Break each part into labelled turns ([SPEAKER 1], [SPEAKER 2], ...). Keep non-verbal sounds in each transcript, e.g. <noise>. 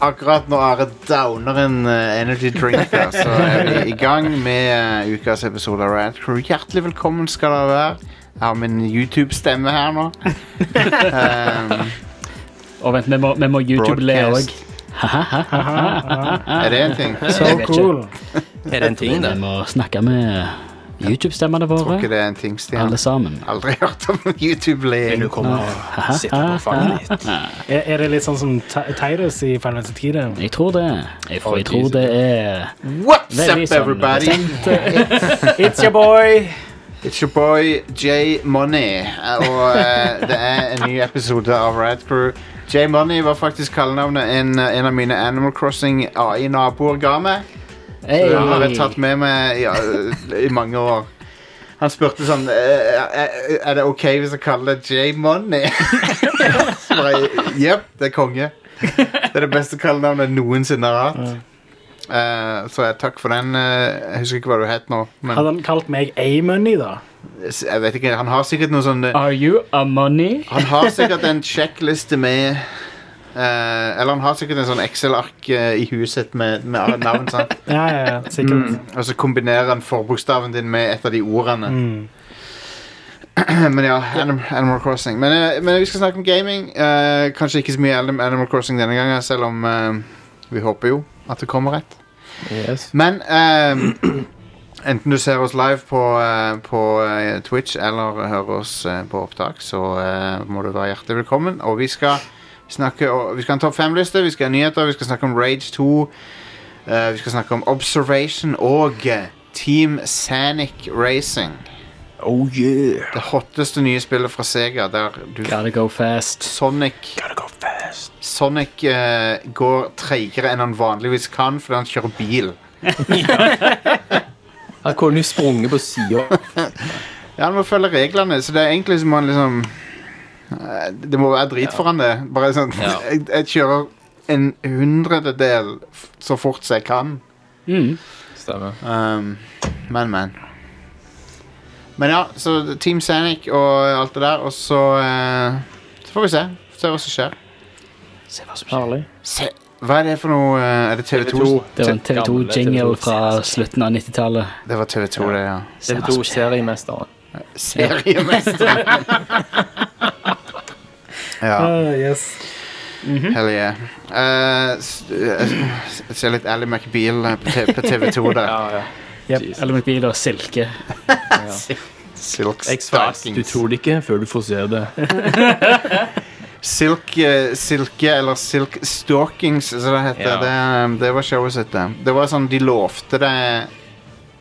[SPEAKER 1] akkurat når Are downer en eh, energy drink,
[SPEAKER 2] <laughs>
[SPEAKER 1] her, så er vi i gang med eh, ukas episode av Rad Crew. Hjertelig velkommen skal dere være. Jeg har min YouTube-stemme her nå. Um,
[SPEAKER 3] Og vent, vi må, vi må YouTube-le òg.
[SPEAKER 1] Broadcast. er det en ting? Jeg
[SPEAKER 4] Så cool.
[SPEAKER 2] Er det en ting,
[SPEAKER 3] Vi
[SPEAKER 2] det?
[SPEAKER 3] må snakke med YouTube-stemmene
[SPEAKER 1] tror ikke
[SPEAKER 3] våre,
[SPEAKER 1] det er en ting, Stian.
[SPEAKER 3] alle sammen.
[SPEAKER 1] Aldri hørt om YouTube-leing.
[SPEAKER 2] Vil du komme og sitte på fanget ditt?
[SPEAKER 4] Er, er det litt sånn som Ti- Titus i Final Fantasy 10?
[SPEAKER 3] Jeg tror det. Jeg, tror- jeg tror
[SPEAKER 2] Jesus.
[SPEAKER 3] det er
[SPEAKER 1] What's
[SPEAKER 3] Veldig
[SPEAKER 1] up,
[SPEAKER 3] sånn
[SPEAKER 1] everybody?
[SPEAKER 4] It's your boy!
[SPEAKER 1] It's your boy J Money, eh, og eh, det er en ny episode av Rad Crew. J Money var faktisk kallenavnet en, en av mine Animal Crossing AI-naboer ga meg.
[SPEAKER 3] hey.
[SPEAKER 1] Det har jeg tatt med meg i, i mange år. Han spurte sånn eh, eh, Er det OK hvis jeg kaller det J Money? <laughs> Så bare Jepp, det er konge. Det er det beste kallenavnet jeg noensinne har hatt. Eh, så jeg, takk for den. eh, jeg husker ikke hva du het nå. Men
[SPEAKER 4] Hadde han kalt meg A-Money, da?
[SPEAKER 1] jeg vet ikke, han har sikkert noe sånn
[SPEAKER 3] Are you a money?
[SPEAKER 1] Han har sikkert en sjekkliste med eh, Eller han har sikkert en sånn Excel-ark eh, i huset med, med alle navn. sant?
[SPEAKER 4] Ja, ja, ja, sikkert.
[SPEAKER 1] Og så kombinerer han forbokstaven din med et av de ordene.
[SPEAKER 4] Mm.
[SPEAKER 1] Men ja, Anim Animal Crossing. Men, eh, men vi skal snakke om gaming. Eh, kanskje ikke så mye Anim- Animal Crossing denne gangen, selv om eh, vi håper jo at det kommer et. Men eh, enten du ser oss live på, eh, på eh, Twitch eller hører oss eh, på opptak, så eh, må du være hjertelig velkommen. Og vi skal snakke o- Vi skal ha en topp fem-liste, vi skal ha nyheter, vi skal snakke om Rage 2. eh, vi skal snakke om Observation og eh, Team Sanic Racing.
[SPEAKER 2] Oh yeah!
[SPEAKER 1] Det hotteste nye spillet fra Sega, der du
[SPEAKER 3] Gotta go fast.
[SPEAKER 1] Sonic
[SPEAKER 2] Gotta go fast.
[SPEAKER 1] Sonic eh, går treigere enn han vanligvis kan fordi han kjører bil.
[SPEAKER 5] Han kunne jo sprunget på sida.
[SPEAKER 1] Ja, Han må følge reglene, så det er egentlig som han liksom eh, Det må være drit for han, det. Bare sånn
[SPEAKER 2] Ja.
[SPEAKER 1] <laughs> jeg, jeg kjører en hundrededel f- så fort som jeg kan.
[SPEAKER 3] Mm.
[SPEAKER 5] Stemmer.
[SPEAKER 1] Um, men, men. Men ja, så Team Sanic og alt det der, og så eh, Så får vi se. Se hva som skjer.
[SPEAKER 3] Se hva som skjer.
[SPEAKER 1] Se. Hva er det for noe eh, Er det TV 2?
[SPEAKER 3] Det var en TV2-jingle fra slutten av 90-tallet.
[SPEAKER 1] Det var TV 2, det, ja.
[SPEAKER 3] Se hva som skjer.
[SPEAKER 5] TV2-seriemesteren.
[SPEAKER 1] Seriemester. ja,
[SPEAKER 4] Ah, yes.
[SPEAKER 1] hell yeah. Eh, s- eh, s- Jeg ser litt Ally McBeal eh, på, te- på TV2 der.
[SPEAKER 5] Ja, ja.
[SPEAKER 4] Yep.
[SPEAKER 5] Jesus.
[SPEAKER 3] Eller med bil og silke.
[SPEAKER 1] Silk
[SPEAKER 5] X-Files. Du
[SPEAKER 1] stockings.
[SPEAKER 5] tror det ikke før du får se det.
[SPEAKER 1] Silk, eh, silke eller silk stockings, som det heter.
[SPEAKER 5] Ja.
[SPEAKER 1] Det, eh, det var showet sitt, det. Det var sånn, de lovte det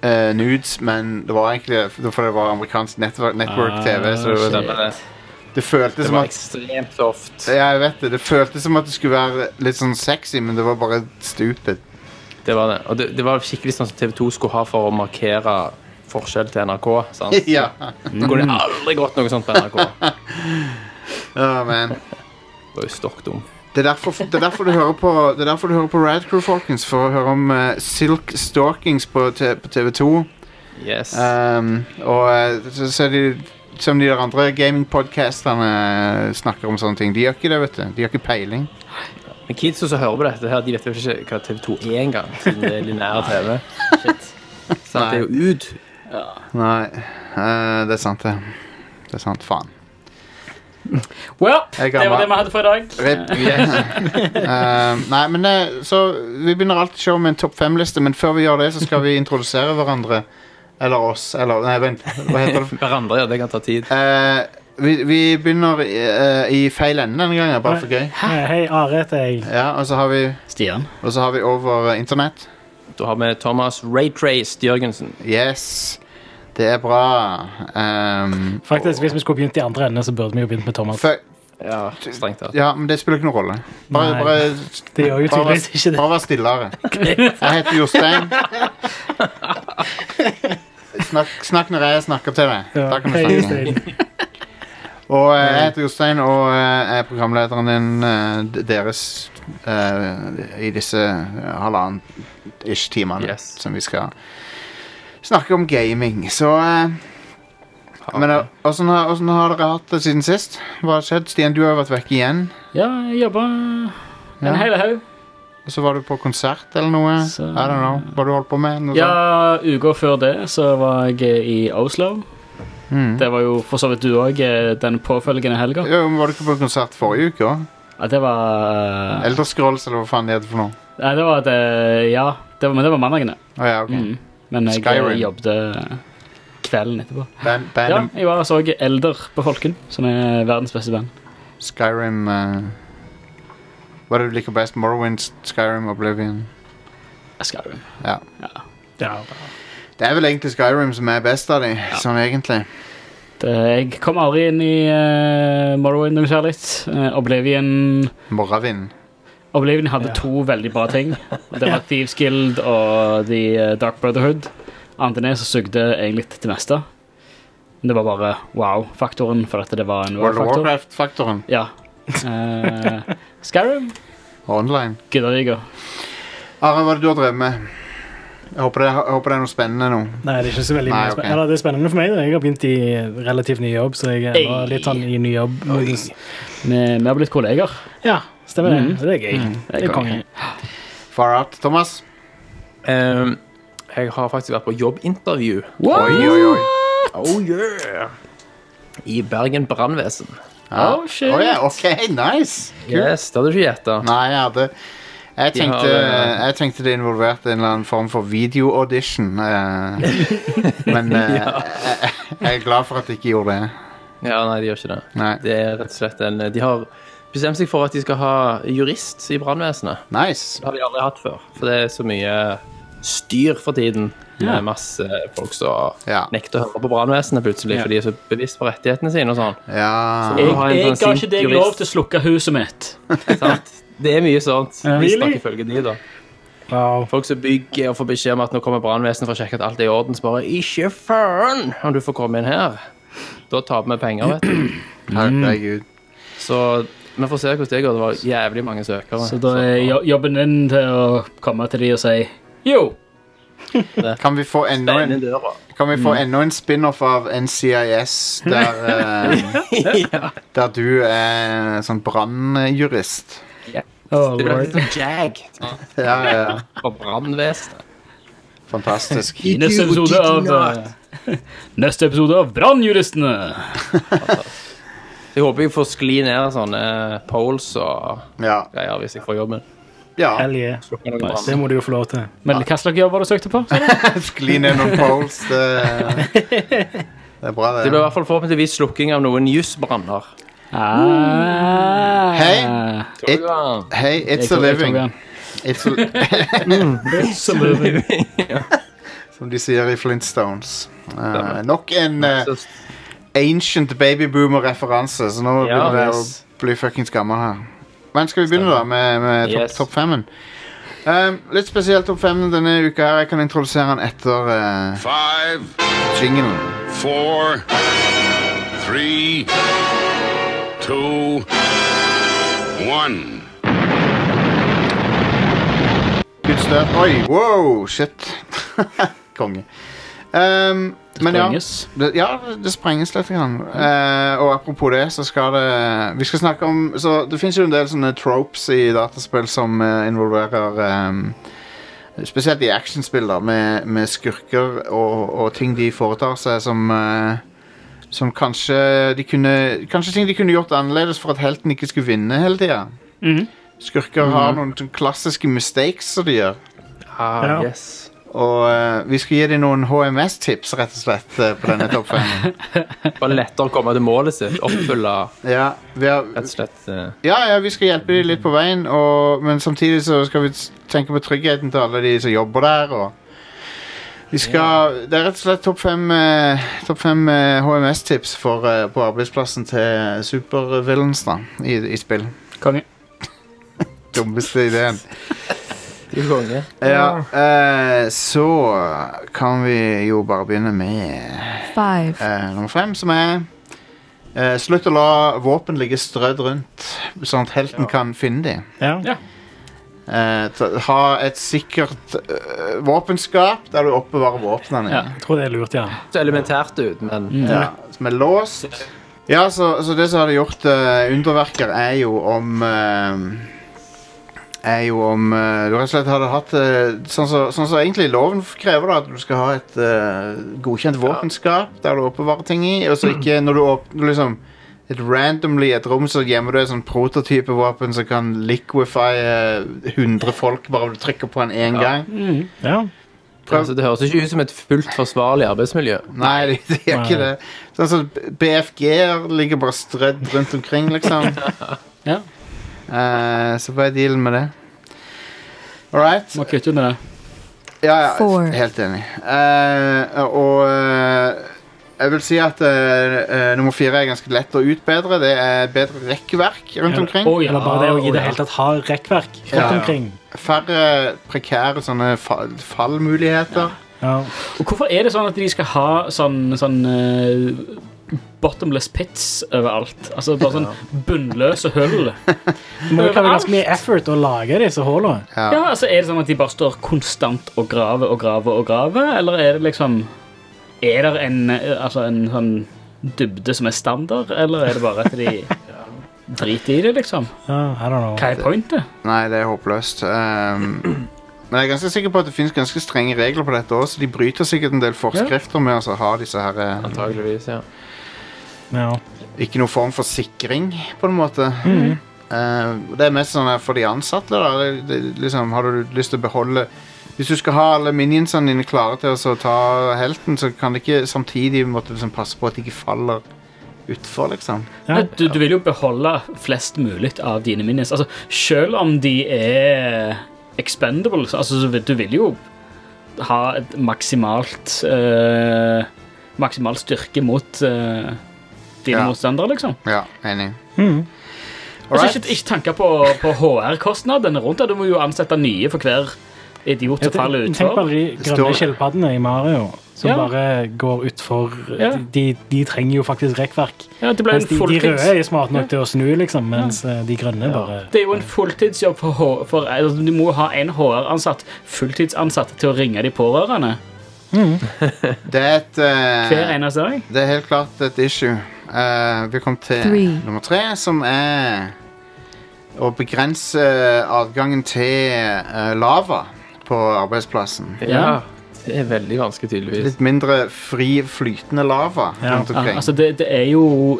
[SPEAKER 1] eh, nudes, men det var egentlig For det var amerikansk network, network TV, så det, var, sånn,
[SPEAKER 5] Stemmer det.
[SPEAKER 1] det føltes
[SPEAKER 5] Ah, Det
[SPEAKER 1] som
[SPEAKER 5] var
[SPEAKER 1] at
[SPEAKER 5] ekstremt soft.
[SPEAKER 1] Ja, jeg vet det. Det føltes som at det skulle være litt sånn sexy, men det var bare
[SPEAKER 5] <laughs>
[SPEAKER 1] stupid.
[SPEAKER 5] Det var det. Og det, det var skikkelig sånn som TV2 skulle ha for å markere forskjell til NRK.
[SPEAKER 1] <laughs>
[SPEAKER 5] sant?
[SPEAKER 1] ja.
[SPEAKER 5] Det kunne aldri gått noe sånt på NRK. Det
[SPEAKER 1] Å, man.
[SPEAKER 5] var jo stokk dum.
[SPEAKER 1] Det er, derfor, det, er derfor du hører på, det er derfor du hører på Rad Crew, folkens, for å høre om eh, Silk Stalkings på, te- på TV2.
[SPEAKER 5] Yes.
[SPEAKER 1] Um, og eh, så ser de som de der andre gamingpodcasterne eh, snakker om sånne ting. De gjør ikke det, vet du. De har ikke peiling.
[SPEAKER 5] Men kidsa som hører på dette, her, de vet vel ikke hva TV2 er engang, siden det er lineær TV. <laughs> Så det er jo ut.
[SPEAKER 1] Nei, eh, det er sant, det. Det er sant. Faen.
[SPEAKER 3] Well,
[SPEAKER 1] Jeg er
[SPEAKER 3] det var det
[SPEAKER 1] gammel.
[SPEAKER 3] vi hadde for i dag.
[SPEAKER 1] Rip. <laughs> Eh, nei, men eh, så Vi begynner alltid showet med en topp fem-liste, men før vi gjør det, så skal vi introdusere hverandre. Eller oss. Eller Nei, vent. Hva heter <laughs> det?
[SPEAKER 5] Hverandre, ja, det kan ta tid.
[SPEAKER 1] Eh, vi, vi begynner i, eh, i feil ende denne gangen, bare for gøy.
[SPEAKER 4] Eh, Hei, Are heter jeg.
[SPEAKER 1] Ja, og så har vi,
[SPEAKER 3] Stian.
[SPEAKER 1] og så har vi over eh, internett.
[SPEAKER 5] Da har vi Thomas Raytrace Jørgensen.
[SPEAKER 1] Yes. Det er bra. Ehm,
[SPEAKER 4] Faktisk, Hvis vi skulle begynt i andre enden, så burde vi jo begynt med Thomas.
[SPEAKER 1] fø-
[SPEAKER 5] Ja, strengt tatt.
[SPEAKER 1] ja, men det spiller ikke noen rolle. Bare,
[SPEAKER 4] Nei.
[SPEAKER 1] bare,
[SPEAKER 4] Det gjør jo
[SPEAKER 1] bare,
[SPEAKER 4] tydeligvis
[SPEAKER 1] vær-
[SPEAKER 4] ikke det.
[SPEAKER 1] bare vær
[SPEAKER 4] <laughs>
[SPEAKER 1] stillere. Jeg heter Jostein. Snakk, snakk når jeg snakker til deg.
[SPEAKER 4] Ja.
[SPEAKER 1] <laughs> Da kan du
[SPEAKER 4] Hei,
[SPEAKER 1] snakke.
[SPEAKER 4] Stein.
[SPEAKER 1] Og eh, jeg heter Jostein og eh, er programlederen din eh, d- deres eh, i disse eh, halvannen ish timene
[SPEAKER 5] Yes.
[SPEAKER 1] som vi skal snakke om gaming. Så eh, Men eh, åssen har, åssen har dere hatt det siden sist? Hva har skjedd? Stian, du har vært vekk igjen.
[SPEAKER 3] Ja, jeg jobba
[SPEAKER 1] Ja.
[SPEAKER 3] en hel haug.
[SPEAKER 1] Og så var du på konsert eller noe.
[SPEAKER 3] Så-
[SPEAKER 1] I don't know. Hva du holdt på med? Noe
[SPEAKER 3] Ja, uka før det så var jeg eh, i Oslo.
[SPEAKER 1] sånt? Mm.
[SPEAKER 3] Det var jo for så vidt du òg, den påfølgende helga.
[SPEAKER 1] Ja, men var du ikke på konsert forrige uke òg?
[SPEAKER 3] Ja, det var eh,
[SPEAKER 1] Elder Scrolls, eller hva faen det heter for noe.
[SPEAKER 3] Nei, det var det Ja, det var, men det var mandagene.
[SPEAKER 1] Å ja, ok.
[SPEAKER 3] Mm. Men jeg
[SPEAKER 1] Skyrim.
[SPEAKER 3] eh, jobbet eh, kvelden etterpå.
[SPEAKER 1] Band, band
[SPEAKER 3] Ja, jeg var og så Elder på Folken, som er verdens beste band.
[SPEAKER 1] Skyrim eh, Hva er det du liker best? Morrowind, Skyrim, Oblivion?
[SPEAKER 3] Skyrim.
[SPEAKER 4] Ja.
[SPEAKER 1] Det er vel egentlig Skyrim som er best av de, sånn egentlig.
[SPEAKER 3] Det, jeg kom aldri inn i eh, Morrowind noe særlig. Eh, Oblivion
[SPEAKER 1] Morravind.
[SPEAKER 3] Oblivion hadde
[SPEAKER 4] Ja.
[SPEAKER 3] to veldig bra
[SPEAKER 1] <laughs>
[SPEAKER 3] ting. Det var Thieves Guild og The eh, Dark Brotherhood. Annet enn det så sugde egentlig til det meste. Men det var bare wow-faktoren, for at det var en
[SPEAKER 1] World of
[SPEAKER 3] wow-faktor.
[SPEAKER 1] Warcraft-faktoren.
[SPEAKER 3] Ja. Eh, Skyrim
[SPEAKER 1] Og online.
[SPEAKER 3] gidder jeg ikke.
[SPEAKER 1] Are, hva er det du har drevet med? Jeg håper det, jeg håper det er noe spennende nå.
[SPEAKER 4] Nei, det er ikke så veldig
[SPEAKER 1] Nei,
[SPEAKER 4] mye
[SPEAKER 1] ok.
[SPEAKER 4] spennende. Eller, det er spennende for meg. da. Jeg har begynt i relativt ny jobb, så jeg er ennå
[SPEAKER 3] Ei.
[SPEAKER 4] litt sånn i ny jobb.
[SPEAKER 3] Vi, vi har blitt kolleger.
[SPEAKER 4] Ja, stemmer det.
[SPEAKER 1] Mm.
[SPEAKER 3] Mhm.
[SPEAKER 4] Så det er gøy.
[SPEAKER 3] Det
[SPEAKER 4] Det er konge.
[SPEAKER 1] Far out. Thomas?
[SPEAKER 5] Ehm, jeg har faktisk vært på jobbintervju.
[SPEAKER 1] Oi, oi, oi.
[SPEAKER 5] Oh yeah! I Bergen brannvesen.
[SPEAKER 1] Ja.
[SPEAKER 3] Oh, shit.
[SPEAKER 1] Å ja, ok, nice.
[SPEAKER 5] Yes, det hadde du ikke gjetta.
[SPEAKER 1] Nei, jeg hadde jeg
[SPEAKER 5] De har,
[SPEAKER 1] tenkte,
[SPEAKER 5] eh,
[SPEAKER 1] jeg tenkte det involverte en eller annen form for video-audition.
[SPEAKER 3] <laughs>
[SPEAKER 1] eh, men eh, jeg, jeg er glad for at de ikke gjorde det.
[SPEAKER 5] Ja, nei, de gjør ikke det.
[SPEAKER 1] Nei.
[SPEAKER 5] Det er rett og slett en De har bestemt seg for at de skal ha jurist i brannvesenet.
[SPEAKER 1] Nice.
[SPEAKER 5] Det har de aldri hatt før. For det er så mye styr for tiden. Med masse folk som
[SPEAKER 1] Ja.
[SPEAKER 5] nekter å høre på brannvesenet plutselig,
[SPEAKER 3] Ja.
[SPEAKER 5] for de er så bevisst på rettighetene sine og sånn.
[SPEAKER 1] Ja.
[SPEAKER 5] Så-
[SPEAKER 3] Jeg,
[SPEAKER 5] Å ha en
[SPEAKER 3] jeg
[SPEAKER 5] sånn
[SPEAKER 3] ga ikke
[SPEAKER 5] sint
[SPEAKER 3] deg
[SPEAKER 5] jurist.
[SPEAKER 3] lov til å slukke huset mitt.
[SPEAKER 5] Sant? Det er mye sånt. Visstnok
[SPEAKER 4] really?
[SPEAKER 5] ifølge de, da.
[SPEAKER 4] Wow.
[SPEAKER 5] Folk som bygger og får beskjed om at nå kommer brannvesenet for å sjekke at alt er i orden, så bare Ikke faen om du får komme inn her. Da taper vi penger, vet du.
[SPEAKER 1] Herregud.
[SPEAKER 5] Så vi får se hvordan det går. Det var jævlig mange søkere.
[SPEAKER 3] Så da er jo- jobben din til å komme til de og si Yo!
[SPEAKER 1] Kan vi få enda
[SPEAKER 5] Bein i
[SPEAKER 1] en,
[SPEAKER 5] døra.
[SPEAKER 1] kan vi få enda en spin-off av NCIS der, eh,
[SPEAKER 5] ja.
[SPEAKER 1] der du er sånn brannjurist? <laughs>
[SPEAKER 3] Oh,
[SPEAKER 5] Det blir
[SPEAKER 3] Lord.
[SPEAKER 5] litt sånn jag
[SPEAKER 1] Ja, ja, ja.
[SPEAKER 5] fra brannvesenet.
[SPEAKER 1] Fantastisk.
[SPEAKER 3] I neste episode av eh, <laughs> Neste episode av Brannjuristene.
[SPEAKER 5] Så jeg håper jeg får skli ned sånne poles og
[SPEAKER 1] Ja.
[SPEAKER 5] greier hvis jeg får jobben.
[SPEAKER 1] <laughs> ja.
[SPEAKER 4] Hell yeah.
[SPEAKER 5] Slukker noen brann.
[SPEAKER 4] Det må du jo få lov til.
[SPEAKER 3] Men hva slags jobb var det du
[SPEAKER 1] <laughs>
[SPEAKER 3] søkte på? sa du?
[SPEAKER 1] Skli ned noen poles. Det, det er bra,
[SPEAKER 5] Det blir i
[SPEAKER 1] det.
[SPEAKER 5] hvert fall forhåpentligvis slukking av noen jusbranner.
[SPEAKER 3] Ah.
[SPEAKER 1] Hei.
[SPEAKER 5] Tror du han?
[SPEAKER 1] Hei,
[SPEAKER 3] Jeg
[SPEAKER 1] it's a
[SPEAKER 3] tok- jeg tok
[SPEAKER 1] living.
[SPEAKER 3] den.
[SPEAKER 1] It's a, <laughs> Som de sier i Flintstones. Eh, nok en eh,
[SPEAKER 5] Så-
[SPEAKER 1] ancient babyboomer-referanse, så nå
[SPEAKER 5] Ja,
[SPEAKER 1] begynner det
[SPEAKER 5] yes.
[SPEAKER 1] å bli fuckings gammel her. Men skal vi begynne, da, med, med topp
[SPEAKER 5] Yes.
[SPEAKER 1] topp femmen? Um, litt spesielt topp femmen denne uka her. Jeg kan introdusere den etter uh,
[SPEAKER 6] Five,
[SPEAKER 1] jinglen.
[SPEAKER 6] four, three, two, one.
[SPEAKER 1] Good stuff. Oi, wow, shit. <laughs> Konge. Um, men ja.
[SPEAKER 3] Sprenges.
[SPEAKER 1] Det, ja, det sprenges litt. Grann. Eh, og apropos det, så skal det Vi skal snakke om så Det fins jo en del sånne tropes i dataspill som eh, involverer eh, Spesielt i actionspill, da, med, med skurker og, og ting de foretar seg som eh, Som kanskje de kunne Kanskje ting de kunne gjort annerledes for at helten ikke skulle vinne hele tida.
[SPEAKER 3] Mhm.
[SPEAKER 1] Skurker har noen sånn klassiske mistakes som de gjør.
[SPEAKER 5] Ah,
[SPEAKER 4] Ja.
[SPEAKER 5] yes.
[SPEAKER 1] Og eh, vi skal gi dem noen HMS-tips, rett og slett, eh, på denne topp fem.
[SPEAKER 5] Bare lettere å komme til målet sitt. Oppfylle
[SPEAKER 1] Ja, vi har,
[SPEAKER 5] rett og slett eh,
[SPEAKER 1] ja, ja, vi skal hjelpe dem litt på veien, og, men samtidig så skal vi s- tenke på tryggheten til alle de som jobber der. Og vi skal, Det er rett og slett topp fem, eh, topp fem eh, HMS-tips for, eh, på arbeidsplassen til supervillains da, i, i spill.
[SPEAKER 3] Konge.
[SPEAKER 1] Dummeste ideen.
[SPEAKER 5] De er konge.
[SPEAKER 1] Ja, eh, så kan vi jo bare begynne med
[SPEAKER 7] Five,
[SPEAKER 1] Eh, nummer fem, som er eh, Slutt å la våpen ligge strødd rundt, sånn at helten kan finne dem.
[SPEAKER 4] Ja.
[SPEAKER 3] Ja.
[SPEAKER 1] Eh, ta- ha et sikkert eh, våpenskap der du oppbevarer våpnene.
[SPEAKER 3] Ja.
[SPEAKER 4] Jeg tror det er lurt, ja.
[SPEAKER 5] Så elementært ut, men
[SPEAKER 1] Ja, som er låst. Ja, så, så det som hadde gjort eh, underverker, er jo om eh, er jo om eh, du rett og slett hadde hatt eh, Sånn som så, sånn som egentlig loven krever, da, at du skal ha et eh, godkjent våpenskap der du oppbevarer ting i, og så ikke når du åpner liksom et randomly i et rom så gjemmer du et sånn prototypevåpen som kan liquify 100 folk bare du trykker på den én gang.
[SPEAKER 3] Mm.
[SPEAKER 4] Ja.
[SPEAKER 1] Prøv-
[SPEAKER 5] Altså, det høres ikke ut som et fullt forsvarlig arbeidsmiljø.
[SPEAKER 1] Nei, det, det gjør ikke det. Sånn som BFG-er ligger bare strødd rundt omkring, liksom.
[SPEAKER 3] Ja.
[SPEAKER 1] Eh, så hva er dealen med det? All right.
[SPEAKER 3] Må kutte ut med det.
[SPEAKER 1] Ja, ja,
[SPEAKER 7] Four.
[SPEAKER 1] helt enig. Eh, og eh, jeg vil si at eh, eh, nummer fire er ganske lett å utbedre. Det er bedre rekkverk rundt omkring.
[SPEAKER 3] Å, ja,
[SPEAKER 4] Eller bare det å
[SPEAKER 3] å,
[SPEAKER 4] i det
[SPEAKER 3] ja.
[SPEAKER 4] hele tatt ha rekkverk rundt
[SPEAKER 1] Ja.
[SPEAKER 4] omkring.
[SPEAKER 1] Færre prekære sånne fa fallmuligheter.
[SPEAKER 4] Ja.
[SPEAKER 3] Og hvorfor er det sånn at de skal ha sånn, sånn eh, bottomless pits overalt? Altså bare sånn bunnløse høl.
[SPEAKER 4] Det må jo være ganske mye effort å lage disse hullene.
[SPEAKER 1] Ja.
[SPEAKER 3] Ja, altså Er det sånn at de bare står konstant og graver og graver og graver, eller er det liksom Er det en, eh, altså en sånn dybde som er standard, eller er det bare at de driter i det, liksom?
[SPEAKER 4] Ja, I don't know.
[SPEAKER 3] Hva er pointet?
[SPEAKER 1] Nei, det er håpløst. Ehm, men jeg er ganske sikker på at det finnes ganske strenge regler på dette også, så de bryter sikkert en del forskrifter med å altså, ha disse her eh,
[SPEAKER 5] Antageligvis, ja.
[SPEAKER 4] Ja.
[SPEAKER 1] Ikke noen form for sikring, på en måte. Eh, det er mest sånn her for de ansatte. da det, det, liksom, Har du lyst til å beholde Hvis du skal ha alle minionsene dine klare til å så ta helten, så kan det ikke samtidig måtte liksom, passe på at de ikke faller utfor, liksom.
[SPEAKER 4] Ja.
[SPEAKER 3] Du, du vil jo beholde flest mulig av dine minions. Altså, selv om de er expendable, så- altså, så vil- du vil jo ha et maksimalt eh, Maksimal styrke mot eh, dine
[SPEAKER 1] Ja.
[SPEAKER 3] motstandere, liksom.
[SPEAKER 1] Ja, enig.
[SPEAKER 4] Mhm.
[SPEAKER 3] Altså, ikke, ikke tanke på, på HR-kostnadene rundt det. Du må jo ansette nye for hver idiot som faller
[SPEAKER 4] Tenk på
[SPEAKER 3] utfor.
[SPEAKER 4] alle de
[SPEAKER 1] Står-
[SPEAKER 4] grønne skilpaddene i Mario som
[SPEAKER 3] Ja.
[SPEAKER 4] bare går utfor.
[SPEAKER 3] Ja.
[SPEAKER 4] De, de trenger jo faktisk rekkverk.
[SPEAKER 3] Ja, det ble en
[SPEAKER 4] Mens de, de
[SPEAKER 3] fulltids...
[SPEAKER 4] røde er jo smart nok til å snu, liksom, mens eh, de grønne bare
[SPEAKER 3] Det er jo en fulltidsjobb for, H- for altså, Du må jo ha en HR-ansatt, fulltidsansatt, til å ringe de pårørende
[SPEAKER 1] Det er et eh,
[SPEAKER 3] hver eneste dag.
[SPEAKER 1] Det er helt klart et issue. Eh, vi kom til
[SPEAKER 7] Three.
[SPEAKER 1] nummer tre, som er å begrense adgangen til eh, lava på arbeidsplassen.
[SPEAKER 5] ja. Det er veldig vanskelig, tydeligvis.
[SPEAKER 1] Litt mindre fri flytende lava
[SPEAKER 4] Ja.
[SPEAKER 1] rundt
[SPEAKER 3] Ja,
[SPEAKER 1] omkring.
[SPEAKER 3] altså det, det er jo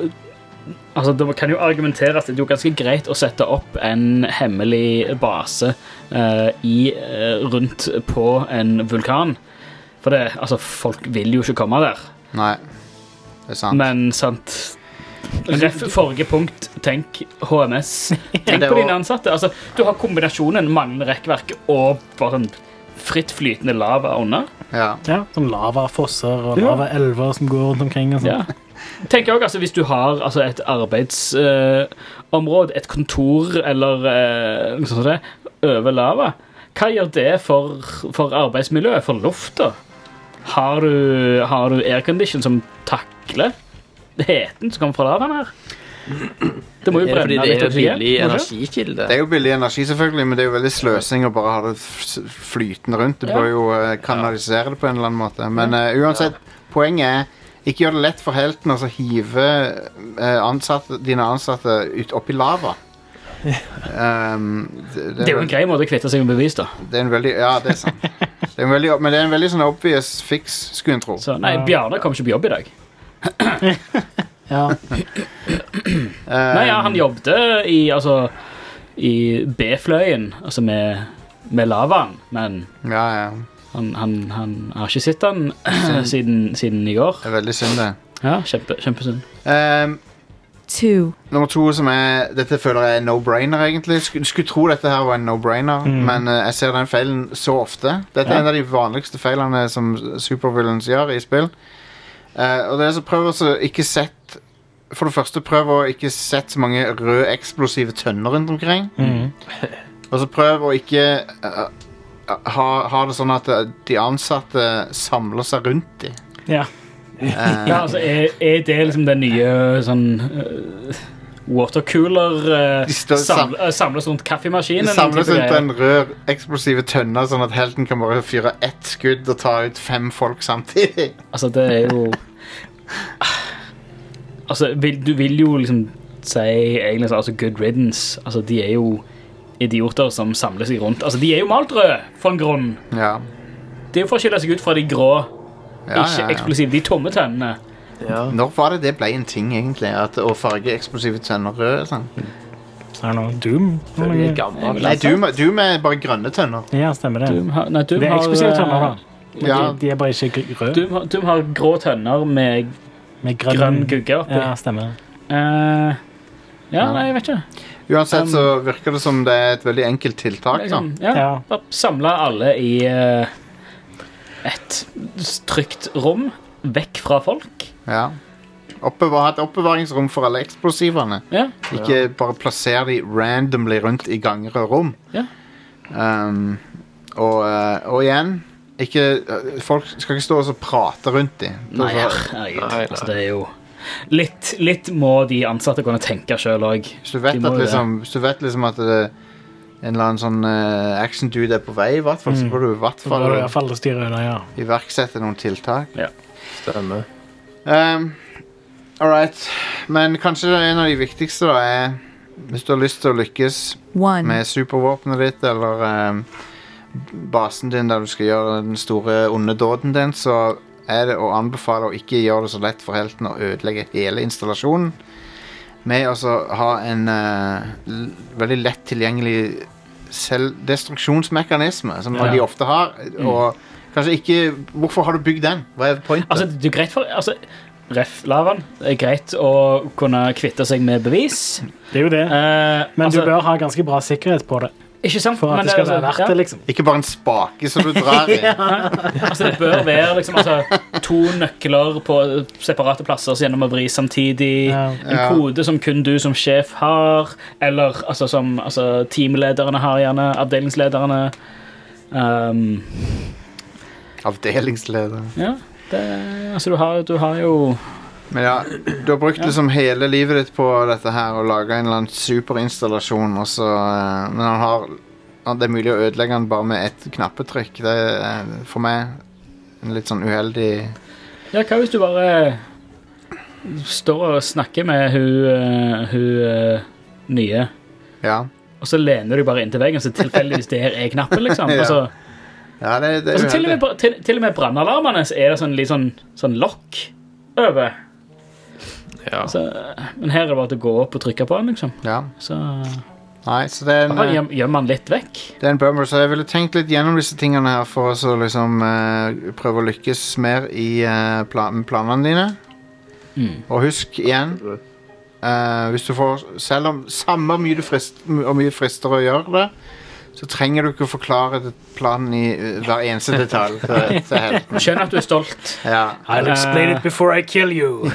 [SPEAKER 3] Altså Det kan jo argumenteres at det er jo ganske greit å sette opp en hemmelig base eh, i, eh, rundt på en vulkan. For det, altså, folk vil jo ikke komme der.
[SPEAKER 1] Nei, det er sant.
[SPEAKER 3] Men sant Ref forrige punkt, tenk HMS.
[SPEAKER 1] Men
[SPEAKER 3] Tenk
[SPEAKER 1] det
[SPEAKER 3] på
[SPEAKER 1] var-
[SPEAKER 3] dine ansatte. Altså, du har kombinasjonen manglende rekkverk og bare sånn fritt flytende lava under.
[SPEAKER 1] ja.
[SPEAKER 4] ja, Sånn lavafosser og lavaelver som går rundt omkring. og sånn. sånt.
[SPEAKER 3] Ja. Tenk også, altså, Hvis du har altså, et arbeidsområde, et kontor eller eh, noe sånt som det, over lava, hva gjør det for, for arbeidsmiljøet, for lufta? Har du, har du aircondition som takler heten som kommer fra lavaen her? Det må jo
[SPEAKER 5] Er det fordi
[SPEAKER 3] brenne
[SPEAKER 5] det
[SPEAKER 3] litt
[SPEAKER 5] er en
[SPEAKER 3] opp igjen. må det
[SPEAKER 5] billig
[SPEAKER 3] ikke?
[SPEAKER 5] energikilde?
[SPEAKER 1] Det er jo billig energi, selvfølgelig, men det er jo veldig sløsing å bare ha det f- flytende rundt. Du
[SPEAKER 3] Ja.
[SPEAKER 1] bør jo eh, kanalisere det på en eller annen måte. Men eh, uansett, poenget er ikke gjør det lett for helten å altså, hive eh, ansatte, dine ansatte ut oppi
[SPEAKER 3] <laughs>
[SPEAKER 1] lava. Um, det,
[SPEAKER 3] Det er jo en grei måte å kvitte seg med bevis, da.
[SPEAKER 1] det er en veldig Ja, det er sant. Det er en veldig, men det er en veldig sånn obvious fix, skulle en tro.
[SPEAKER 3] Så, nei, Bjarne kom ikke på jobb i dag.
[SPEAKER 4] Ja.
[SPEAKER 3] Nei, ja,
[SPEAKER 1] Ehm.
[SPEAKER 3] han jobbet i, altså, i B-fløyen, altså med, med lavaen, men
[SPEAKER 1] Ehm, Ja, ja.
[SPEAKER 3] han, han, han har ikke sett han <clears throat> siden, siden i går.
[SPEAKER 1] Det er veldig synd, det.
[SPEAKER 3] Ja, kjempe, kjempesynd.
[SPEAKER 1] Um,
[SPEAKER 7] two,
[SPEAKER 1] Nummer to som er Dette føler jeg er no-brainer, egentlig. Sk skulle tro dette her var en no-brainer, men eh, jeg ser den feilen så ofte. Dette er en av de vanligste feilene som supervillains gjør i spill. Eh, og det er så prøv å så ikke sett For det første, prøv å ikke sette så mange røde eksplosive tønner rundt omkring.
[SPEAKER 4] Mhm.
[SPEAKER 1] <laughs> Og så prøv å ikke eh, ha, ha det sånn at eh, de ansatte samler seg rundt dem.
[SPEAKER 4] ja.
[SPEAKER 3] Ja, altså, er, er det liksom den nye sånn øh, watercooler øh,
[SPEAKER 1] De står sam-
[SPEAKER 3] saml, øh, samles rundt kaffemaskinen?
[SPEAKER 1] Det samles
[SPEAKER 3] type
[SPEAKER 1] rundt
[SPEAKER 3] greier?
[SPEAKER 1] en rød eksplosive tønne, sånn at helten kan bare fyre ett skudd og ta ut fem folk samtidig.
[SPEAKER 3] Altså, det er jo Altså, vil, du vil jo liksom si egentlig sånn altså, good riddance. Altså, de er jo idioter som samler seg rundt. Altså, De er jo malt røde for en grunn.
[SPEAKER 1] Ja.
[SPEAKER 3] Det er jo for å skille seg ut fra de grå,
[SPEAKER 1] Ja,
[SPEAKER 3] ikke
[SPEAKER 1] ja, ja.
[SPEAKER 3] eksplosive, de tomme tennene.
[SPEAKER 5] Ja.
[SPEAKER 1] Når var det det ble en ting, egentlig? At å farge eksplosive tenner røde? Sånn.
[SPEAKER 4] Er det noe Doom?
[SPEAKER 5] Før de er altså.
[SPEAKER 4] Noe?
[SPEAKER 5] gamle.
[SPEAKER 1] Nei, Doom, Doom er bare grønne tenner.
[SPEAKER 4] Ja, stemmer det.
[SPEAKER 3] Doom har, nei, Doom
[SPEAKER 4] Det er
[SPEAKER 3] har,
[SPEAKER 4] eksplosive tønner,
[SPEAKER 3] eh,
[SPEAKER 4] da. Men
[SPEAKER 1] Ja.
[SPEAKER 4] de, de er bare ikke gr- røde.
[SPEAKER 3] Doom, har- Doom har grå tønner med
[SPEAKER 4] Med
[SPEAKER 3] grønn gugge oppi.
[SPEAKER 4] Ja, stemmer.
[SPEAKER 3] Eh, ja, nei, jeg vet ikke. Um,
[SPEAKER 1] Uansett så virker det som det er et veldig enkelt tiltak. da.
[SPEAKER 3] Liksom, ja.
[SPEAKER 4] Ja.
[SPEAKER 3] Bare samle alle i eh, et trygt rom, vekk fra folk.
[SPEAKER 1] Ja. Oppbevar, et oppbevaringsrom for alle eksplosivene.
[SPEAKER 3] Ja.
[SPEAKER 1] Ikke bare plassere de randomly rundt i ganger og rom.
[SPEAKER 3] Ja.
[SPEAKER 1] Um, og, eh, og igjen ikke, eh, Folk skal ikke stå og så prate rundt dem.
[SPEAKER 3] Nei, herregud.
[SPEAKER 5] Nei, nei.
[SPEAKER 3] Altså, det er jo Litt, litt må de ansatte kunne tenke sjøl òg.
[SPEAKER 1] Hvis du
[SPEAKER 3] De
[SPEAKER 1] vet,
[SPEAKER 3] må
[SPEAKER 1] at,
[SPEAKER 3] jo
[SPEAKER 1] liksom, hvis du vet liksom at det, en eller annen sånn eh, action dude er på vei, i hvert fall,
[SPEAKER 3] Mm.
[SPEAKER 1] så bør du i hvert
[SPEAKER 4] Da var det i hvert
[SPEAKER 1] fall
[SPEAKER 4] fall å styre unna, ja.
[SPEAKER 1] iverksette noen tiltak.
[SPEAKER 5] Stemmer.
[SPEAKER 1] Um, all right. Men kanskje det er en av de viktigste da, er hvis du har lyst til å lykkes
[SPEAKER 7] one,
[SPEAKER 1] med supervåpenet ditt eller um, basen din der du skal gjøre den store onde dåden din, så er det å anbefale å ikke gjøre det så lett for helten å ødelegge hele installasjonen med å så ha en eh, l- veldig lett tilgjengelig selvdestruksjonsmekanisme, som
[SPEAKER 3] Ja. Mm.
[SPEAKER 1] de ofte har. Og kanskje ikke Hvorfor har du bygd den? Hva er pointet?
[SPEAKER 3] Altså, det er greit for altså, Ref. Lavan. Det er greit å kunne kvitte seg med bevis.
[SPEAKER 4] Det er jo det.
[SPEAKER 3] Eh,
[SPEAKER 4] Men
[SPEAKER 3] altså,
[SPEAKER 4] du bør ha ganske bra sikkerhet på det.
[SPEAKER 3] Ikke sant?
[SPEAKER 4] For at
[SPEAKER 3] Men
[SPEAKER 4] det skal
[SPEAKER 3] altså,
[SPEAKER 4] være verdt
[SPEAKER 3] ja.
[SPEAKER 4] det, liksom.
[SPEAKER 1] Ikke bare en spake som du drar
[SPEAKER 3] <laughs>
[SPEAKER 1] i.
[SPEAKER 3] Altså, det bør være liksom, altså, to nøkler på separate plasser så gjennom å vri samtidig.
[SPEAKER 4] Ja.
[SPEAKER 3] En
[SPEAKER 1] Ja.
[SPEAKER 3] kode som kun du som sjef har, eller altså, som altså, teamlederne har, gjerne. Avdelingslederne. Um,
[SPEAKER 1] Avdelingsleder.
[SPEAKER 3] ja, det, altså, du har, du har jo
[SPEAKER 1] Men ja, du har brukt liksom hele livet ditt på dette her og laga en eller annen superinstallasjon, og så eh, Men han har han- Det er mulig å ødelegge den bare med ett knappetrykk. Det er eh, for meg en litt sånn uheldig
[SPEAKER 3] Ja, hva hvis du bare eh, står og snakker med hun, eh, hun eh, nye,
[SPEAKER 1] Ja.
[SPEAKER 3] og så lener du deg bare inntil veggen, så tilfeldigvis der er knappen, liksom.
[SPEAKER 1] <laughs> Ja.
[SPEAKER 3] Altså,
[SPEAKER 1] ja det, det er
[SPEAKER 3] altså, til og med,
[SPEAKER 1] uheldig.
[SPEAKER 3] bra- til, til og med brannalarmene så er det sånn, litt sånn, sånn lokk over.
[SPEAKER 5] Ja.
[SPEAKER 3] Så, men her er det bare til å gå opp og trykke på den, liksom.
[SPEAKER 1] Ja.
[SPEAKER 3] Så
[SPEAKER 1] Nei, så det er en,
[SPEAKER 3] bare
[SPEAKER 1] eh,
[SPEAKER 3] gjem- gjemmer den litt vekk.
[SPEAKER 1] det er en bummer. Så jeg ville tenkt litt gjennom disse tingene her for å så liksom eh, prøve å lykkes mer i eh, plan planene dine.
[SPEAKER 3] Mm.
[SPEAKER 1] Og husk igjen eh, Hvis du får Selv om samme hvor mye du frist, og mye frister å gjøre det, så trenger du ikke å forklare det- planen i eh, hver eneste
[SPEAKER 3] <laughs>
[SPEAKER 1] detalj til, til helten.
[SPEAKER 3] Skjønner at du er stolt.
[SPEAKER 1] Ja.
[SPEAKER 4] I'll
[SPEAKER 3] explain it
[SPEAKER 4] before I kill you.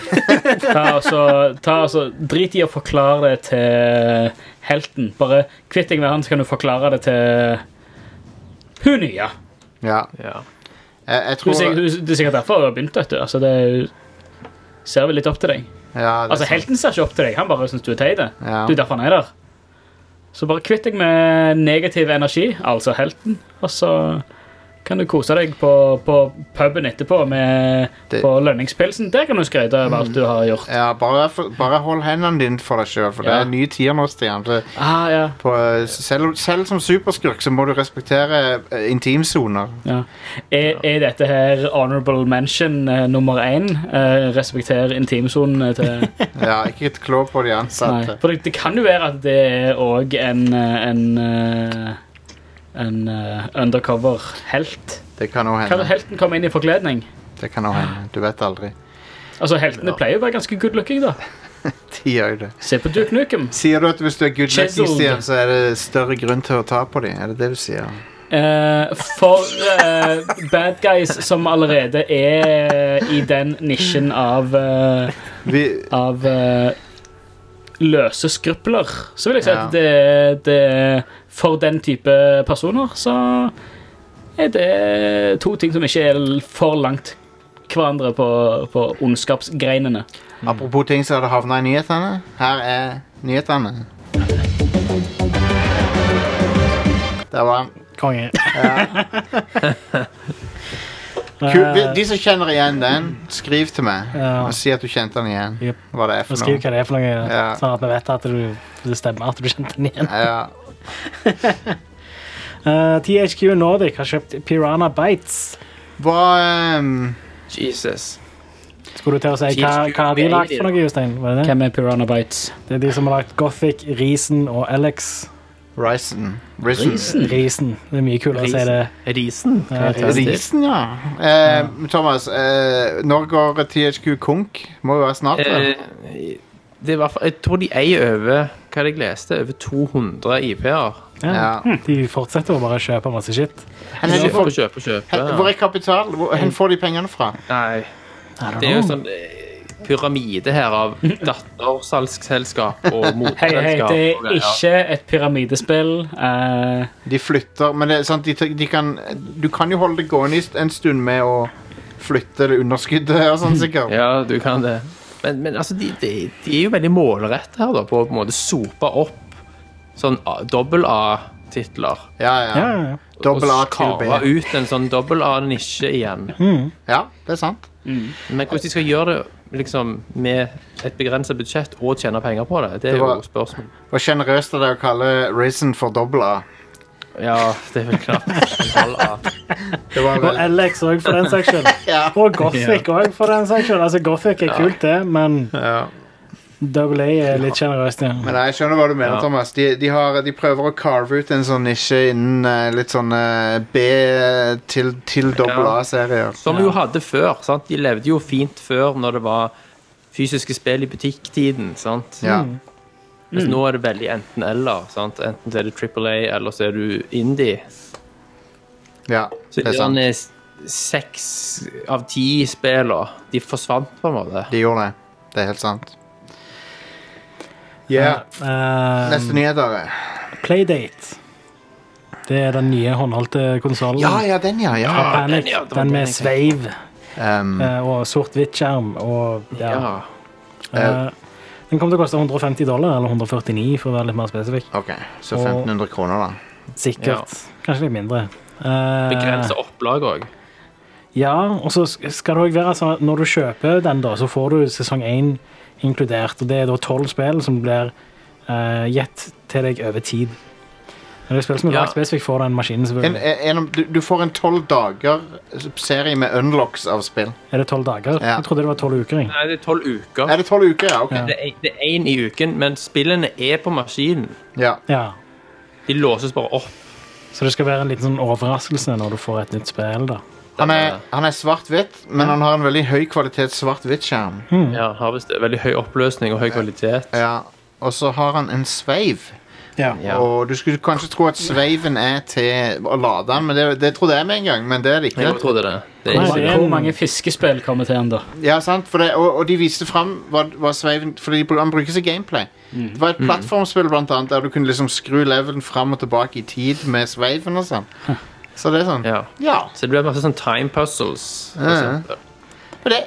[SPEAKER 3] Ta og så- ta og så- Drit i å forklare det til helten. Bare kvitt deg med han, så kan du forklare det til hun nye.
[SPEAKER 1] ja.
[SPEAKER 5] Ja.
[SPEAKER 1] Jeg, jeg
[SPEAKER 3] Hun,
[SPEAKER 1] tror
[SPEAKER 3] sier- hun, det er sikkert derfor hun har begynt. Vet du. Altså, det er, jo- ser vel litt opp til deg.
[SPEAKER 1] ja, det er
[SPEAKER 3] Altså,
[SPEAKER 1] sant.
[SPEAKER 3] Helten ser ikke opp til deg, han bare syns du er teit. Det
[SPEAKER 1] Ja.
[SPEAKER 3] er jo derfor han er der. Så bare kvitt deg med negativ energi, altså helten, og så kan du kose deg på, på puben etterpå med,
[SPEAKER 1] Det- Mm.
[SPEAKER 3] på lønningspilsen. Der kan du skryte av alt du har gjort.
[SPEAKER 1] Ja, bare, for, bare hold hendene dine for deg sjøl, for det
[SPEAKER 3] Ja.
[SPEAKER 1] er nye tider nå, Stian. Det,
[SPEAKER 3] Ah, ja.
[SPEAKER 1] på, eh, selv, selv som superskurk så må du respektere eh, intimsoner.
[SPEAKER 3] Ja. Er, er dette her honorable mention eh, nummer én? Eh, respekter intimsonene til
[SPEAKER 1] <laughs> Ja, ikke et klå på de
[SPEAKER 3] Nei.
[SPEAKER 1] ansatte.
[SPEAKER 3] For det, det kan jo være at det er òg en, eh, en eh, en eh, undercover-helt.
[SPEAKER 1] Det kan òg
[SPEAKER 3] Kan
[SPEAKER 1] hende.
[SPEAKER 3] helten komme inn i forkledning?
[SPEAKER 1] Det kan også hende. Du vet aldri.
[SPEAKER 3] Altså, Heltene pleier jo å være ganske good looking, da.
[SPEAKER 1] De gjør jo det.
[SPEAKER 3] Se på Duke Nukem.
[SPEAKER 1] Sier du at hvis du er good lucky,
[SPEAKER 3] Chiseled.
[SPEAKER 1] Stian, så er det større grunn til å ta på dem? Er det det du sier?
[SPEAKER 3] Eh, for eh, bad guys som allerede er i den nisjen av eh,
[SPEAKER 1] Vi,
[SPEAKER 3] av eh, løse skrupler, så vil jeg si
[SPEAKER 1] Ja.
[SPEAKER 3] at det, det For den type personer så er det to ting som ikke er for langt hverandre på, på ondskapsgreinene.
[SPEAKER 1] apropos ting som hadde havna i nyhetene. Her er nyhetene. Der var han.
[SPEAKER 4] <laughs> Konge. <laughs>
[SPEAKER 1] Kul. Vi- De som kjenner igjen den, skriv til meg
[SPEAKER 4] Eh. Ja.
[SPEAKER 1] og si at du kjente den igjen.
[SPEAKER 4] Jep.
[SPEAKER 1] Hva det er
[SPEAKER 4] Og
[SPEAKER 1] for
[SPEAKER 4] skriv
[SPEAKER 1] noe.
[SPEAKER 4] hva det er for noe,
[SPEAKER 1] Ja. <laughs>
[SPEAKER 4] sånn at vi vet at du, det stemmer at du kjente den igjen.
[SPEAKER 1] Ja.
[SPEAKER 4] Eh, THQ Nordic har kjøpt Piranha Bites.
[SPEAKER 1] Hva ehm,
[SPEAKER 5] Jesus.
[SPEAKER 4] Skulle du til å si hva, hva har de lagd for noe, Jostein? Var Det, det?
[SPEAKER 3] Hvem er Piranha Bites?
[SPEAKER 4] det er de som har lagd Gothic, Risen og Alex.
[SPEAKER 1] Risen. Risen.
[SPEAKER 4] Risen. Det er mye kulere å si det.
[SPEAKER 5] Risen?
[SPEAKER 4] Ja,
[SPEAKER 1] Risen, ja. Eh, Thomas, eh, når går THQ konk? Må jo være snart. vel?
[SPEAKER 5] Eh, det er i hvert fall, jeg tror de eier over hva jeg leste, over 200 IP-er.
[SPEAKER 4] Ja. Hm.
[SPEAKER 1] ja.
[SPEAKER 4] De fortsetter å bare kjøpe masse shit.
[SPEAKER 1] Hen, hen,
[SPEAKER 5] Kjøpe,
[SPEAKER 1] hvor,
[SPEAKER 5] kjøpe, kjøpe.
[SPEAKER 1] hen, hvor er kapital? Hvor, hen får de pengene fra?
[SPEAKER 5] Nei. Det er jo en sånn eh, pyramide her av dattersalgsselskap og
[SPEAKER 3] Hei, hei,
[SPEAKER 5] morselskap.
[SPEAKER 3] det
[SPEAKER 5] og
[SPEAKER 3] er
[SPEAKER 5] greier.
[SPEAKER 3] ikke et pyramidespill. Eh,
[SPEAKER 1] De flytter Men det er sant, de, de kan, du kan jo holde det gående i st- en stund med å flytte det underskuddet og sånn, sikkert.
[SPEAKER 5] Ja, du kan det. Men, men altså, de, de, de er jo veldig målrette her, da, på å på en måte sope opp sånn A- dobbel A-titler.
[SPEAKER 1] Ja, ja.
[SPEAKER 4] Ja, ja, ja.
[SPEAKER 1] Dobbel A
[SPEAKER 5] og
[SPEAKER 1] til B.
[SPEAKER 5] kave ut en sånn dobbel A-nisje igjen.
[SPEAKER 1] Ja, det er sant.
[SPEAKER 5] Men hvordan de skal gjøre det liksom, med et begrenset budsjett og tjene penger på det, det er
[SPEAKER 1] Det var-
[SPEAKER 5] jo spørsmål.
[SPEAKER 1] Og sjenerøst av deg å kalle Risen for dobbel A.
[SPEAKER 5] Ja, det er vel knapt. Dobbel A.
[SPEAKER 1] Det var
[SPEAKER 4] Og
[SPEAKER 1] vel
[SPEAKER 4] Alex òg, for den saks skyld.
[SPEAKER 1] <laughs> Ja.
[SPEAKER 4] Og Gothic òg, for den saks skyld. Altså, Gothic er kult, det, men
[SPEAKER 1] ja.
[SPEAKER 4] Double A er litt sjenerøst, ja.
[SPEAKER 1] Men nei, jeg skjønner hva du mener,
[SPEAKER 5] Ja.
[SPEAKER 1] Thomas. De, de, har, de prøver å carve ut en sånn nisje innen eh, litt sånn eh, B til, til dobbel
[SPEAKER 5] Ja.
[SPEAKER 1] A-serier.
[SPEAKER 5] Som vi jo hadde før. sant? De levde jo fint før når det var fysiske spill i butikktiden. sant?
[SPEAKER 1] Ja.
[SPEAKER 5] Mens nå er det veldig enten-eller. sant? Enten så er du Triple A, eller så er du indie.
[SPEAKER 1] ja,
[SPEAKER 5] Så
[SPEAKER 1] det er sant.
[SPEAKER 5] gjerne s- seks av ti spiller, de forsvant på en måte.
[SPEAKER 1] De gjorde det. Det er helt sant. Yeah.
[SPEAKER 4] Eh,
[SPEAKER 1] Neste nyhet, Are.
[SPEAKER 4] Playdate. Det er den nye håndholdte konsollen.
[SPEAKER 1] Ja, ja, den, ja. ja.
[SPEAKER 4] Panic,
[SPEAKER 5] den, ja, det var
[SPEAKER 4] den
[SPEAKER 5] den
[SPEAKER 4] med
[SPEAKER 5] jeg
[SPEAKER 4] sveiv
[SPEAKER 1] Um,
[SPEAKER 4] eh, og sort-hvitt-skjerm. Og, ja.
[SPEAKER 5] Ja.
[SPEAKER 1] Eh.
[SPEAKER 4] Eh, den kommer til å koste 150 dollar, eller 149 for å være litt mer spesifikk.
[SPEAKER 1] OK, så
[SPEAKER 4] Og-
[SPEAKER 1] 1500 kroner, da.
[SPEAKER 5] Ja.
[SPEAKER 4] Sikkert. Kanskje litt mindre. Eh,
[SPEAKER 5] Begrense opplag òg.
[SPEAKER 4] Ja, og så sk- skal det òg være sånn at når du kjøper den, da, så får du sesong én inkludert. Og det er da tolv spill som blir eh, gitt til deg over tid. Men det er spill som er
[SPEAKER 5] Ja.
[SPEAKER 4] lagd spesifikt for den maskinen.
[SPEAKER 1] En,
[SPEAKER 4] selvfølgelig.
[SPEAKER 1] en, om- du, du får en tolv dager serie med unlocks av spill.
[SPEAKER 4] Er det tolv dager?
[SPEAKER 1] Ja.
[SPEAKER 4] Jeg trodde det var tolv uker. jeg.
[SPEAKER 5] Nei, det er tolv uker.
[SPEAKER 1] Er det tolv uker, ja? Ok.
[SPEAKER 4] Ja.
[SPEAKER 5] Det er- det er én i uken, men spillene er på maskinen.
[SPEAKER 1] Ja.
[SPEAKER 4] Ja.
[SPEAKER 5] De låses bare opp.
[SPEAKER 4] Så det skal være en liten sånn overraskelse når du får et nytt spill. da.
[SPEAKER 1] Han er, han er svart-hvitt, men han har en veldig høy kvalitet svart-hvitt-skjerm.
[SPEAKER 5] Ja, har visst veldig høy oppløsning og høy kvalitet.
[SPEAKER 1] Ja. Og så har han en sveiv.
[SPEAKER 5] Ja.
[SPEAKER 1] Og du skulle kanskje tro at sveiven er til å lade den, men det, det trodde jeg med en gang. Men det er det
[SPEAKER 5] Jeg
[SPEAKER 1] ikke.
[SPEAKER 5] også trodde det. Det er
[SPEAKER 4] Nei,
[SPEAKER 5] ikke
[SPEAKER 4] det er
[SPEAKER 3] hvor
[SPEAKER 4] en-
[SPEAKER 3] mange fiskespill kommer til den, da?
[SPEAKER 1] Ja, sant? For det, og, og de viste fram hva, hva sveiven Fordi han bruker seg gameplay.
[SPEAKER 5] Mhm.
[SPEAKER 1] Det var et plattformspill blant annet, der du kunne liksom skru levelen fram og tilbake i tid med sveiven og sånn. Så det er sånn.
[SPEAKER 5] Ja.
[SPEAKER 1] Ja.
[SPEAKER 5] Så det blir masse sånn time puzzles. for
[SPEAKER 1] Ja.
[SPEAKER 5] eksempel.
[SPEAKER 1] Men det,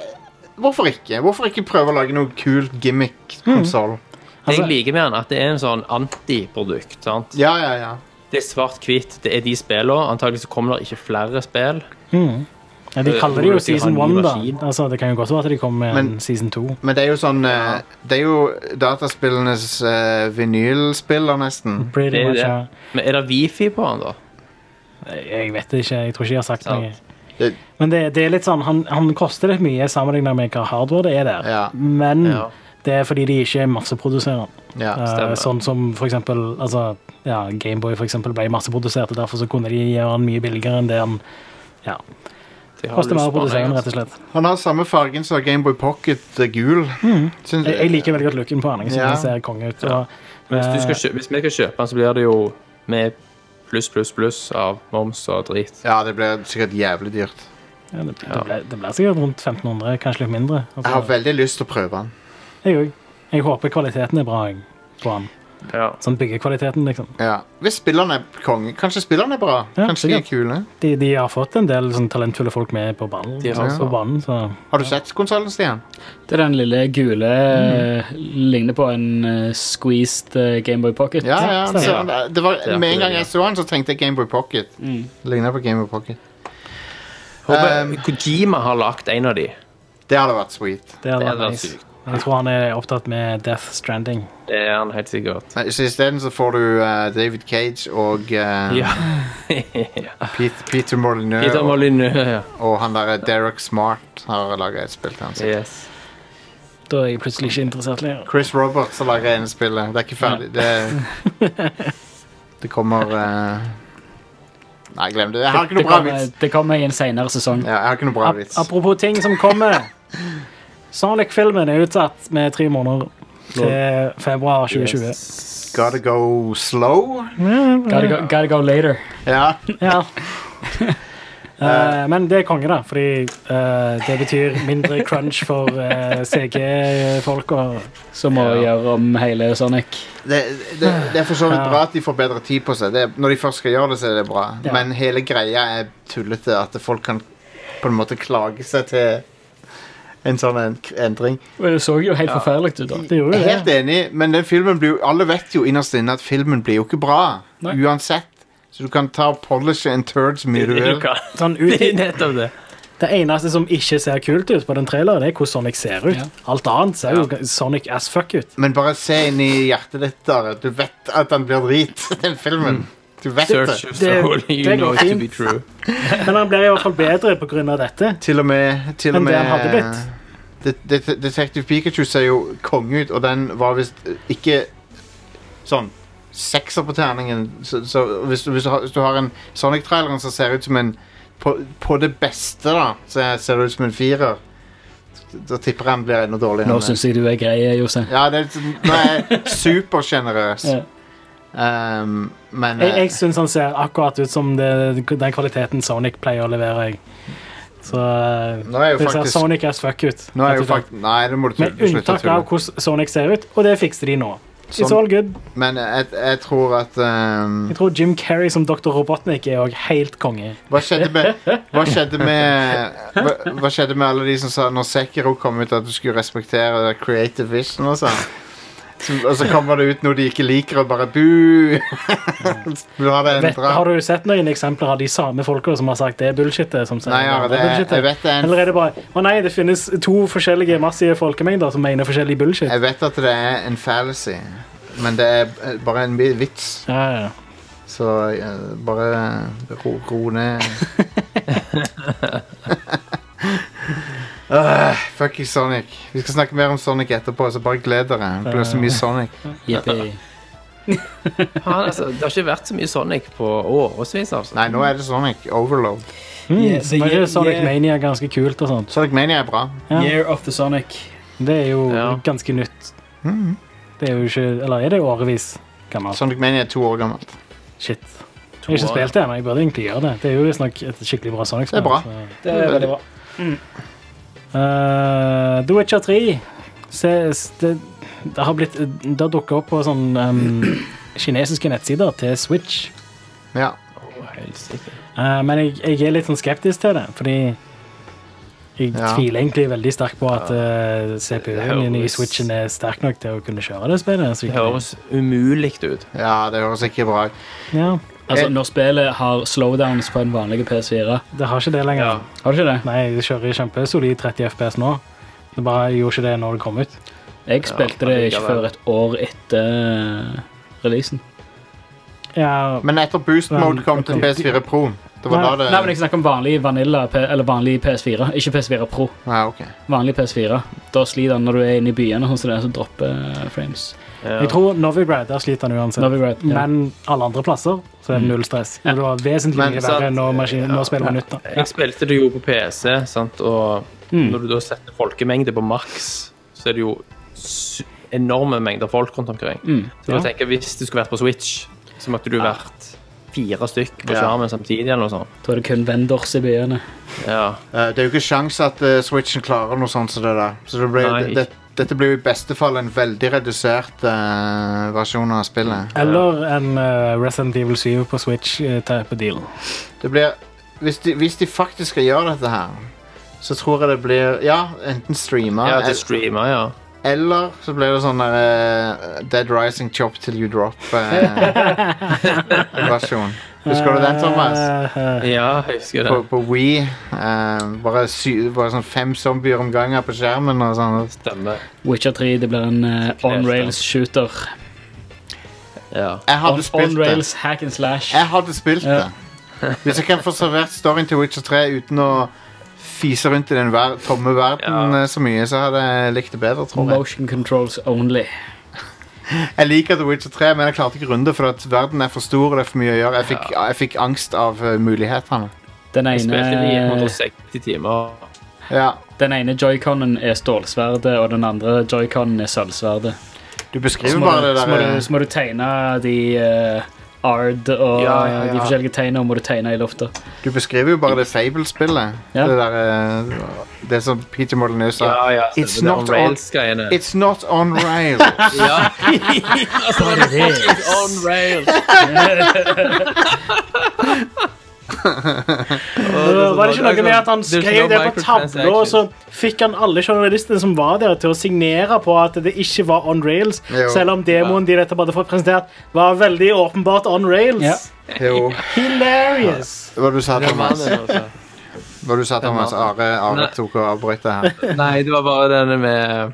[SPEAKER 1] hvorfor ikke? Hvorfor ikke prøve å lage noe kul
[SPEAKER 5] Mhm.
[SPEAKER 1] gimmick-konsoll?
[SPEAKER 5] Det
[SPEAKER 4] Altså-
[SPEAKER 5] jeg liker med den, at det er en sånn antiprodukt. sant?
[SPEAKER 1] Ja, ja, ja.
[SPEAKER 5] Det er svart-hvitt, det er de spillene. Antagelig så kommer det ikke flere spill.
[SPEAKER 4] Ja, de kaller
[SPEAKER 5] Eh,
[SPEAKER 4] det jo
[SPEAKER 5] hvor de har
[SPEAKER 4] season
[SPEAKER 5] en ny
[SPEAKER 4] one, da.
[SPEAKER 5] maskin.
[SPEAKER 4] Altså, det kan jo godt være at de kommer med
[SPEAKER 1] Men-
[SPEAKER 4] en season two.
[SPEAKER 1] Men det er jo sånn eh, Det er jo dataspillenes eh, vinylspiller, nesten.
[SPEAKER 4] Pretty
[SPEAKER 5] Det er
[SPEAKER 4] much,
[SPEAKER 5] det.
[SPEAKER 4] ja.
[SPEAKER 5] Men er det wifi på den, da?
[SPEAKER 4] Jeg vet det ikke. Jeg tror ikke jeg har sagt
[SPEAKER 5] Sant.
[SPEAKER 1] Det-
[SPEAKER 4] noe. Men det, det er litt sånn, han, han koster litt mye sammenlignet med hva hardware det er der.
[SPEAKER 1] Ja.
[SPEAKER 4] Men
[SPEAKER 5] Ja.
[SPEAKER 4] det er fordi de ikke masseproduserer.
[SPEAKER 1] Ja.
[SPEAKER 4] Uh,
[SPEAKER 5] stemmer.
[SPEAKER 4] sånn som for eksempel altså, ja, Gameboy for eksempel ble masseprodusert, og derfor så kunne de gjøre den mye billigere enn det han ja,
[SPEAKER 5] Det har
[SPEAKER 4] koster
[SPEAKER 5] lyst
[SPEAKER 4] mer å
[SPEAKER 5] på den,
[SPEAKER 4] produsere, den,
[SPEAKER 5] jeg,
[SPEAKER 4] rett og slett.
[SPEAKER 1] Han har samme fargen som Gameboy Pocket eh, gul. Syns-
[SPEAKER 4] Mm. Jeg, jeg liker veldig godt looken på han. Jeg synes
[SPEAKER 1] Ja.
[SPEAKER 4] den ser konge ut. Og,
[SPEAKER 5] Men Hvis, du skal
[SPEAKER 4] eh,
[SPEAKER 5] kjøpe, hvis vi skal kjøpe den, så blir det jo med pluss, pluss, pluss av moms og drit.
[SPEAKER 1] Ja, det blir sikkert jævlig dyrt.
[SPEAKER 4] ja, det, det, ble, det ble sikkert rundt 1500, kanskje litt mindre.
[SPEAKER 1] Jeg har
[SPEAKER 4] Altså,
[SPEAKER 1] veldig lyst til å prøve den.
[SPEAKER 4] jeg, også. jeg håper kvaliteten er bra jeg, på han.
[SPEAKER 5] Ja.
[SPEAKER 4] Sånn byggekvaliteten, liksom.
[SPEAKER 1] Ja. Hvis spillerne er konge. Kanskje spillerne er bra?
[SPEAKER 4] Ja,
[SPEAKER 1] Kanskje de er kule?
[SPEAKER 4] De, de har fått en del sånn, talentfulle folk med på ballen.
[SPEAKER 5] De har
[SPEAKER 4] altså,
[SPEAKER 5] så.
[SPEAKER 4] på banen så.
[SPEAKER 1] Har du sett konsollen, Stian?
[SPEAKER 3] Det er den lille gule eh, Ligner på en eh, squeezed eh, Gameboy Pocket.
[SPEAKER 1] Ja, ja.
[SPEAKER 4] stemmer.
[SPEAKER 1] så- det var,
[SPEAKER 5] er
[SPEAKER 1] med en gang
[SPEAKER 5] det, ja.
[SPEAKER 1] jeg så den, så tenkte jeg Gameboy Pocket.
[SPEAKER 3] Mm.
[SPEAKER 1] Ligner på Gameboy Pocket.
[SPEAKER 5] Håper
[SPEAKER 1] Um,
[SPEAKER 4] Um,
[SPEAKER 5] Kojima har lagt en av de.
[SPEAKER 1] Det hadde vært sweet.
[SPEAKER 4] Det hadde vært
[SPEAKER 5] Det hadde vært
[SPEAKER 4] nice.
[SPEAKER 5] sykt.
[SPEAKER 4] Jeg tror han er opptatt med Death Stranding.
[SPEAKER 5] Det er han helt sikkert.
[SPEAKER 1] Nei, Så isteden så får du eh, David Cage og eh,
[SPEAKER 5] Ja.
[SPEAKER 1] Pete, Peter Molyneux
[SPEAKER 5] <laughs> Peter
[SPEAKER 1] og,
[SPEAKER 5] Molyneux. ja.
[SPEAKER 1] og han der Derek Smart har laga et spill til han. sikkert.
[SPEAKER 5] Yes.
[SPEAKER 4] Da er jeg plutselig ikke interessert lenger.
[SPEAKER 1] Chris Roberts har laga ene spillet. Det er ikke ferdig. Det,
[SPEAKER 4] <laughs>
[SPEAKER 1] det kommer eh, Nei, glem det. Jeg har ikke
[SPEAKER 3] Det
[SPEAKER 1] noe bra
[SPEAKER 3] kommer,
[SPEAKER 1] vits.
[SPEAKER 3] det kommer i en senere sesong.
[SPEAKER 1] Ja, jeg har ikke noe bra
[SPEAKER 4] Ap
[SPEAKER 1] vits.
[SPEAKER 4] apropos ting som kommer. Sonic-filmen er utsatt med tre måneder til februar 2020.
[SPEAKER 1] Gotta go slow.
[SPEAKER 3] Gotta go, gotta go later.
[SPEAKER 1] Ja.
[SPEAKER 4] Ja.
[SPEAKER 5] <laughs>
[SPEAKER 4] Eh, men det er konge, da, fordi eh, det betyr mindre crunch for eh, CG-folka.
[SPEAKER 3] Som må gjøre om hele Sonic.
[SPEAKER 1] Det, det, det er for så vidt bra at de får bedre tid på seg. Det, er- når de først skal gjøre det, så er det bra.
[SPEAKER 4] Ja.
[SPEAKER 1] Men hele greia er tullete. At folk kan på en måte klage seg til en sånn en endring.
[SPEAKER 3] Men det så jo helt forferdelig ut da.
[SPEAKER 4] Det gjorde
[SPEAKER 1] Jeg er
[SPEAKER 4] jo
[SPEAKER 1] helt
[SPEAKER 4] det.
[SPEAKER 1] enig, men den filmen blir jo, alle vet jo innerst inne at filmen blir jo ikke bra.
[SPEAKER 3] Nei.
[SPEAKER 1] Uansett. Så du kan ta og polishe en turd så
[SPEAKER 5] <laughs>
[SPEAKER 1] mye du vil.
[SPEAKER 5] kan.
[SPEAKER 4] Sånn
[SPEAKER 5] Det
[SPEAKER 4] ut,
[SPEAKER 5] er nettopp det.
[SPEAKER 4] det eneste som ikke ser kult ut på den traileren, det er hvordan Sonic ser ut.
[SPEAKER 3] Ja.
[SPEAKER 4] Alt annet ser jo Sonic as fuck ut.
[SPEAKER 1] Men bare se inn i hjertet ditt, Are. Du vet at den blir drit, den filmen. Du vet
[SPEAKER 5] Search
[SPEAKER 1] det.
[SPEAKER 5] of
[SPEAKER 4] Det-
[SPEAKER 5] soul, you
[SPEAKER 4] det
[SPEAKER 5] know
[SPEAKER 4] går
[SPEAKER 5] it to
[SPEAKER 4] fint.
[SPEAKER 5] be true.
[SPEAKER 4] Men han blir i hvert fall bedre pga. dette.
[SPEAKER 1] Til og med, til og
[SPEAKER 4] Men
[SPEAKER 1] med eh,
[SPEAKER 4] det han hadde blitt.
[SPEAKER 1] Det- det- Detective Pikachu ser jo konge ut, og den var visst eh, ikke sånn sekser på terningen. Så, så hvis, du, hvis, du har, hvis du har en Sonic-traileren som ser ut som en på, på det beste, da, så ser det ut som en firer. Da tipper jeg han blir enda dårligere.
[SPEAKER 3] Nå
[SPEAKER 1] enn det.
[SPEAKER 3] syns jeg du er grei, Jostein.
[SPEAKER 1] Ja, det er, sånn- nå er
[SPEAKER 3] <laughs>
[SPEAKER 1] jeg supersjenerøs.
[SPEAKER 3] Ja.
[SPEAKER 1] Um, men
[SPEAKER 4] Jeg,
[SPEAKER 1] eh,
[SPEAKER 4] jeg syns han ser akkurat ut som det, den kvaliteten Sonic pleier å levere. Jeg. Så eh,
[SPEAKER 1] nå er jo
[SPEAKER 4] det ser
[SPEAKER 1] faktisk
[SPEAKER 4] Sonic as fuck ut.
[SPEAKER 1] Nå er jo
[SPEAKER 4] rett og slett.
[SPEAKER 1] fakt Nei, det må du tu-
[SPEAKER 4] Med
[SPEAKER 1] slutte å
[SPEAKER 4] unntak av
[SPEAKER 1] tulle.
[SPEAKER 4] hvordan Sonic ser ut, og det fikser de nå. It's
[SPEAKER 1] Sånn.
[SPEAKER 4] all good.
[SPEAKER 1] Men jeg, jeg tror at um,
[SPEAKER 4] Jeg tror Jim Carrey som Dr. Robotnik er òg helt konge.
[SPEAKER 1] hva, skjedde
[SPEAKER 4] <laughs>
[SPEAKER 1] med, hva skjedde med hva, hva skjedde med alle de som sa når Sekiro kom ut, at du skulle respektere Creative Vision og sånn? Så, og så kommer det ut noe de ikke liker, og bare bu! <laughs> Du har det
[SPEAKER 4] Vet,
[SPEAKER 1] endra.
[SPEAKER 4] har du sett noen eksempler av de samme folka som har sagt det er bullshit? Som sier
[SPEAKER 1] Nei, Are, det,
[SPEAKER 4] det er
[SPEAKER 1] jeg
[SPEAKER 4] bullshit?
[SPEAKER 1] vet det er en
[SPEAKER 4] Eller er det bare Å nei, det finnes to forskjellige massive folkemengder som mener forskjellig bullshit.
[SPEAKER 1] Jeg vet at det er en fallacy, men det er eh, bare en vi- vits.
[SPEAKER 4] Ja, ja.
[SPEAKER 1] Så eh, bare ro, ro
[SPEAKER 3] <laughs>
[SPEAKER 1] ned. uh, Fuckings Sonic. Vi skal snakke mer om Sonic etterpå, så bare gled dere. Det blir så mye Sonic.
[SPEAKER 3] Jippi. <laughs>
[SPEAKER 5] Han, altså, det har ikke vært så mye Sonic på årevis, altså.
[SPEAKER 1] Nei, nå er det Sonic. Overload.
[SPEAKER 4] Mm,
[SPEAKER 3] Yeah,
[SPEAKER 4] så var
[SPEAKER 3] yeah,
[SPEAKER 4] ikke Sonic
[SPEAKER 3] yeah.
[SPEAKER 4] Mania ganske kult og sånt?
[SPEAKER 1] Sonic Mania er bra.
[SPEAKER 4] Ja.
[SPEAKER 3] Year of the Sonic.
[SPEAKER 4] Det er jo
[SPEAKER 5] Ja.
[SPEAKER 4] ganske nytt.
[SPEAKER 3] Hmm.
[SPEAKER 4] Det er jo ikke Eller er det årevis gammelt?
[SPEAKER 1] Sonic Mania er to år gammelt.
[SPEAKER 4] Shit. Jeg har ikke spilt det, men jeg burde egentlig gjøre det. Det er jo visstnok et skikkelig bra
[SPEAKER 1] Det
[SPEAKER 4] Sonic-spill.
[SPEAKER 1] er bra.
[SPEAKER 4] så-
[SPEAKER 3] Det er veldig bra.
[SPEAKER 4] Eh, The Witcher 3 se, s- det, det har blitt Det har dukket opp på sånn em, <clears throat> kinesiske nettsider til Switch.
[SPEAKER 1] Ja.
[SPEAKER 5] Helt sikkert.
[SPEAKER 4] Eh, men jeg, jeg er litt sånn skeptisk til det, fordi jeg
[SPEAKER 1] Ja.
[SPEAKER 4] tviler egentlig veldig sterkt på at eh, CPU-en min i
[SPEAKER 5] høres-
[SPEAKER 4] Switchen er sterk nok til å kunne kjøre det spillet. Så
[SPEAKER 5] Det
[SPEAKER 4] jeg,
[SPEAKER 5] høres umulig ut.
[SPEAKER 1] ja, det høres ikke bra ut.
[SPEAKER 4] ja,
[SPEAKER 3] Altså, når spillet har slowdowns på en vanlig PS4
[SPEAKER 4] det har ikke det lenger.
[SPEAKER 5] Ja.
[SPEAKER 3] Har du ikke det?
[SPEAKER 4] Nei, jeg kjører kjempesolid 30 FPS nå. Det bare jeg gjorde ikke det når det kom ut.
[SPEAKER 3] Jeg spilte det ikke før et år etter eh, releasen.
[SPEAKER 4] Ja,
[SPEAKER 1] Men etter Boost Mode kom til PS4 Pro Det var da det
[SPEAKER 3] Nei, men jeg snakker om vanlig vanilla, P- eller vanlig PS4. Ikke PS4 Pro.
[SPEAKER 1] Ja, ok.
[SPEAKER 3] Vanlig PS4. Da sliter den når du er inne i byene, sånn som det er, så dropper frames.
[SPEAKER 4] Jeg tror Novigrad der sliter han uansett.
[SPEAKER 3] Novigrad, ja.
[SPEAKER 4] Men alle andre plasser så er det null stress. Det var vesentlig
[SPEAKER 1] Men
[SPEAKER 4] mye
[SPEAKER 5] sant.
[SPEAKER 4] verre når, maskinen, når spillet var nytt. da.
[SPEAKER 5] Jeg spilte det jo på PC, sant? og når du da setter folkemengde på maks, så er det jo su- enorme mengder folk rundt omkring. Så
[SPEAKER 4] Ja.
[SPEAKER 5] jeg tenker, hvis det skulle vært på Switch, så måtte du vært fire stykk på skjermen samtidig eller noe sånt.
[SPEAKER 3] Da er det kun vendors i byene.
[SPEAKER 5] Ja.
[SPEAKER 1] Eh, det er jo ikke sjans at eh, Switchen klarer noe sånt som det der. Så det blir,
[SPEAKER 5] Nei.
[SPEAKER 1] det, dette blir jo i beste fall en veldig redusert eh, versjon av spillet.
[SPEAKER 4] Eller en eh, Resident Evil 7 på Switch-type deal.
[SPEAKER 1] Det blir hvis de, hvis de faktisk skal gjøre dette her, så tror jeg det blir Ja, enten streama
[SPEAKER 5] Ja,
[SPEAKER 1] el-
[SPEAKER 5] til streamer, ja.
[SPEAKER 1] Eller så ble det sånn der eh, Dead Rising Chop Till You Drop-versjon. Husker du den, Thomas?
[SPEAKER 4] Eh,
[SPEAKER 5] Ja, jeg husker det.
[SPEAKER 1] På, på Wii. eh, bare, sy bare sånn fem zombier om gangen på skjermen. og sånn.
[SPEAKER 5] Stemmer.
[SPEAKER 3] Witcher 3 det blir en eh, on-rails shooter.
[SPEAKER 5] Ja.
[SPEAKER 1] Jeg hadde spilt det.
[SPEAKER 3] On-rails hack and slash.
[SPEAKER 1] Jeg hadde spilt
[SPEAKER 3] Ja.
[SPEAKER 1] det. Hvis jeg kan få servert storyen til Witcher 3 uten å fise rundt i den ver tomme verden
[SPEAKER 5] Ja.
[SPEAKER 1] eh, så mye, så hadde jeg likt det bedre, tror jeg.
[SPEAKER 3] Motion controls only.
[SPEAKER 1] Jeg liker The Witcher 3, men jeg klarte ikke runde, for at verden er for stor og det er for mye å gjøre. Jeg fikk, jeg fikk angst av eh, mulighetene.
[SPEAKER 3] Den
[SPEAKER 5] Jeg spilte det i
[SPEAKER 3] ene,
[SPEAKER 5] 160 timer.
[SPEAKER 1] Ja.
[SPEAKER 3] den ene joyconen er stålsverdet, og den andre joyconen er sølvsverdet.
[SPEAKER 1] Du
[SPEAKER 3] Så
[SPEAKER 1] beskriver
[SPEAKER 3] må,
[SPEAKER 1] bare
[SPEAKER 3] du-
[SPEAKER 1] det
[SPEAKER 3] så, må du-
[SPEAKER 1] der eh,
[SPEAKER 3] så må du tegne de eh, ard og
[SPEAKER 1] Ja, ja, ja.
[SPEAKER 3] de forskjellige tegnene må du tegne i lufta.
[SPEAKER 1] Du beskriver jo bare det Fable-spillet.
[SPEAKER 3] Ja.
[SPEAKER 1] Det der eh, Det som Peter Molyneux sa.
[SPEAKER 5] Ja, ja.
[SPEAKER 1] It's
[SPEAKER 5] stemmer
[SPEAKER 1] not
[SPEAKER 5] det. on
[SPEAKER 1] on-
[SPEAKER 5] rails-greiene.
[SPEAKER 1] It's not on rails.
[SPEAKER 5] Ja. altså, det er fucking on <laughs> rails.
[SPEAKER 4] Var det ikke noe med at han
[SPEAKER 5] Det er ikke
[SPEAKER 4] skrev
[SPEAKER 5] noe
[SPEAKER 4] det på tavla, og så
[SPEAKER 5] microtransactions.
[SPEAKER 4] fikk han alle journalistene som var der, til å signere på at det ikke var on rails,
[SPEAKER 1] Jo.
[SPEAKER 4] selv om demoen de nettopp hadde fått presentert, var veldig åpenbart on rails?
[SPEAKER 3] Ja.
[SPEAKER 1] Jo.
[SPEAKER 4] Hilarious!
[SPEAKER 1] Hva du sa
[SPEAKER 5] Den
[SPEAKER 1] Thomas?
[SPEAKER 5] mannen, altså.
[SPEAKER 1] Hva du sa Thomas? Are, Are
[SPEAKER 5] Nei.
[SPEAKER 1] tok og avbrøt det her.
[SPEAKER 5] Nei, det var bare denne med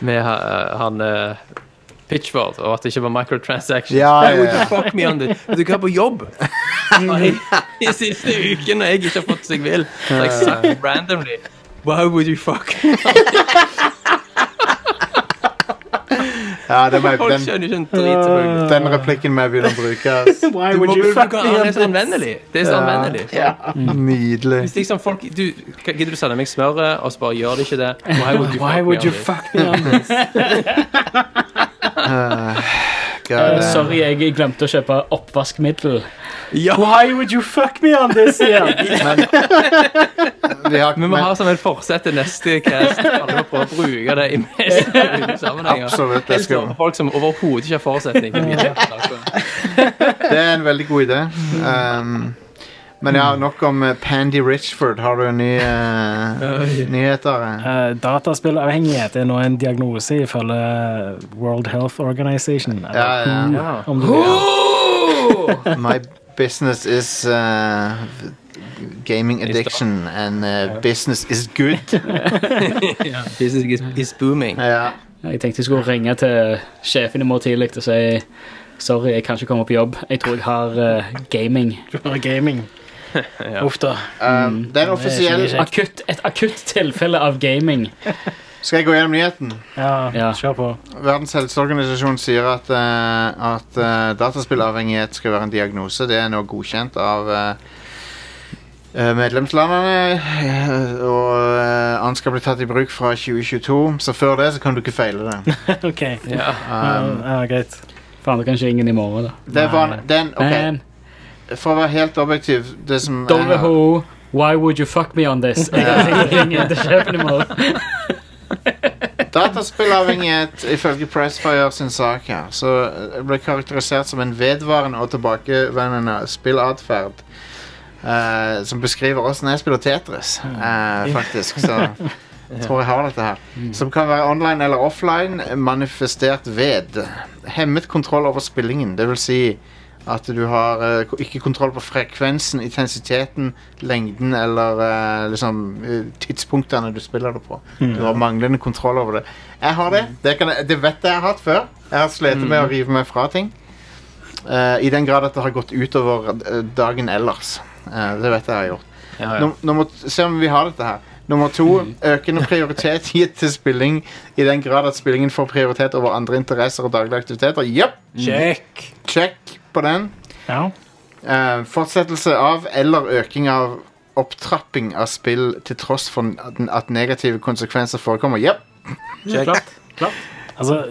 [SPEAKER 5] Med ha- han eh, Pitchford, og at det ikke var microtransactions.
[SPEAKER 1] Ja,
[SPEAKER 5] Nei,
[SPEAKER 1] ja,
[SPEAKER 5] would
[SPEAKER 1] ja.
[SPEAKER 5] you fuck me on this? Vet du hva, på jobb <laughs> I, I siste uken når jeg ikke har fått som jeg vil, så har jeg sagt randomly Why would you fuck me?
[SPEAKER 1] Ja, det må jeg,
[SPEAKER 5] Folk
[SPEAKER 1] den,
[SPEAKER 5] skjønner ikke en drit, selvfølgelig.
[SPEAKER 1] Den replikken må jeg begynne å bruke.
[SPEAKER 4] <laughs>
[SPEAKER 1] ass.
[SPEAKER 4] Why
[SPEAKER 5] Du må
[SPEAKER 4] would you
[SPEAKER 5] bruke
[SPEAKER 4] fuck me
[SPEAKER 5] han
[SPEAKER 4] on
[SPEAKER 5] er så anvendelig. Det er så anvendelig.
[SPEAKER 1] Nydelig.
[SPEAKER 5] Hvis liksom folk du, Gidder du sende meg smøret, og så bare gjør de ikke det? Why would you
[SPEAKER 4] <laughs> Why would you
[SPEAKER 5] fuck me on this?
[SPEAKER 4] fuck me on this?
[SPEAKER 1] God, eh,
[SPEAKER 3] Sorry, jeg glemte å kjøpe oppvaskmiddel.
[SPEAKER 5] Ja,
[SPEAKER 4] Why would you fuck me on this? sier han.
[SPEAKER 1] <laughs> vi har,
[SPEAKER 5] Vi må ha
[SPEAKER 1] men,
[SPEAKER 5] som et forsett til neste cast. Alle må prøve å bruke det i mest mulig sammenhenger.
[SPEAKER 1] Absolutt, det
[SPEAKER 5] Helst
[SPEAKER 1] skal vi.
[SPEAKER 5] overfor folk som overhodet ikke har forutsetning.
[SPEAKER 1] det er en veldig god idé. Um, men ja, nok om eh, Pandy Richford. Har du nye eh, nyheter? eh?
[SPEAKER 4] <laughs> Eh, Dataspillavhengighet er nå en diagnose ifølge World Health Organization. eller
[SPEAKER 1] Ja, ja, ja.
[SPEAKER 4] WHO, Om du vil.
[SPEAKER 1] My business is eh, gaming addiction, and eh, business is good.
[SPEAKER 5] This is, is booming.
[SPEAKER 1] Ja.
[SPEAKER 3] Jeg tenkte jeg skulle ringe til sjefen i morgen tidlig og si sorry, jeg kan ikke komme på jobb. Jeg tror jeg har eh, gaming.
[SPEAKER 4] Du bare gaming. Uff da.
[SPEAKER 1] Um, det er en offisiell
[SPEAKER 4] ikke-
[SPEAKER 3] Akutt, et akutt tilfelle av gaming.
[SPEAKER 1] Skal jeg gå gjennom nyheten?
[SPEAKER 4] Ja,
[SPEAKER 3] Ja.
[SPEAKER 4] kjør på. <laughs>
[SPEAKER 1] Verdens helseorganisasjon sier at, eh, at eh, dataspillavhengighet skal være en diagnose. Det er nå godkjent av eh, eh, medlemslandene. eh, og eh, den skal bli tatt i bruk fra 2022. Så før det så kan du ikke feile det.
[SPEAKER 4] OK.
[SPEAKER 5] Ja.
[SPEAKER 1] Um,
[SPEAKER 4] ja, greit.
[SPEAKER 3] Faen, det kan ikke ingen i morgen, da.
[SPEAKER 1] det var den, ok,
[SPEAKER 3] Man,
[SPEAKER 1] For å være helt objektiv det som jeg har-
[SPEAKER 3] WHO, why would you fuck me on
[SPEAKER 1] <laughs>
[SPEAKER 3] this? Jeg kan sikkert ringe til sjefen i morgen.
[SPEAKER 1] Dataspillavhengighet, ifølge Pressfire sin sak her, så eh, ble karakterisert som en vedvarende og tilbakevendende spillatferd. eh, som beskriver åssen jeg spiller Tetris, eh, faktisk. Så jeg tror jeg har dette her. Som kan være online eller offline, manifestert ved. Hemmet kontroll over spillingen, dvs. Si at du har eh, ko- ikke kontroll på frekvensen, intensiteten, lengden eller eh, liksom eh, tidspunktene du spiller det på.
[SPEAKER 5] Mm.
[SPEAKER 1] Du har manglende kontroll over det. Jeg har det. Det, kan jeg, det vet jeg jeg har hatt før. Jeg har slitt
[SPEAKER 5] Mm.
[SPEAKER 1] med å rive meg fra ting. Eh, I den grad at det har gått utover eh, dagen ellers. Eh, det vet jeg jeg har gjort.
[SPEAKER 5] Ja, Mm. ja.
[SPEAKER 1] Num nummer t- se om vi har dette her. Nummer to økende prioritet gitt til spilling i den grad at spillingen får prioritet over andre interesser og daglige aktiviteter. Jepp.
[SPEAKER 4] Check.
[SPEAKER 1] Check på den.
[SPEAKER 4] Ja.
[SPEAKER 1] Eh, fortsettelse av eller øking av opptrapping av spill til tross for at, at negative konsekvenser forekommer. Jepp.
[SPEAKER 4] Klart. klart. Altså,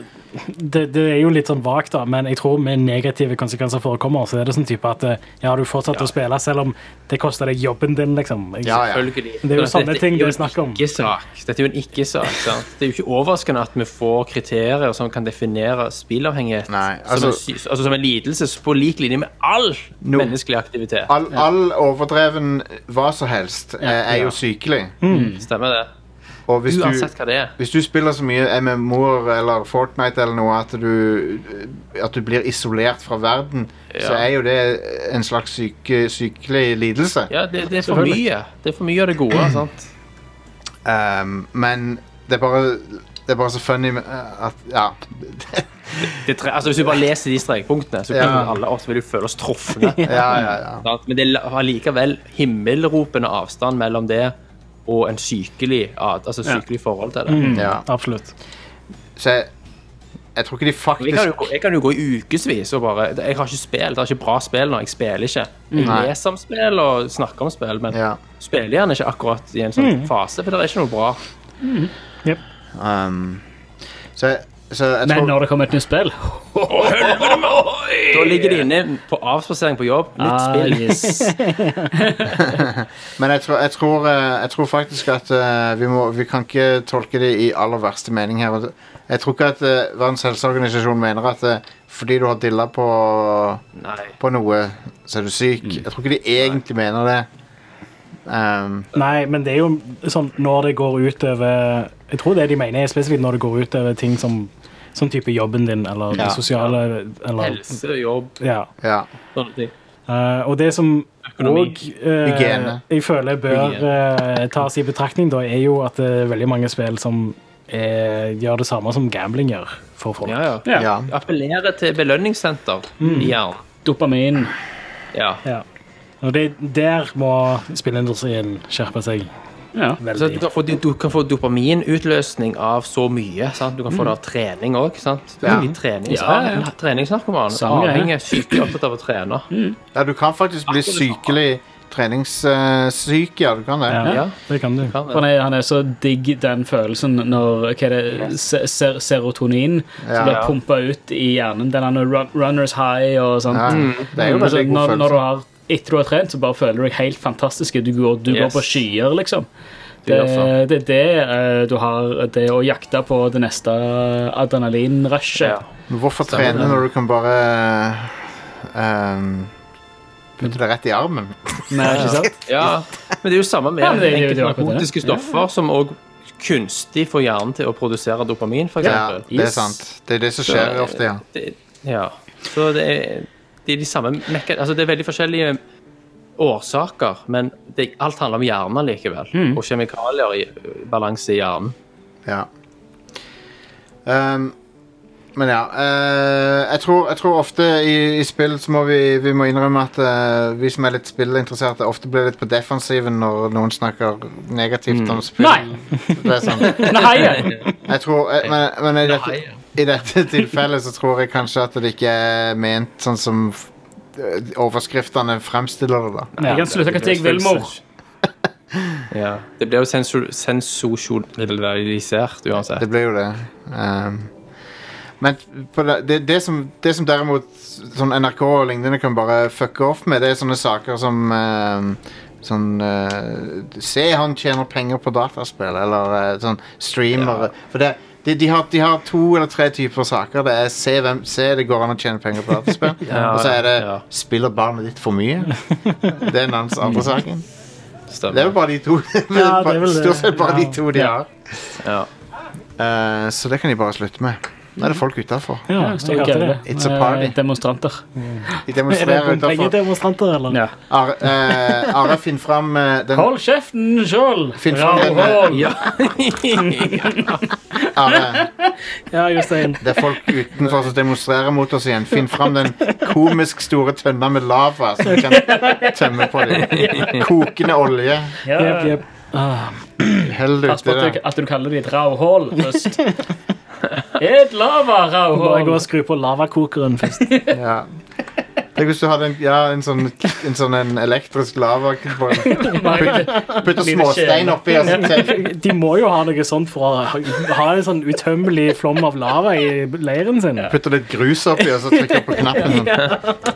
[SPEAKER 4] det, det er jo litt sånn vagt, da, men jeg tror med negative konsekvenser forekommer, så er det sånn type at eh, ja, du fortsetter å spille selv om det koster deg jobben din, liksom. Jeg-
[SPEAKER 1] Ja, ja.
[SPEAKER 5] Selvfølgelig.
[SPEAKER 4] Det er jo
[SPEAKER 5] For
[SPEAKER 4] sånne
[SPEAKER 5] dette
[SPEAKER 4] ting
[SPEAKER 5] er
[SPEAKER 4] det
[SPEAKER 5] jo
[SPEAKER 4] er
[SPEAKER 5] en
[SPEAKER 4] snakk om.
[SPEAKER 5] ikke-sak. Dette er jo en ikke-sak. sant? Det er jo ikke overraskende at vi får kriterier som kan definere spillavhengighet
[SPEAKER 1] Nei,
[SPEAKER 5] som, en,
[SPEAKER 1] altså-
[SPEAKER 5] sys- altså som en lidelse på lik linje med all
[SPEAKER 1] No.
[SPEAKER 5] menneskelig aktivitet.
[SPEAKER 1] All, all overdreven hva som helst eh, er jo sykelig.
[SPEAKER 5] Stemmer det?
[SPEAKER 1] Og hvis du,
[SPEAKER 5] Mm. Uansett hva det er.
[SPEAKER 1] hvis du spiller så mye MMO-er eller Fortnite eller noe at du, at du blir isolert fra verden, så
[SPEAKER 5] Ja.
[SPEAKER 1] er jo det en slags syke, sykelig lidelse.
[SPEAKER 5] Ja, det, det er for mye. Det er for mye av
[SPEAKER 1] <clears throat>
[SPEAKER 5] det gode. sant?
[SPEAKER 1] Ehm, men det er bare det er bare så funny med- eh, at Ja. <laughs>
[SPEAKER 5] Det tre, altså, hvis du bare leser de strekpunktene, så kan
[SPEAKER 1] Ja.
[SPEAKER 5] alle oss vil jo føle oss trufne.
[SPEAKER 1] <laughs> ja, ja, ja.
[SPEAKER 5] sant? Men det er la- allikevel himmelropende avstand mellom det og en sykelig, ad- altså sykelig forhold til det.
[SPEAKER 4] Mm.
[SPEAKER 1] ja.
[SPEAKER 4] Absolutt.
[SPEAKER 1] Så jeg, jeg tror ikke de
[SPEAKER 5] Jeg kan,
[SPEAKER 1] faktisk
[SPEAKER 5] jo, gå- jeg kan jo gå i ukevis og bare Jeg har ikke spill, det er ikke bra spill når jeg spiller ikke. Jeg
[SPEAKER 1] Nei.
[SPEAKER 5] leser om spill og snakker om spill, men
[SPEAKER 1] ja.
[SPEAKER 5] spiller gjerne ikke akkurat i en sånn
[SPEAKER 3] Mm.
[SPEAKER 5] fase, for det er ikke noe bra.
[SPEAKER 1] ehm, Så jeg, så jeg
[SPEAKER 3] Men
[SPEAKER 1] tror
[SPEAKER 3] når det kommer et nytt spill
[SPEAKER 5] Da ligger de inne på avspasering på jobb, nytt
[SPEAKER 3] Ah,
[SPEAKER 5] spill.
[SPEAKER 3] yes.
[SPEAKER 1] Men jeg tror, jeg tror, eh, jeg tror faktisk at eh, vi, må, vi kan ikke tolke det i aller verste mening her. Og det- Jeg tror ikke at eh, Verdens helseorganisasjon mener at eh, fordi du har dilla på,
[SPEAKER 5] Nei.
[SPEAKER 1] på noe, så er du syk. Jeg tror ikke de egentlig mener det. Ehm,
[SPEAKER 4] Nei, men det er jo sånn når det går ut over Jeg tror det de mener, er spesifikt når det går ut over ting som sånn type jobben din eller
[SPEAKER 1] Ja.
[SPEAKER 4] det sosiale eller
[SPEAKER 5] Helse, jobb,
[SPEAKER 4] Ja.
[SPEAKER 1] ja.
[SPEAKER 5] sånne ting.
[SPEAKER 4] Eh, og det som
[SPEAKER 5] Økonomi.
[SPEAKER 4] og, eh,
[SPEAKER 1] Hygiene.
[SPEAKER 4] jeg føler bør eh, tas i betraktning, da, er jo at det er veldig mange spill som eh, gjør det samme som gambling gjør for folk.
[SPEAKER 5] Ja, ja.
[SPEAKER 3] ja.
[SPEAKER 1] ja.
[SPEAKER 5] Appellere til belønningssenter
[SPEAKER 3] Mm.
[SPEAKER 5] i hjernen.
[SPEAKER 3] Dopamin.
[SPEAKER 5] Ja.
[SPEAKER 4] Ja. Og det, der må spillindustrien skjerpe seg
[SPEAKER 3] Ja.
[SPEAKER 5] Så du
[SPEAKER 4] veldig.
[SPEAKER 5] kan, få, du kan få dopaminutløsning av så mye. Sant? Du kan få det av trening òg. Du
[SPEAKER 1] Ja.
[SPEAKER 5] kan bli trenings,
[SPEAKER 3] Mm. Ja, ja.
[SPEAKER 5] en treningsnarkoman.
[SPEAKER 3] Samme greie. Mm.
[SPEAKER 5] Avhengig, sykelig opptatt av å trene.
[SPEAKER 1] ja, du kan faktisk bli sykelig treningssyk, ja. Du kan det.
[SPEAKER 4] Ja,
[SPEAKER 5] Ja.
[SPEAKER 4] det kan du.
[SPEAKER 5] Kan
[SPEAKER 3] For Han er, han er så digg den følelsen når hva er det, se- ser, serotonin
[SPEAKER 1] Ja.
[SPEAKER 3] som blir pumpa ut i hjernen. Den er run, runners high og sånt.
[SPEAKER 1] Ja, Mm. det er jo en
[SPEAKER 3] Men så
[SPEAKER 1] veldig god
[SPEAKER 3] Mm. Altså, når, når du
[SPEAKER 1] følelse.
[SPEAKER 3] har, etter du har trent, så bare føler du deg helt fantastisk. Du går, du
[SPEAKER 5] Yes.
[SPEAKER 3] går på skyer, liksom.
[SPEAKER 5] Du
[SPEAKER 3] Det,
[SPEAKER 5] gjør så.
[SPEAKER 3] det er det eh, du har Det å jakte på det neste adrenalinrushet.
[SPEAKER 5] Ja.
[SPEAKER 1] Men Hvorfor
[SPEAKER 5] Stemmer
[SPEAKER 1] trene
[SPEAKER 5] det.
[SPEAKER 1] når du kan bare ehm, putte det rett i armen?
[SPEAKER 3] Nei, ikke sant?
[SPEAKER 5] ja, men det er jo samme med
[SPEAKER 3] Ja, men det er jo- det
[SPEAKER 5] enkelte
[SPEAKER 3] er jo akkurat det.
[SPEAKER 5] narkotiske stoffer som òg kunstig får hjernen til å produsere dopamin, f.eks.
[SPEAKER 1] Ja, det er
[SPEAKER 3] Yes.
[SPEAKER 1] sant. Det er det som skjer
[SPEAKER 5] Så,
[SPEAKER 1] ofte, ja.
[SPEAKER 5] Det, ja. Så det er, det er de samme mekka... Altså, det er veldig forskjellige årsaker, men det, alt handler om hjernen likevel.
[SPEAKER 3] Mm.
[SPEAKER 5] Og kjemikalier i ø, balanse i hjernen.
[SPEAKER 1] ja. Ehm, men ja eh, jeg, tror, jeg tror ofte i, i spill så må vi, vi må innrømme at eh, vi som er litt spillinteresserte, ofte blir litt på defensiven når noen snakker negativt om spill.
[SPEAKER 3] Mm. Nei!
[SPEAKER 1] Det er sant.
[SPEAKER 3] <laughs> Nei! ja.
[SPEAKER 1] Jeg tror, eh, men, men i, dette, i dette tilfellet så tror jeg kanskje at det ikke er ment sånn som f- eh, overskriftene fremstiller det, da.
[SPEAKER 3] Jeg kan slutte hva jeg vil, mor.
[SPEAKER 5] Ja. Det blir jo sensor- sensosjonalisert uansett.
[SPEAKER 1] Det blir jo det. Ehm, men på det, det, det, som, det som derimot sånn NRK og lignende kan bare fucke off med, det er sånne saker som ehm, Sånn eh, Se, han tjener penger på dataspill, eller eh, sånn streamere. For det, de, de, har, de har to eller tre typer saker. Det er se, hvem, se det går an å tjene penger på dataspill.
[SPEAKER 5] Ja,
[SPEAKER 1] og så er det
[SPEAKER 5] ja.
[SPEAKER 1] spiller barnet ditt for
[SPEAKER 4] <laughs>
[SPEAKER 1] mye? Det er den hans andre saken. Det er
[SPEAKER 5] Stemmer.
[SPEAKER 1] jo bare de to.
[SPEAKER 4] Ja, det er vel det.
[SPEAKER 1] <laughs> Stort sett bare
[SPEAKER 4] Ja.
[SPEAKER 1] de to de har.
[SPEAKER 5] Ja.
[SPEAKER 1] Eh, så det kan de bare slutte med. Nå er det folk utafor.
[SPEAKER 4] Ja,
[SPEAKER 3] Står og
[SPEAKER 4] jeg hørte
[SPEAKER 3] grevler.
[SPEAKER 4] det.
[SPEAKER 1] It's a party.
[SPEAKER 3] Eh, Demonstranter.
[SPEAKER 1] De
[SPEAKER 4] Er <laughs> det
[SPEAKER 1] demonstrerer utafor.
[SPEAKER 4] bompengedemonstranter, eller?
[SPEAKER 3] Ja.
[SPEAKER 1] Are, eh, Are, finn fram eh, den
[SPEAKER 3] Hold kjeften, Skjold!
[SPEAKER 1] Finn fram den, eh,
[SPEAKER 3] Rauhål!
[SPEAKER 1] Are,
[SPEAKER 4] Ja, Jostein.
[SPEAKER 1] det er folk utenfor som demonstrerer mot oss igjen. Finn fram den komisk store tønna med lava som vi kan tømme på dem. Kokende olje.
[SPEAKER 3] Ja.
[SPEAKER 4] Jep, jep.
[SPEAKER 1] Hell det
[SPEAKER 3] Pass
[SPEAKER 1] uti
[SPEAKER 3] på at du,
[SPEAKER 1] der.
[SPEAKER 3] at du kaller det et rauhål
[SPEAKER 1] <laughs>
[SPEAKER 3] først. Et
[SPEAKER 4] Bare gå
[SPEAKER 3] lava-rauhål!
[SPEAKER 4] og skru på lavakokeren først.
[SPEAKER 1] Ja. Tenk hvis du hadde en, ja, en sånn, en sånn en elektrisk lava Putter småstein oppi og så tenner-
[SPEAKER 4] De må jo ha noe sånt for å ha- ha en sånn utømmelig flom av lava i leiren sin.
[SPEAKER 1] Putter litt grus oppi og så trykker på knappen. Sånn,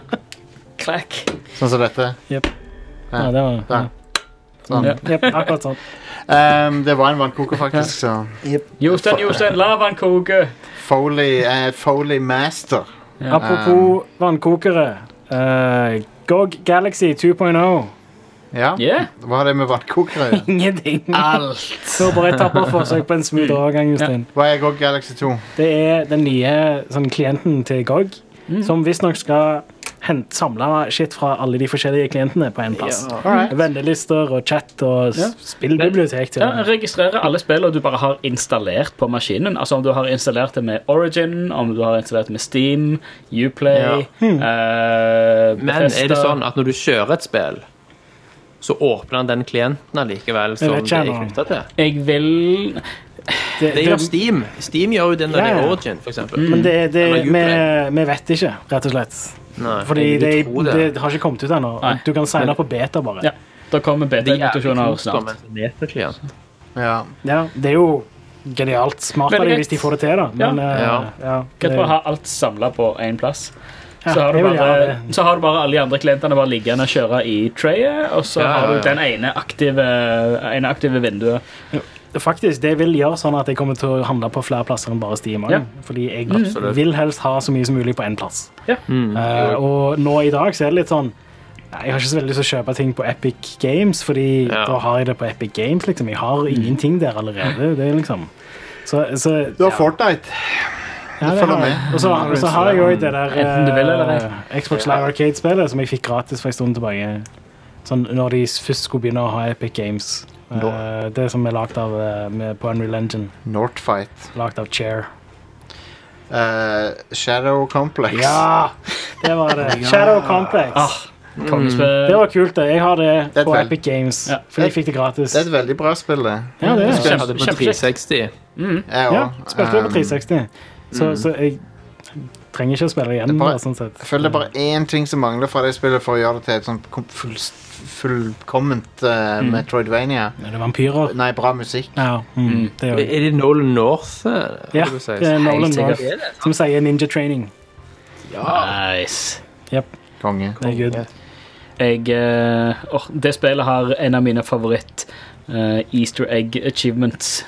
[SPEAKER 3] Klakk.
[SPEAKER 1] sånn som dette.
[SPEAKER 4] Ja, det var, ja.
[SPEAKER 1] Der. Sånn.
[SPEAKER 4] Jep, akkurat sånn.
[SPEAKER 1] Ehm, det var en vannkoker, faktisk. Så.
[SPEAKER 3] Jostein, Jostein, lavaen koker.
[SPEAKER 1] Foley, eh, Foley Master.
[SPEAKER 4] Apropos vannkokere. eh, GOG Galaxy 2.0.
[SPEAKER 1] Ja.
[SPEAKER 3] Yeah.
[SPEAKER 1] Hva har det med vannkokere å
[SPEAKER 4] <laughs>
[SPEAKER 1] gjøre?
[SPEAKER 4] Ingenting.
[SPEAKER 3] Alt.
[SPEAKER 4] Det var bare et tapperforsøk på en smooth overgang. Jostein.
[SPEAKER 1] Hva er GOG Galaxy 2?
[SPEAKER 4] Det er den nye sånn, klienten til GOG, som visstnok skal hente, samle shit fra alle de forskjellige klientene på én plass.
[SPEAKER 1] Alright.
[SPEAKER 4] Vennelister og chat og s-
[SPEAKER 3] Ja.
[SPEAKER 4] spillbibliotek. til
[SPEAKER 3] Ja,
[SPEAKER 4] og med.
[SPEAKER 3] registrere alle spillene du bare har installert på maskinen. Altså Om du har installert det med Origin, om du har installert det med Steam, Uplay
[SPEAKER 5] Ja.
[SPEAKER 4] Hmm.
[SPEAKER 3] eh,
[SPEAKER 5] Men er det
[SPEAKER 3] Bethesda.
[SPEAKER 5] sånn at når du kjører et spill, så åpner han den klienten allikevel som
[SPEAKER 4] vet
[SPEAKER 5] det
[SPEAKER 4] ikke
[SPEAKER 5] er
[SPEAKER 4] ennå.
[SPEAKER 5] knytta til?
[SPEAKER 3] Jeg vil
[SPEAKER 4] Det,
[SPEAKER 5] Det gjør Steam. Steam gjør jo det når
[SPEAKER 4] Ja,
[SPEAKER 5] det
[SPEAKER 4] ja. Mm.
[SPEAKER 5] er Origin, for eksempel.
[SPEAKER 4] men det, det,
[SPEAKER 5] Eller
[SPEAKER 4] vi,
[SPEAKER 5] Uplay.
[SPEAKER 4] vi vet ikke, rett og slett.
[SPEAKER 5] Nei,
[SPEAKER 4] Fordi
[SPEAKER 5] jeg vil
[SPEAKER 4] det,
[SPEAKER 5] tro
[SPEAKER 4] det. har ikke kommet ut ennå.
[SPEAKER 3] Nei.
[SPEAKER 4] Du kan signe opp på beta, bare.
[SPEAKER 3] Ja. Da kommer
[SPEAKER 5] Det er jævlig
[SPEAKER 3] beta-notasjoner
[SPEAKER 5] kult som
[SPEAKER 3] snart.
[SPEAKER 5] en metaklient.
[SPEAKER 1] Ja.
[SPEAKER 4] Ja, det er jo genialt smart
[SPEAKER 3] Men
[SPEAKER 4] av dem
[SPEAKER 3] greit.
[SPEAKER 4] hvis de får det til, da. Men,
[SPEAKER 3] Ja.
[SPEAKER 4] eh,
[SPEAKER 5] Ja.
[SPEAKER 4] ja, det-
[SPEAKER 3] Greit å ha alt samla på én plass.
[SPEAKER 4] Ja,
[SPEAKER 3] Så har, du
[SPEAKER 4] jeg vil gjerne
[SPEAKER 3] bare,
[SPEAKER 4] det.
[SPEAKER 3] så har du bare alle de andre klientene bare liggende og kjøre i trayet, og så
[SPEAKER 5] Ja, ja,
[SPEAKER 3] har du
[SPEAKER 5] ja.
[SPEAKER 3] den ene aktive, ene aktive vinduet.
[SPEAKER 4] Faktisk, det vil gjøre sånn at jeg kommer til å handle på flere plasser enn bare Steam.
[SPEAKER 3] Ja. Mm.
[SPEAKER 4] Ja. Fordi jeg
[SPEAKER 5] Absolutt. Mm.
[SPEAKER 4] vil helst ha så mye som mulig på én plass.
[SPEAKER 3] Ja.
[SPEAKER 4] Eh, og nå i dag så er det litt sånn Jeg har ikke så veldig lyst til å kjøpe ting på Epic Games, fordi
[SPEAKER 5] Ja.
[SPEAKER 4] da har jeg det på Epic Games. liksom. Jeg har ingenting der allerede. det er liksom... Så, så,
[SPEAKER 1] Du har Fortnite.
[SPEAKER 4] ja, det
[SPEAKER 1] følger
[SPEAKER 4] har jeg.
[SPEAKER 1] med.
[SPEAKER 4] Og så,
[SPEAKER 1] Har du
[SPEAKER 4] og så har jeg jo det der
[SPEAKER 3] Enten du vil eller ei.
[SPEAKER 4] eh, Xbox Live Arcade-spillet som jeg fikk gratis for en stund tilbake. Sånn når de først skulle begynne å ha Epic Games. Eh, det som er lagd av eh, med, på Unreal Engine.
[SPEAKER 1] Northfight.
[SPEAKER 4] Lagd av Chair.
[SPEAKER 1] Eh, Shadow Complex.
[SPEAKER 4] Ja! Det var
[SPEAKER 1] <laughs>
[SPEAKER 4] det. Shadow Complex.
[SPEAKER 3] Ah,
[SPEAKER 5] Mm.
[SPEAKER 3] kongespill.
[SPEAKER 4] Det var kult, det. Jeg har
[SPEAKER 1] Det er
[SPEAKER 4] det
[SPEAKER 1] et
[SPEAKER 4] på
[SPEAKER 1] vel.
[SPEAKER 4] Epic Games.
[SPEAKER 3] Ja.
[SPEAKER 4] Fordi jeg fikk det gratis.
[SPEAKER 1] Det er et veldig bra spill, det.
[SPEAKER 4] Ja, det er. det.
[SPEAKER 5] Jeg hadde på
[SPEAKER 3] Kjempe- kjempekjekt.
[SPEAKER 5] 360.
[SPEAKER 1] Jeg
[SPEAKER 4] Ja,
[SPEAKER 1] også.
[SPEAKER 4] spilte det på
[SPEAKER 1] Um, mm.
[SPEAKER 4] 360. Så, så jeg trenger ikke å spille igjen.
[SPEAKER 1] Det er bare-
[SPEAKER 4] da, sånn sett.
[SPEAKER 1] Jeg føler det er bare én ting som mangler fra det spillet for å gjøre det til et sånn kom- full, fullkomment eh,
[SPEAKER 4] Mm.
[SPEAKER 1] Metroidvania.
[SPEAKER 4] Er det vampyrer?
[SPEAKER 1] Nei, bra musikk.
[SPEAKER 4] Ja. Mm, det er jo
[SPEAKER 5] Er det Nolan North? eh,
[SPEAKER 4] ja,
[SPEAKER 5] vil du si?
[SPEAKER 4] det er Nolan
[SPEAKER 3] sikkert.
[SPEAKER 4] North som sier ninja training.
[SPEAKER 3] Nice.
[SPEAKER 1] Konge.
[SPEAKER 4] Det er good.
[SPEAKER 3] Jeg, eh, åh, det spillet har en av mine favoritt eh, Easter egg achievements.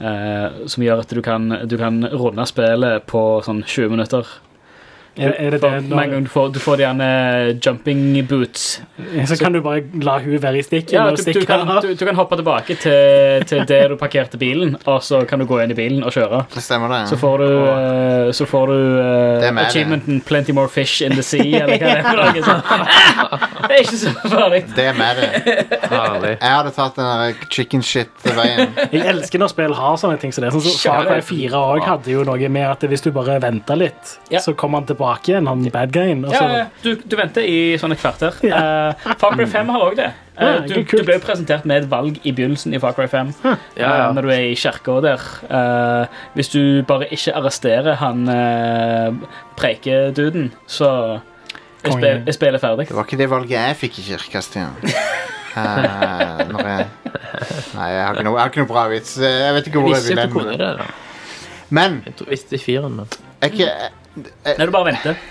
[SPEAKER 3] eh, som gjør at du kan, du kan runde spillet på sånn 20 minutter.
[SPEAKER 4] Er, er det
[SPEAKER 3] For
[SPEAKER 4] det
[SPEAKER 3] med en gang
[SPEAKER 4] når,
[SPEAKER 3] du får, du får de gjerne jumping boots.
[SPEAKER 4] så kan du bare la hun være i stikken
[SPEAKER 3] Ja, du,
[SPEAKER 4] og
[SPEAKER 3] du,
[SPEAKER 4] stikke
[SPEAKER 3] kan,
[SPEAKER 4] av.
[SPEAKER 3] du, du kan hoppe tilbake til, til der du parkerte bilen, og så kan du gå inn i bilen og kjøre.
[SPEAKER 1] Det stemmer, det.
[SPEAKER 3] Så får du, eh, så får du eh,
[SPEAKER 1] Ah. Det er meg, det.
[SPEAKER 3] achievementen 'Plenty more fish in the sea', eller hva det er. for noe sånt.
[SPEAKER 1] <laughs>
[SPEAKER 3] Det er ikke så farlig.
[SPEAKER 1] Det er meg,
[SPEAKER 4] <laughs>
[SPEAKER 1] det.
[SPEAKER 5] Herlig.
[SPEAKER 1] Jeg hadde tatt den der chicken shit-veien.
[SPEAKER 4] <laughs> Jeg elsker når spill har sånne ting. som det. Sånn som Far Cry 4 også hadde jo noe med at hvis du bare venter litt,
[SPEAKER 3] Ja.
[SPEAKER 4] så kommer han tilbake igjen, han bad guyen. Og så,
[SPEAKER 3] Ja, ja, du, du venter i sånn et kvarter. Eh, Far Cry 5 har òg det. Eh,
[SPEAKER 4] Ja,
[SPEAKER 3] du,
[SPEAKER 4] det er
[SPEAKER 3] du
[SPEAKER 4] kult.
[SPEAKER 3] ble jo presentert med et valg i begynnelsen i Far Cry 5.
[SPEAKER 5] Ja, ja.
[SPEAKER 3] eh, Når du er i kirka der. Eh, hvis du bare ikke arresterer han eh, preikeduden, så er
[SPEAKER 4] Konge.
[SPEAKER 3] spil- er spillet ferdig.
[SPEAKER 1] Det var ikke det valget jeg fikk i kirka, Stian. Eh, når jeg... Nei, jeg har, ikke noe, jeg har ikke noe bra vits. Jeg vet ikke
[SPEAKER 5] Jeg
[SPEAKER 1] hvor jeg
[SPEAKER 5] visste
[SPEAKER 1] vil
[SPEAKER 5] ikke at
[SPEAKER 1] hen.
[SPEAKER 5] du kunne
[SPEAKER 1] med det.
[SPEAKER 5] det. da.
[SPEAKER 1] Men
[SPEAKER 5] Jeg tror- visste i firen, men
[SPEAKER 1] jeg, jeg,
[SPEAKER 3] Nei, du bare venter.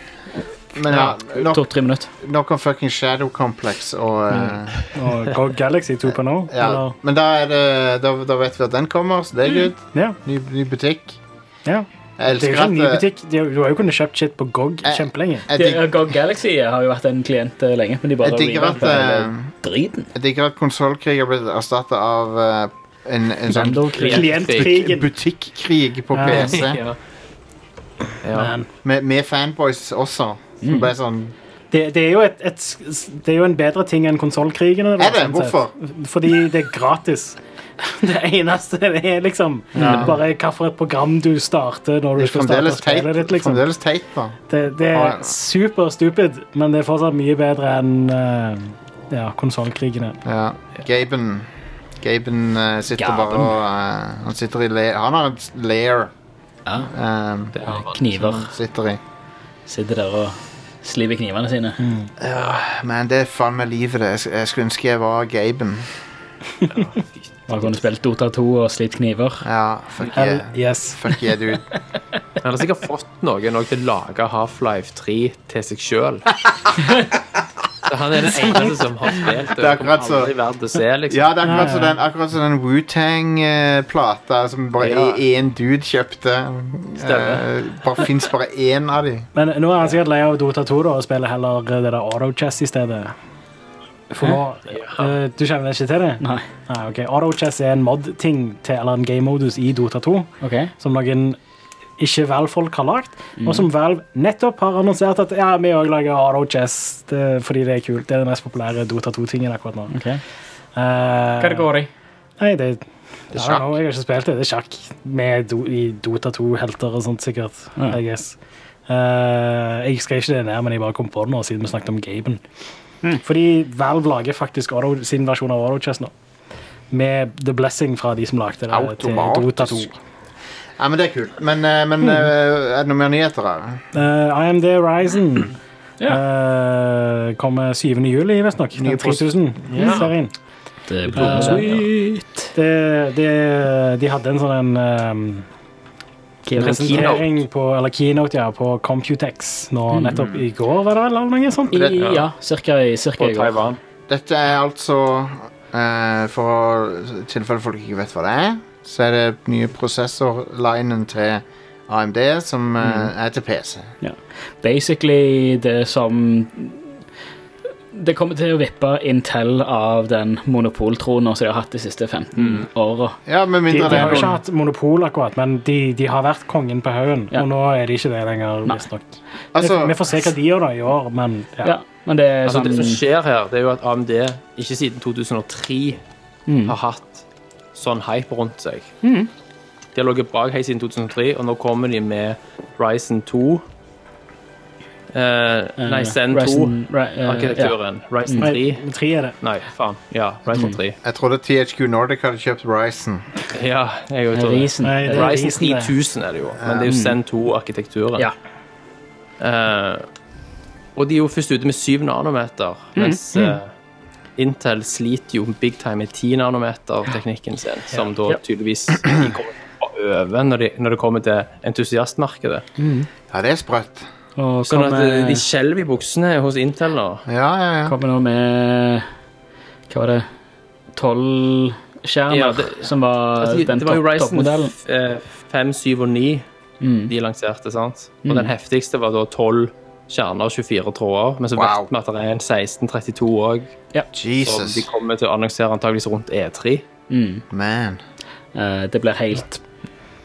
[SPEAKER 1] Men ja, nok,
[SPEAKER 3] To-tre minutter.
[SPEAKER 1] nok om fucking Shadow Complex og
[SPEAKER 4] Mm.
[SPEAKER 1] eh,
[SPEAKER 4] og GOG Galaxy 2.0.
[SPEAKER 1] <laughs> ja.
[SPEAKER 4] eller-
[SPEAKER 1] Men da, er det, da, da vet vi at den kommer, så det er good.
[SPEAKER 4] Mm. Ja,
[SPEAKER 1] Ny, ny butikk.
[SPEAKER 4] ja.
[SPEAKER 1] Jeg
[SPEAKER 4] Det er
[SPEAKER 1] elsker
[SPEAKER 4] jo ikke en ny
[SPEAKER 1] at eh,
[SPEAKER 4] butikk. De- Du har jo kunnet kjøpt shit på GOG
[SPEAKER 1] Eh,
[SPEAKER 4] kjempelenge.
[SPEAKER 1] jeg,
[SPEAKER 3] Det,
[SPEAKER 1] digger-
[SPEAKER 3] GOG Galaxy har jo vært en klient eh, lenge, men de bare
[SPEAKER 1] jeg digger at
[SPEAKER 3] revamper hele
[SPEAKER 1] eh,
[SPEAKER 3] driten.
[SPEAKER 1] Jeg digger at konsollkrig har blitt erstatta av eh, en, en sånn
[SPEAKER 4] Klientkrigen.
[SPEAKER 1] butikkrig på
[SPEAKER 4] Ja.
[SPEAKER 1] PC.
[SPEAKER 4] <laughs>
[SPEAKER 5] Ja. Ja.
[SPEAKER 4] Man.
[SPEAKER 1] Med, med fanboys også.
[SPEAKER 4] Mm.
[SPEAKER 1] Som ble sånn
[SPEAKER 4] Det, det, er jo et, et, s- det er jo en bedre ting enn konsollkrigene.
[SPEAKER 1] Er det? Hvorfor?
[SPEAKER 4] Fordi det er gratis. <laughs> Det eneste det er liksom bare hvilket program du starter når
[SPEAKER 1] Det
[SPEAKER 4] du
[SPEAKER 1] er
[SPEAKER 4] skal starte
[SPEAKER 1] fremdeles teit,
[SPEAKER 4] spillet ditt. Liksom.
[SPEAKER 1] fremdeles teit da.
[SPEAKER 4] Det, det
[SPEAKER 1] Ja, ja.
[SPEAKER 4] er super stupid, men det er fortsatt mye bedre enn eh, ja, konsollkrigene.
[SPEAKER 1] Ja. Gaben Gaben eh, sitter
[SPEAKER 3] Gaben.
[SPEAKER 1] bare og eh, Han sitter i le Han har en lair.
[SPEAKER 3] Ja.
[SPEAKER 1] Um,
[SPEAKER 3] Kniver
[SPEAKER 1] sitter i.
[SPEAKER 3] sitter der og sliver knivene sine.
[SPEAKER 4] Mm.
[SPEAKER 1] Men det er faen meg livet, det. Jeg sk- Jeg skulle ønske jeg var Gaben.
[SPEAKER 3] Bare kunne spilt Dota 2 og slitt kniver.
[SPEAKER 1] Ja, fuck
[SPEAKER 4] Hell
[SPEAKER 1] yeah.
[SPEAKER 4] yes.
[SPEAKER 1] Fuck yeah, dude.
[SPEAKER 5] Han har sikkert fått noen også til å lage Half-Life 3 til seg
[SPEAKER 3] <laughs>
[SPEAKER 5] sjøl. Han er den eneste som har spilt det.
[SPEAKER 1] Det er akkurat så-
[SPEAKER 5] Aldri verdt å se, liksom.
[SPEAKER 1] Ja, det er akkurat som den, akkurat som den Wu-Tang-plata som bare
[SPEAKER 5] Ja.
[SPEAKER 1] én dude kjøpte.
[SPEAKER 5] Stemmer.
[SPEAKER 1] Eh, bare Fins bare én av de.
[SPEAKER 4] eh, Men nå er han sikkert lei av Dota 2 da, og spiller heller det der auto-chess i stedet. For nå, eh, du kjenner ikke til det?
[SPEAKER 3] Nei.
[SPEAKER 4] Nei, ok. Autochess er en mod-ting til, eller en game-modus i Dota 2,
[SPEAKER 3] OK.
[SPEAKER 4] som noen ikke Valve-folk har lagt, og som Valve nettopp har annonsert at ja, vi også lager autochess det- fordi det er kult. Det er den mest populære Dota 2-tingen akkurat nå.
[SPEAKER 3] ok.
[SPEAKER 4] Eh,
[SPEAKER 3] Hva det går i?
[SPEAKER 4] Nei, det, I don't
[SPEAKER 1] sjakk.
[SPEAKER 4] know, jeg har ikke spilt det. Det er sjakk med do, i Dota 2-helter og sånt, sikkert.
[SPEAKER 3] Ja.
[SPEAKER 4] I guess. Eh, jeg skrev ikke det ned, men jeg bare kom på det nå, siden vi snakket om gamen. Fordi Valve lager faktisk auto, sin versjon av Autochess nå. Med The Blessing fra de som lagde det til Dota 2.
[SPEAKER 1] Automatisk. Ja, men det er kult. Men, eh, men eh, er det noe mer nyheter her?
[SPEAKER 4] Eh, IMD Horizon
[SPEAKER 3] Ja.
[SPEAKER 4] eh, kommer 7. juli, visstnok.
[SPEAKER 1] Nye
[SPEAKER 4] Den 3000 serien.
[SPEAKER 3] Det er
[SPEAKER 4] Eh, det, det, de hadde en sånn en eh, presentering på, eller keynote ja, på Computex nå
[SPEAKER 3] Mm.
[SPEAKER 4] nettopp i går, var det vel? Eller noe sånt?
[SPEAKER 3] I, ja, cirka i cirka
[SPEAKER 5] På
[SPEAKER 3] i går.
[SPEAKER 5] Taiwan.
[SPEAKER 1] Dette er altså eh, For å- i tilfelle folk ikke vet hva det er, så er det nye prosessorlinen til AMD som eh,
[SPEAKER 4] Mm.
[SPEAKER 1] er til PC.
[SPEAKER 3] Basically det som Det kommer til å vippe Intel av den monopoltronen som de har hatt de siste 15
[SPEAKER 5] Mm.
[SPEAKER 3] åra.
[SPEAKER 1] Ja, med
[SPEAKER 4] De, de
[SPEAKER 1] mindre det
[SPEAKER 4] har
[SPEAKER 1] er
[SPEAKER 4] jo ikke
[SPEAKER 1] noen
[SPEAKER 4] hatt monopol, akkurat, men de, de har vært kongen på haugen.
[SPEAKER 3] Ja.
[SPEAKER 4] Og nå er de ikke det lenger,
[SPEAKER 3] Nei.
[SPEAKER 4] visstnok.
[SPEAKER 1] Altså,
[SPEAKER 4] Vi får se hva de gjør da i år, men
[SPEAKER 3] Ja.
[SPEAKER 4] ja.
[SPEAKER 3] men det er
[SPEAKER 5] Altså,
[SPEAKER 3] sånn
[SPEAKER 5] det som skjer her, det er jo at AMD ikke siden 2003
[SPEAKER 3] Mm.
[SPEAKER 5] har hatt sånn hype rundt seg. De har ligget bak helt siden 2003, og nå kommer de med Ryzen 2. Eh, nei, Zen 2.
[SPEAKER 3] Ryzen- Ry- eh, Mm.
[SPEAKER 5] Arkitekturen. Ryzen 3.
[SPEAKER 4] Nei, tre er det.
[SPEAKER 5] Nei, faen. Ja, Ryzen 3.
[SPEAKER 1] jeg trodde THQ Nordic hadde kjøpt Ryzen.
[SPEAKER 5] Ja, jeg
[SPEAKER 3] ja.
[SPEAKER 5] tror det.
[SPEAKER 3] Ryzen.
[SPEAKER 4] Nei, det er
[SPEAKER 5] Ryzen
[SPEAKER 4] Ryzen, det.
[SPEAKER 5] 3000 er det jo, men det er jo Zen 2-arkitekturen.
[SPEAKER 3] Mm. Ja.
[SPEAKER 5] og de er jo først ute med 7 nanometer,
[SPEAKER 3] Mm.
[SPEAKER 5] mens eh, Intel sliter jo big time med 10 nanometer-teknikken sin, som da
[SPEAKER 3] Ja.
[SPEAKER 5] tydeligvis de kommer til å øve når, de, når det kommer til entusiastmarkedet.
[SPEAKER 1] Ja, det er sprøtt.
[SPEAKER 3] Og
[SPEAKER 5] Sånn at eh,
[SPEAKER 3] kommer,
[SPEAKER 5] de skjelver i buksene hos Intel nå.
[SPEAKER 1] Ja, ja, ja.
[SPEAKER 3] kommer nå med Hva var det Tolv skjermer
[SPEAKER 5] Ja, det-
[SPEAKER 3] som var
[SPEAKER 5] Altså, de,
[SPEAKER 3] den
[SPEAKER 5] det var jo
[SPEAKER 3] topp-
[SPEAKER 5] Ryzen
[SPEAKER 3] toppmodellen.
[SPEAKER 5] f- eh, 5, 7 og 9
[SPEAKER 3] Mm.
[SPEAKER 5] de lanserte, sant? Og den heftigste var da 12 kjerner og 24 tråder, men så
[SPEAKER 1] Wow.
[SPEAKER 5] vet vi at det er en 16, 32 òg. Så
[SPEAKER 1] Jesus.
[SPEAKER 5] de kommer til å annonsere antageligvis rundt E3.
[SPEAKER 1] Man.
[SPEAKER 3] Eh, det blir helt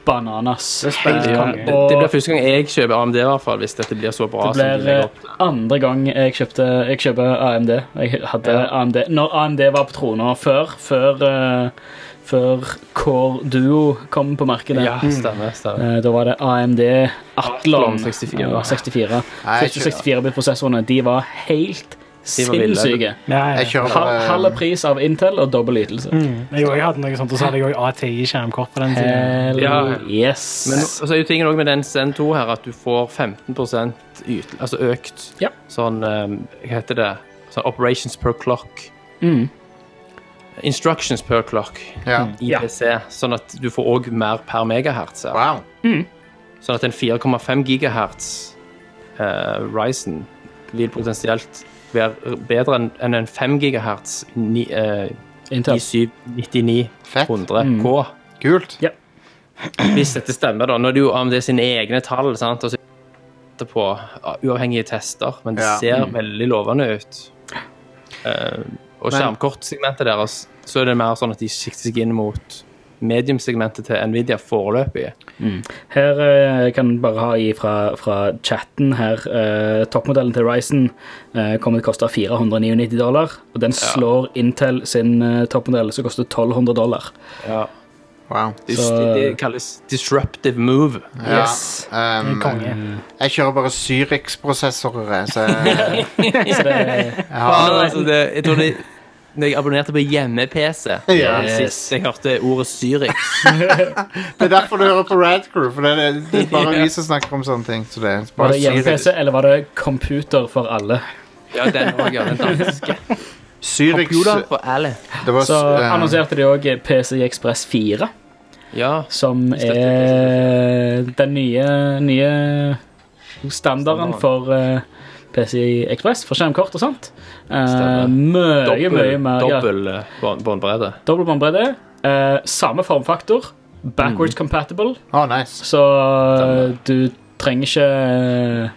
[SPEAKER 3] bananas.
[SPEAKER 4] spennende.
[SPEAKER 3] Eh,
[SPEAKER 4] Konge.
[SPEAKER 5] Det, det blir første gang jeg kjøper AMD, i hvert fall, hvis dette blir så bra.
[SPEAKER 3] Det
[SPEAKER 5] som de
[SPEAKER 3] blir
[SPEAKER 5] legger
[SPEAKER 3] eh,
[SPEAKER 5] opp.
[SPEAKER 3] andre gang jeg kjøpte Jeg kjøper AMD. Jeg hadde AMD Når AMD var på trona før, før, eh, før Core Duo kom på markedet.
[SPEAKER 5] Ja, stemmer. stemmer.
[SPEAKER 3] Eh, Da var det AMD Athlon
[SPEAKER 5] Athlon 64.
[SPEAKER 3] Ja, 64.
[SPEAKER 1] Nei, jeg kjøper-
[SPEAKER 3] 64-bit-prosessorene De var helt
[SPEAKER 5] De var ville.
[SPEAKER 3] sinnssyke.
[SPEAKER 4] Ja, ja.
[SPEAKER 1] Jeg kjører
[SPEAKER 3] Hal-
[SPEAKER 1] eh,
[SPEAKER 3] Halv pris av Intel og dobbel ytelse.
[SPEAKER 4] Mm. Jeg har også hatt noe sånt, og så hadde jeg også ATI-skjermkort på den siden.
[SPEAKER 3] Hell
[SPEAKER 5] Ja.
[SPEAKER 3] yes.
[SPEAKER 5] Men så er jo tingen også med den Zen 2 her at du får 15 yt, altså økt
[SPEAKER 3] Ja.
[SPEAKER 5] sånn eh, Hva heter det? Sånn operations per clock.
[SPEAKER 3] Mm.
[SPEAKER 5] Instructions per clock
[SPEAKER 1] Ja.
[SPEAKER 5] i
[SPEAKER 3] Ja.
[SPEAKER 5] PC, sånn at du får òg mer per megahertz. her.
[SPEAKER 1] Wow.
[SPEAKER 5] Sånn at en 4,5 gigahertz eh, Ryzen vil potensielt være bedre enn enn en 5 gigahertz ni, eh,
[SPEAKER 3] Intel.
[SPEAKER 5] 9799K.
[SPEAKER 1] Fett. Mm. Kult.
[SPEAKER 5] Hvis dette stemmer, da. Nå er det jo AMD sine egne tall, sant? og så etterpå ja, uavhengige tester, men det
[SPEAKER 1] Ja.
[SPEAKER 5] ser veldig lovende ut. Eh,
[SPEAKER 1] Men-
[SPEAKER 5] og skjermkortsegmentet deres, så er det mer sånn at de sikter seg inn mot mediumsegmentet til Nvidia foreløpig.
[SPEAKER 3] Her eh, kan jeg bare ha i fra, fra chatten her. eh, toppmodellen til Ryzen eh, kommer til å koste 499 dollar. Og den slår Intel sin eh, toppmodell, som koster 1200 dollar.
[SPEAKER 1] Wow.
[SPEAKER 5] Det,
[SPEAKER 3] Så-
[SPEAKER 5] det kalles disruptive move.
[SPEAKER 1] Ja.
[SPEAKER 3] Yes.
[SPEAKER 1] Um,
[SPEAKER 4] Konge.
[SPEAKER 1] jeg kjører bare Zyrix-prosessorer, så
[SPEAKER 4] <laughs>
[SPEAKER 1] jeg,
[SPEAKER 3] Så
[SPEAKER 5] <laughs>
[SPEAKER 3] det,
[SPEAKER 1] jeg har
[SPEAKER 5] Nei, altså, det, jeg tror det når jeg abonnerte på hjemme-PC
[SPEAKER 1] Ja.
[SPEAKER 5] sist jeg hørte ordet Zürich.
[SPEAKER 1] Det er derfor du hører på Rad Crew, for det er, det er bare vi som snakker om sånne ting. Så det er
[SPEAKER 3] var
[SPEAKER 1] bare
[SPEAKER 3] det hjemme-PC,
[SPEAKER 1] Zyrix-
[SPEAKER 3] eller var det computer for alle?
[SPEAKER 5] Ja, den var ja, <laughs> den danske.
[SPEAKER 1] Zyrix
[SPEAKER 5] Computer for alle.
[SPEAKER 1] Det var
[SPEAKER 3] Så
[SPEAKER 1] eh,
[SPEAKER 3] annonserte de òg PC Express 4,
[SPEAKER 5] Ja,
[SPEAKER 3] som
[SPEAKER 5] Støtter
[SPEAKER 3] er den nye, nye standarden for eh, PC Express, for skjermkort og sånt. Uh,
[SPEAKER 5] Stemmer.
[SPEAKER 3] mye, mye
[SPEAKER 5] dobbel,
[SPEAKER 3] mer. ja.
[SPEAKER 5] dobbel eh, bånd- båndbredde.
[SPEAKER 3] Dobbel båndbredde. eh, samme formfaktor. Backwards compatible.
[SPEAKER 1] Å, nice.
[SPEAKER 3] Så eh, du trenger ikke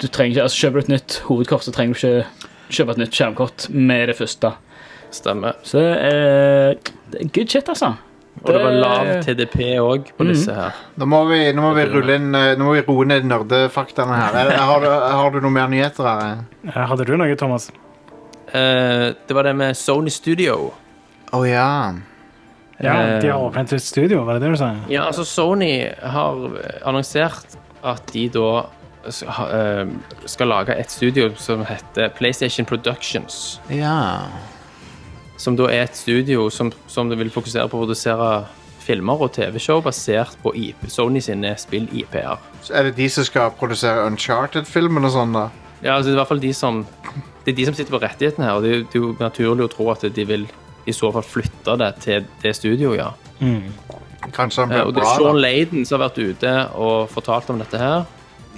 [SPEAKER 3] Du trenger ikke Altså Kjøper du et nytt hovedkort, så trenger du ikke kjøpe et nytt skjermkort med det første.
[SPEAKER 5] Stemmer.
[SPEAKER 3] Så eh, det er good shit, altså.
[SPEAKER 5] Og det var
[SPEAKER 3] Det-
[SPEAKER 5] lav TDP òg på disse her.
[SPEAKER 1] Nå må vi, nå må vi rulle inn eh, Nå må vi roe ned nerdefaktaene her. Er- er- Har du, har du noen mer nyheter her?
[SPEAKER 4] Eh, Hadde du noe, Thomas?
[SPEAKER 5] Eh, det var det med Sony Studio.
[SPEAKER 1] Å ja.
[SPEAKER 4] Ja,
[SPEAKER 5] Eh,
[SPEAKER 4] De har åpnet et studio, var det det du sa?
[SPEAKER 5] Ja, altså Sony har eh, annonsert at de da s- ha- eh, skal lage et studio som heter PlayStation Productions.
[SPEAKER 1] Ja.
[SPEAKER 5] Som da er et studio som, som vil fokusere på å produsere filmer og TV-show basert på IP, Sony sine spill-IPR.
[SPEAKER 1] Så er det de som skal produsere Uncharted-filmen og sånn, da?
[SPEAKER 5] Ja, altså det er i hvert fall de som Det er de som sitter på rettighetene her, og det er jo- det er jo naturlig å tro at de vil i så fall flytte det til det studioet, ja.
[SPEAKER 1] Kanskje han
[SPEAKER 5] Eh, Og
[SPEAKER 1] blir
[SPEAKER 5] det er
[SPEAKER 1] bra,
[SPEAKER 5] Sean
[SPEAKER 1] da?
[SPEAKER 5] Laden som har vært ute og fortalt om dette her.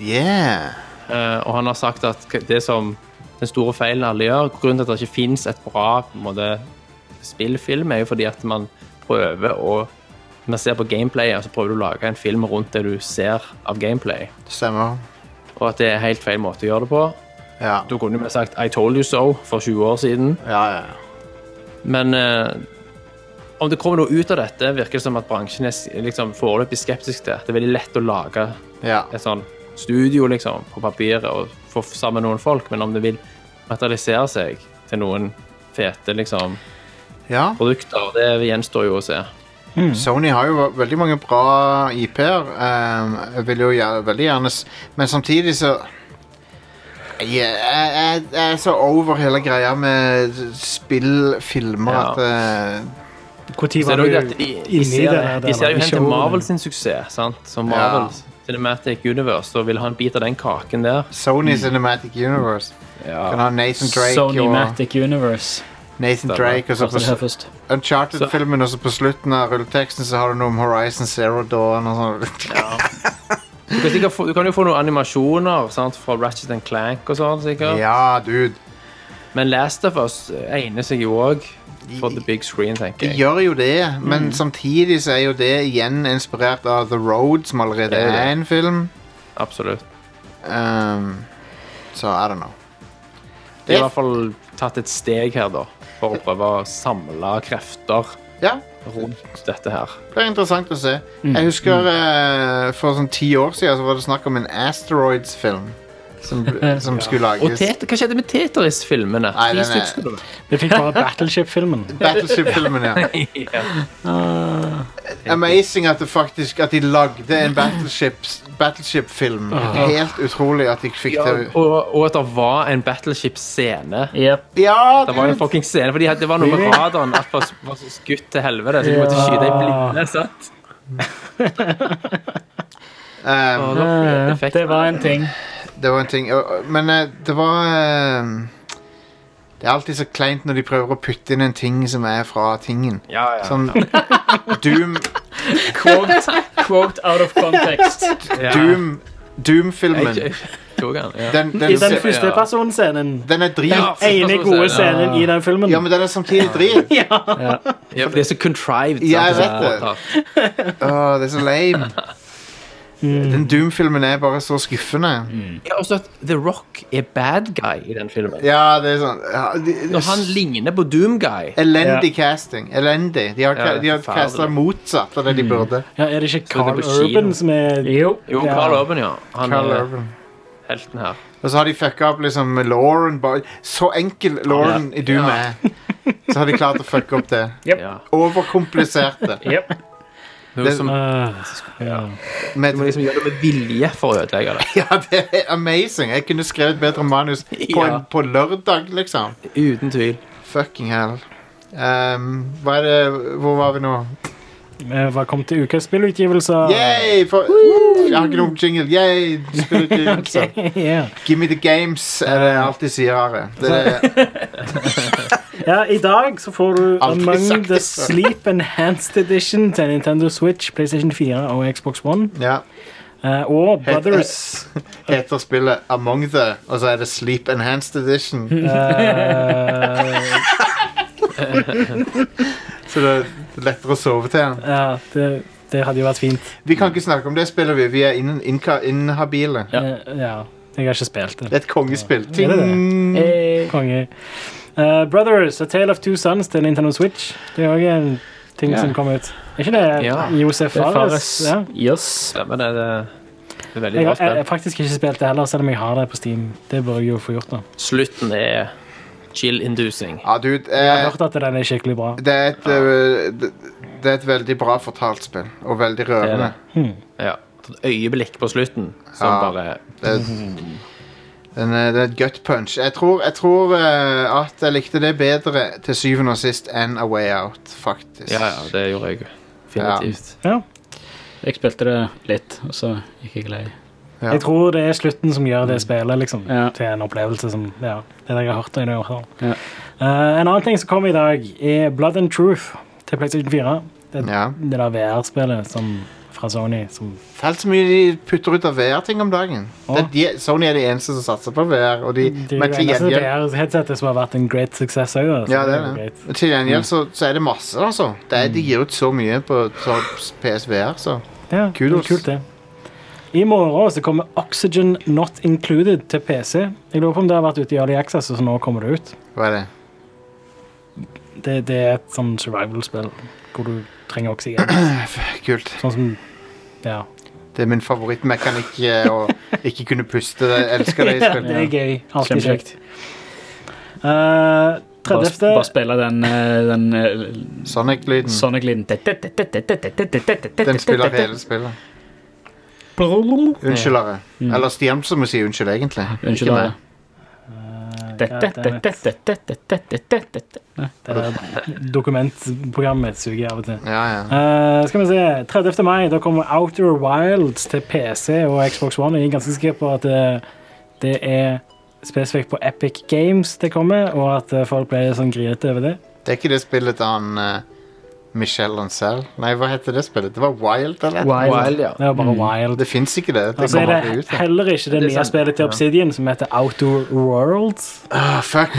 [SPEAKER 1] Yeah.
[SPEAKER 5] Eh, og han har sagt at k- det som den store feilen alle gjør, grunnen til at det ikke finnes et bra på en måte, spillfilm, er jo fordi at man prøver å man ser på gameplay, og så prøver du å lage en film rundt det du ser av gameplay.
[SPEAKER 1] Stemmer.
[SPEAKER 5] Og at det er helt feil måte å gjøre det på.
[SPEAKER 1] Ja.
[SPEAKER 5] Da kunne vi sagt 'I told you so' for 20 år siden.
[SPEAKER 1] Ja, ja.
[SPEAKER 5] Men eh, om det kommer noe ut av dette, virker det som at bransjen er s- liksom, foreløpig skeptisk til. Det er veldig lett å lage
[SPEAKER 1] ja.
[SPEAKER 5] et sånn studio liksom, på papiret og få sammen noen folk, men om det vil materialisere seg til noen fete liksom,
[SPEAKER 1] ja.
[SPEAKER 5] produkter, det gjenstår jo å se.
[SPEAKER 1] Sony har jo veldig mange bra IP-er. Um, jeg vil jo gjerne, veldig gjerne s- Men samtidig så jeg, jeg, jeg, jeg er så over hele greia med spill, filmer,
[SPEAKER 5] Ja.
[SPEAKER 1] at eh,
[SPEAKER 4] Når
[SPEAKER 5] Så er
[SPEAKER 4] var
[SPEAKER 5] det
[SPEAKER 4] du
[SPEAKER 5] jo det at
[SPEAKER 4] inni
[SPEAKER 5] de, de,
[SPEAKER 4] det?
[SPEAKER 5] ser,
[SPEAKER 4] der,
[SPEAKER 5] de
[SPEAKER 4] eller?
[SPEAKER 5] ser jo hen
[SPEAKER 4] Ikke
[SPEAKER 5] til
[SPEAKER 4] over
[SPEAKER 5] Marvel
[SPEAKER 4] det.
[SPEAKER 5] sin suksess, sant? Så
[SPEAKER 1] Ja.
[SPEAKER 5] Marvel Cinematic Universe og vil ha en bit av den kaken der.
[SPEAKER 1] Sony Cinematic Universe kan ha Nathan Drake
[SPEAKER 3] Sony
[SPEAKER 1] og
[SPEAKER 3] Matic Universe.
[SPEAKER 1] Nathan Drake og så
[SPEAKER 3] Altså det her
[SPEAKER 1] på
[SPEAKER 3] først.
[SPEAKER 1] Uncharted-filmen, og så på slutten av rulleteksten så har du noe om Horizon Zero Dawn og sånn.
[SPEAKER 5] Du kan, sikkert få, du kan jo få noen animasjoner sant? fra Ratchet and Clank og sånn, sikkert.
[SPEAKER 1] Ja, dude.
[SPEAKER 5] Men Last of Us egner seg jo òg for the big screen, tenker
[SPEAKER 1] Det
[SPEAKER 5] jeg.
[SPEAKER 1] gjør jo det, men
[SPEAKER 5] Mm.
[SPEAKER 1] samtidig så er jo det igjen inspirert av The Road, som allerede
[SPEAKER 5] Det er det.
[SPEAKER 1] er en film.
[SPEAKER 5] Absolutt.
[SPEAKER 1] Um, så I don't know.
[SPEAKER 5] De har i hvert fall tatt et steg her, da, for å prøve å samle krefter
[SPEAKER 1] Ja,
[SPEAKER 5] rundt dette her.
[SPEAKER 1] det blir interessant å se.
[SPEAKER 5] Mm.
[SPEAKER 1] Jeg husker eh, for sånn ti år siden så var det snakk om en Asteroids-film som,
[SPEAKER 5] <laughs>
[SPEAKER 1] som skulle
[SPEAKER 5] Og
[SPEAKER 1] lages.
[SPEAKER 5] Tet- hva skjedde med Tetris-filmene?
[SPEAKER 1] Nei,
[SPEAKER 5] Ti
[SPEAKER 1] den er-
[SPEAKER 5] stykker skulle det være.
[SPEAKER 4] Vi fikk bare
[SPEAKER 5] <laughs>
[SPEAKER 4] Battleship-filmen.
[SPEAKER 1] Battleship-filmen, ja. Ah. Amazing at, det faktisk, at de lagde en Battleship- Battleship-film. Helt utrolig at de fikk
[SPEAKER 5] Ah. Ja,
[SPEAKER 1] til
[SPEAKER 5] og, og at det var en Battleship-scene.
[SPEAKER 3] Yep.
[SPEAKER 1] Ja,
[SPEAKER 5] Det var jo en fucking scene, fordi det var noe med radaren at det var så skutt til helvete, så de måtte skyte i blinde. sant?
[SPEAKER 1] <laughs> um,
[SPEAKER 5] Og da ble det effekt.
[SPEAKER 3] Det var en ting.
[SPEAKER 1] Det var en ting og- og- Men eh, det var eh, Det er alltid så kleint når de prøver å putte inn en ting som er fra tingen.
[SPEAKER 5] Ja, ja.
[SPEAKER 1] Sånn <laughs> Doom
[SPEAKER 3] Quote, quote out of context.
[SPEAKER 5] ja.
[SPEAKER 1] Doom Doom-filmen.
[SPEAKER 5] Jeg- jeg tok den, ja.
[SPEAKER 1] Den, den,
[SPEAKER 4] I den
[SPEAKER 1] den,
[SPEAKER 4] første personscenen.
[SPEAKER 1] er drit.
[SPEAKER 5] Ja.
[SPEAKER 4] Ene gode scenen i den filmen.
[SPEAKER 1] Ja, men den er samtidig drit.
[SPEAKER 5] Ja, for det er så contrived.
[SPEAKER 1] Ja, jeg
[SPEAKER 5] sant,
[SPEAKER 1] vet det.
[SPEAKER 5] radar.
[SPEAKER 1] Åh, det er så lame.
[SPEAKER 5] Mm.
[SPEAKER 1] Den Doom-filmen er bare så skuffende.
[SPEAKER 5] Ja, også at The Rock er bad guy i den filmen.
[SPEAKER 1] Ja, det er sånn ja, de,
[SPEAKER 5] Når han ligner på Doom Guy
[SPEAKER 1] Elendig casting. Elendig. De har,
[SPEAKER 5] Ja, det er
[SPEAKER 1] de har
[SPEAKER 5] forferdelig. Mm.
[SPEAKER 1] casta motsatt av det de burde.
[SPEAKER 4] Ja, er det ikke
[SPEAKER 5] Så det er
[SPEAKER 4] Carl
[SPEAKER 5] på kino.
[SPEAKER 4] Urban som er
[SPEAKER 3] Jo.
[SPEAKER 5] Jo,
[SPEAKER 4] Ja.
[SPEAKER 5] Carl Urban, ja. Han
[SPEAKER 1] Carl
[SPEAKER 5] er
[SPEAKER 1] Urban.
[SPEAKER 5] helten her.
[SPEAKER 1] Og så har de fucka opp liksom med Lauren bare- Så enkel Lauren i Doom
[SPEAKER 5] Ja.
[SPEAKER 1] er. Så har de klart å fucke opp det.
[SPEAKER 5] Ja.
[SPEAKER 1] Overkomplisert det.
[SPEAKER 3] Yep.
[SPEAKER 5] Noe
[SPEAKER 1] Det-
[SPEAKER 5] som,
[SPEAKER 4] Ah, ja.
[SPEAKER 5] du <laughs> må
[SPEAKER 1] Med,
[SPEAKER 5] liksom gjøre det med vilje for å ødelegge det.
[SPEAKER 1] ja, det er amazing. Jeg kunne skrevet bedre manus på,
[SPEAKER 5] Ja.
[SPEAKER 1] en, på lørdag, liksom.
[SPEAKER 5] Uten tvil.
[SPEAKER 1] Fucking hell. Ehm, hva er det Hvor var vi nå?
[SPEAKER 4] Eh, Hva kom til ukas spillutgivelser?
[SPEAKER 1] Yay! For, jeg har ikke noen jingle. Yay!
[SPEAKER 5] <laughs>
[SPEAKER 1] Spillutgivelse.
[SPEAKER 4] Ja.
[SPEAKER 1] Give me the games, er det jeg alltid sier, Are. Det
[SPEAKER 5] <laughs>
[SPEAKER 1] er
[SPEAKER 4] ja, I dag så får du
[SPEAKER 1] Aldri
[SPEAKER 4] Among
[SPEAKER 1] sagt
[SPEAKER 4] the
[SPEAKER 1] det før.
[SPEAKER 4] Sleep Enhanced Edition til Nintendo Switch, PlayStation 4 og Xbox One.
[SPEAKER 1] ja,
[SPEAKER 4] Eh, Og Brothers
[SPEAKER 1] heter spillet Among the, og så er det Sleep Enhanced Edition.
[SPEAKER 4] eh,
[SPEAKER 1] Så det er lettere å sove til. den.
[SPEAKER 4] ja, det, det hadde jo vært fint.
[SPEAKER 1] Vi kan ikke snakke om det spillet, vi. Vi er inn, innka- inhabile.
[SPEAKER 3] Ja.
[SPEAKER 4] Eh, ja. Jeg har ikke spilt det.
[SPEAKER 1] Det er et kongespill.
[SPEAKER 4] det det?
[SPEAKER 1] Ting.
[SPEAKER 3] eh,
[SPEAKER 4] Konge. Eh, Brothers, A Tale of Two Sons til Nintendo Switch. Det er òg en ting
[SPEAKER 5] Ja.
[SPEAKER 4] som kom ut. Er ikke det
[SPEAKER 5] Ja.
[SPEAKER 4] Josef
[SPEAKER 3] Det er
[SPEAKER 4] Fares?
[SPEAKER 3] Fares.
[SPEAKER 4] Ja.
[SPEAKER 3] Yes.
[SPEAKER 5] Stemmer det. Det det er veldig
[SPEAKER 4] Jeg
[SPEAKER 5] bra
[SPEAKER 4] har jeg har
[SPEAKER 5] spill.
[SPEAKER 4] faktisk ikke spilt det heller, selv om jeg har det på Steam. Det bør jeg jo få gjort, da.
[SPEAKER 5] Slutten er chill-inducing.
[SPEAKER 1] Ja, dude.
[SPEAKER 4] Jeg har
[SPEAKER 1] Eh,
[SPEAKER 4] hørt at den er skikkelig bra.
[SPEAKER 1] det, er et, eh, det, det er et veldig bra fortalt spill, og veldig rørende.
[SPEAKER 5] Ja. Et øyeblikk på slutten som
[SPEAKER 1] Ja.
[SPEAKER 5] bare
[SPEAKER 1] Det er, den er, det er et gut punch. Jeg tror, jeg tror eh, at jeg likte det bedre til syvende og sist enn A Way Out, faktisk.
[SPEAKER 5] Ja, ja, det gjorde jeg definitivt.
[SPEAKER 3] Jeg spilte det litt, og så gikk jeg lei.
[SPEAKER 1] Ja.
[SPEAKER 4] Jeg tror det er slutten som gjør det spillet liksom,
[SPEAKER 3] Ja.
[SPEAKER 4] til en opplevelse som ja, det er det jeg har hørt. og det jeg har hørt.
[SPEAKER 3] Ja.
[SPEAKER 4] Eh, en annen ting som kom i dag, er Blood and Truth til PlayStation 4. Det,
[SPEAKER 1] Ja.
[SPEAKER 4] det der VR-spillet som- fra Sony. Som,
[SPEAKER 1] Det er alt så mye de putter ut av VR-ting om dagen. Det er de, Sony er de eneste som satser på VR. Og de,
[SPEAKER 4] Mm, det er
[SPEAKER 1] men
[SPEAKER 4] jo
[SPEAKER 1] til
[SPEAKER 4] eneste
[SPEAKER 1] gjengjeld,
[SPEAKER 4] VR-headsetet som har vært en great success altså. òg. da, så
[SPEAKER 1] ja, det
[SPEAKER 4] jo
[SPEAKER 1] er det.
[SPEAKER 4] greit.
[SPEAKER 1] Men til gjengjeld så, så er det masse, altså. Det er, de gir ut så mye på så PSVR, så
[SPEAKER 4] Ja,
[SPEAKER 1] Kudos.
[SPEAKER 4] det er Kult, det. I morgen så kommer Oxygen Not Included til PC. Jeg lurer på om det har vært ute i Early Access, og så nå kommer det ut.
[SPEAKER 1] hva er det?
[SPEAKER 4] Det, det er et sånn survival-spill hvor du
[SPEAKER 1] <clears throat>
[SPEAKER 4] trenger oksygen.
[SPEAKER 1] Kult.
[SPEAKER 4] Sånn som Ja.
[SPEAKER 1] Det er min favorittmekanikk eh, å ikke kunne puste. Jeg elsker det i
[SPEAKER 4] Ja,
[SPEAKER 1] spill.
[SPEAKER 4] det er gøy. Alltid
[SPEAKER 3] Kjempekjekt.
[SPEAKER 4] kjekt.
[SPEAKER 3] Bare,
[SPEAKER 4] Eh, 30.
[SPEAKER 3] bare spille den, eh, den eh,
[SPEAKER 1] Sonic-lyden.
[SPEAKER 3] Sonic-lyden.
[SPEAKER 1] Den spiller hele spillet. Unnskyld, Are. Eller Stian som må si unnskyld, egentlig.
[SPEAKER 3] Mm. Unnskyld,
[SPEAKER 1] Ikke meg.
[SPEAKER 3] Are.
[SPEAKER 4] Eh, Det er Dokumentprogrammet suger av og til.
[SPEAKER 1] Ja, ja.
[SPEAKER 4] Eh, skal vi se. 30. mai da kommer Outer Wilds til PC og Xbox One. Jeg er ganske sikker på at eh, det er spesifikt på Epic Games det kommer, og at eh, folk ble sånn grinete over det.
[SPEAKER 1] Det er ikke det spillet til han eh, Michel Ancel. Nei, hva heter det spillet? Det var Wild, eller?
[SPEAKER 3] Eh,
[SPEAKER 5] Wild, ja.
[SPEAKER 4] Det er jo bare wild.
[SPEAKER 1] Det fins ikke, det. Det
[SPEAKER 4] Og så Altså, er
[SPEAKER 1] kommer
[SPEAKER 4] det
[SPEAKER 1] aldri ut. det.
[SPEAKER 4] heller ikke det
[SPEAKER 5] Det er
[SPEAKER 4] nye
[SPEAKER 5] sant.
[SPEAKER 4] spillet til
[SPEAKER 5] Ja.
[SPEAKER 4] Obsidian som heter Outer Worlds.
[SPEAKER 1] Ah, fuck.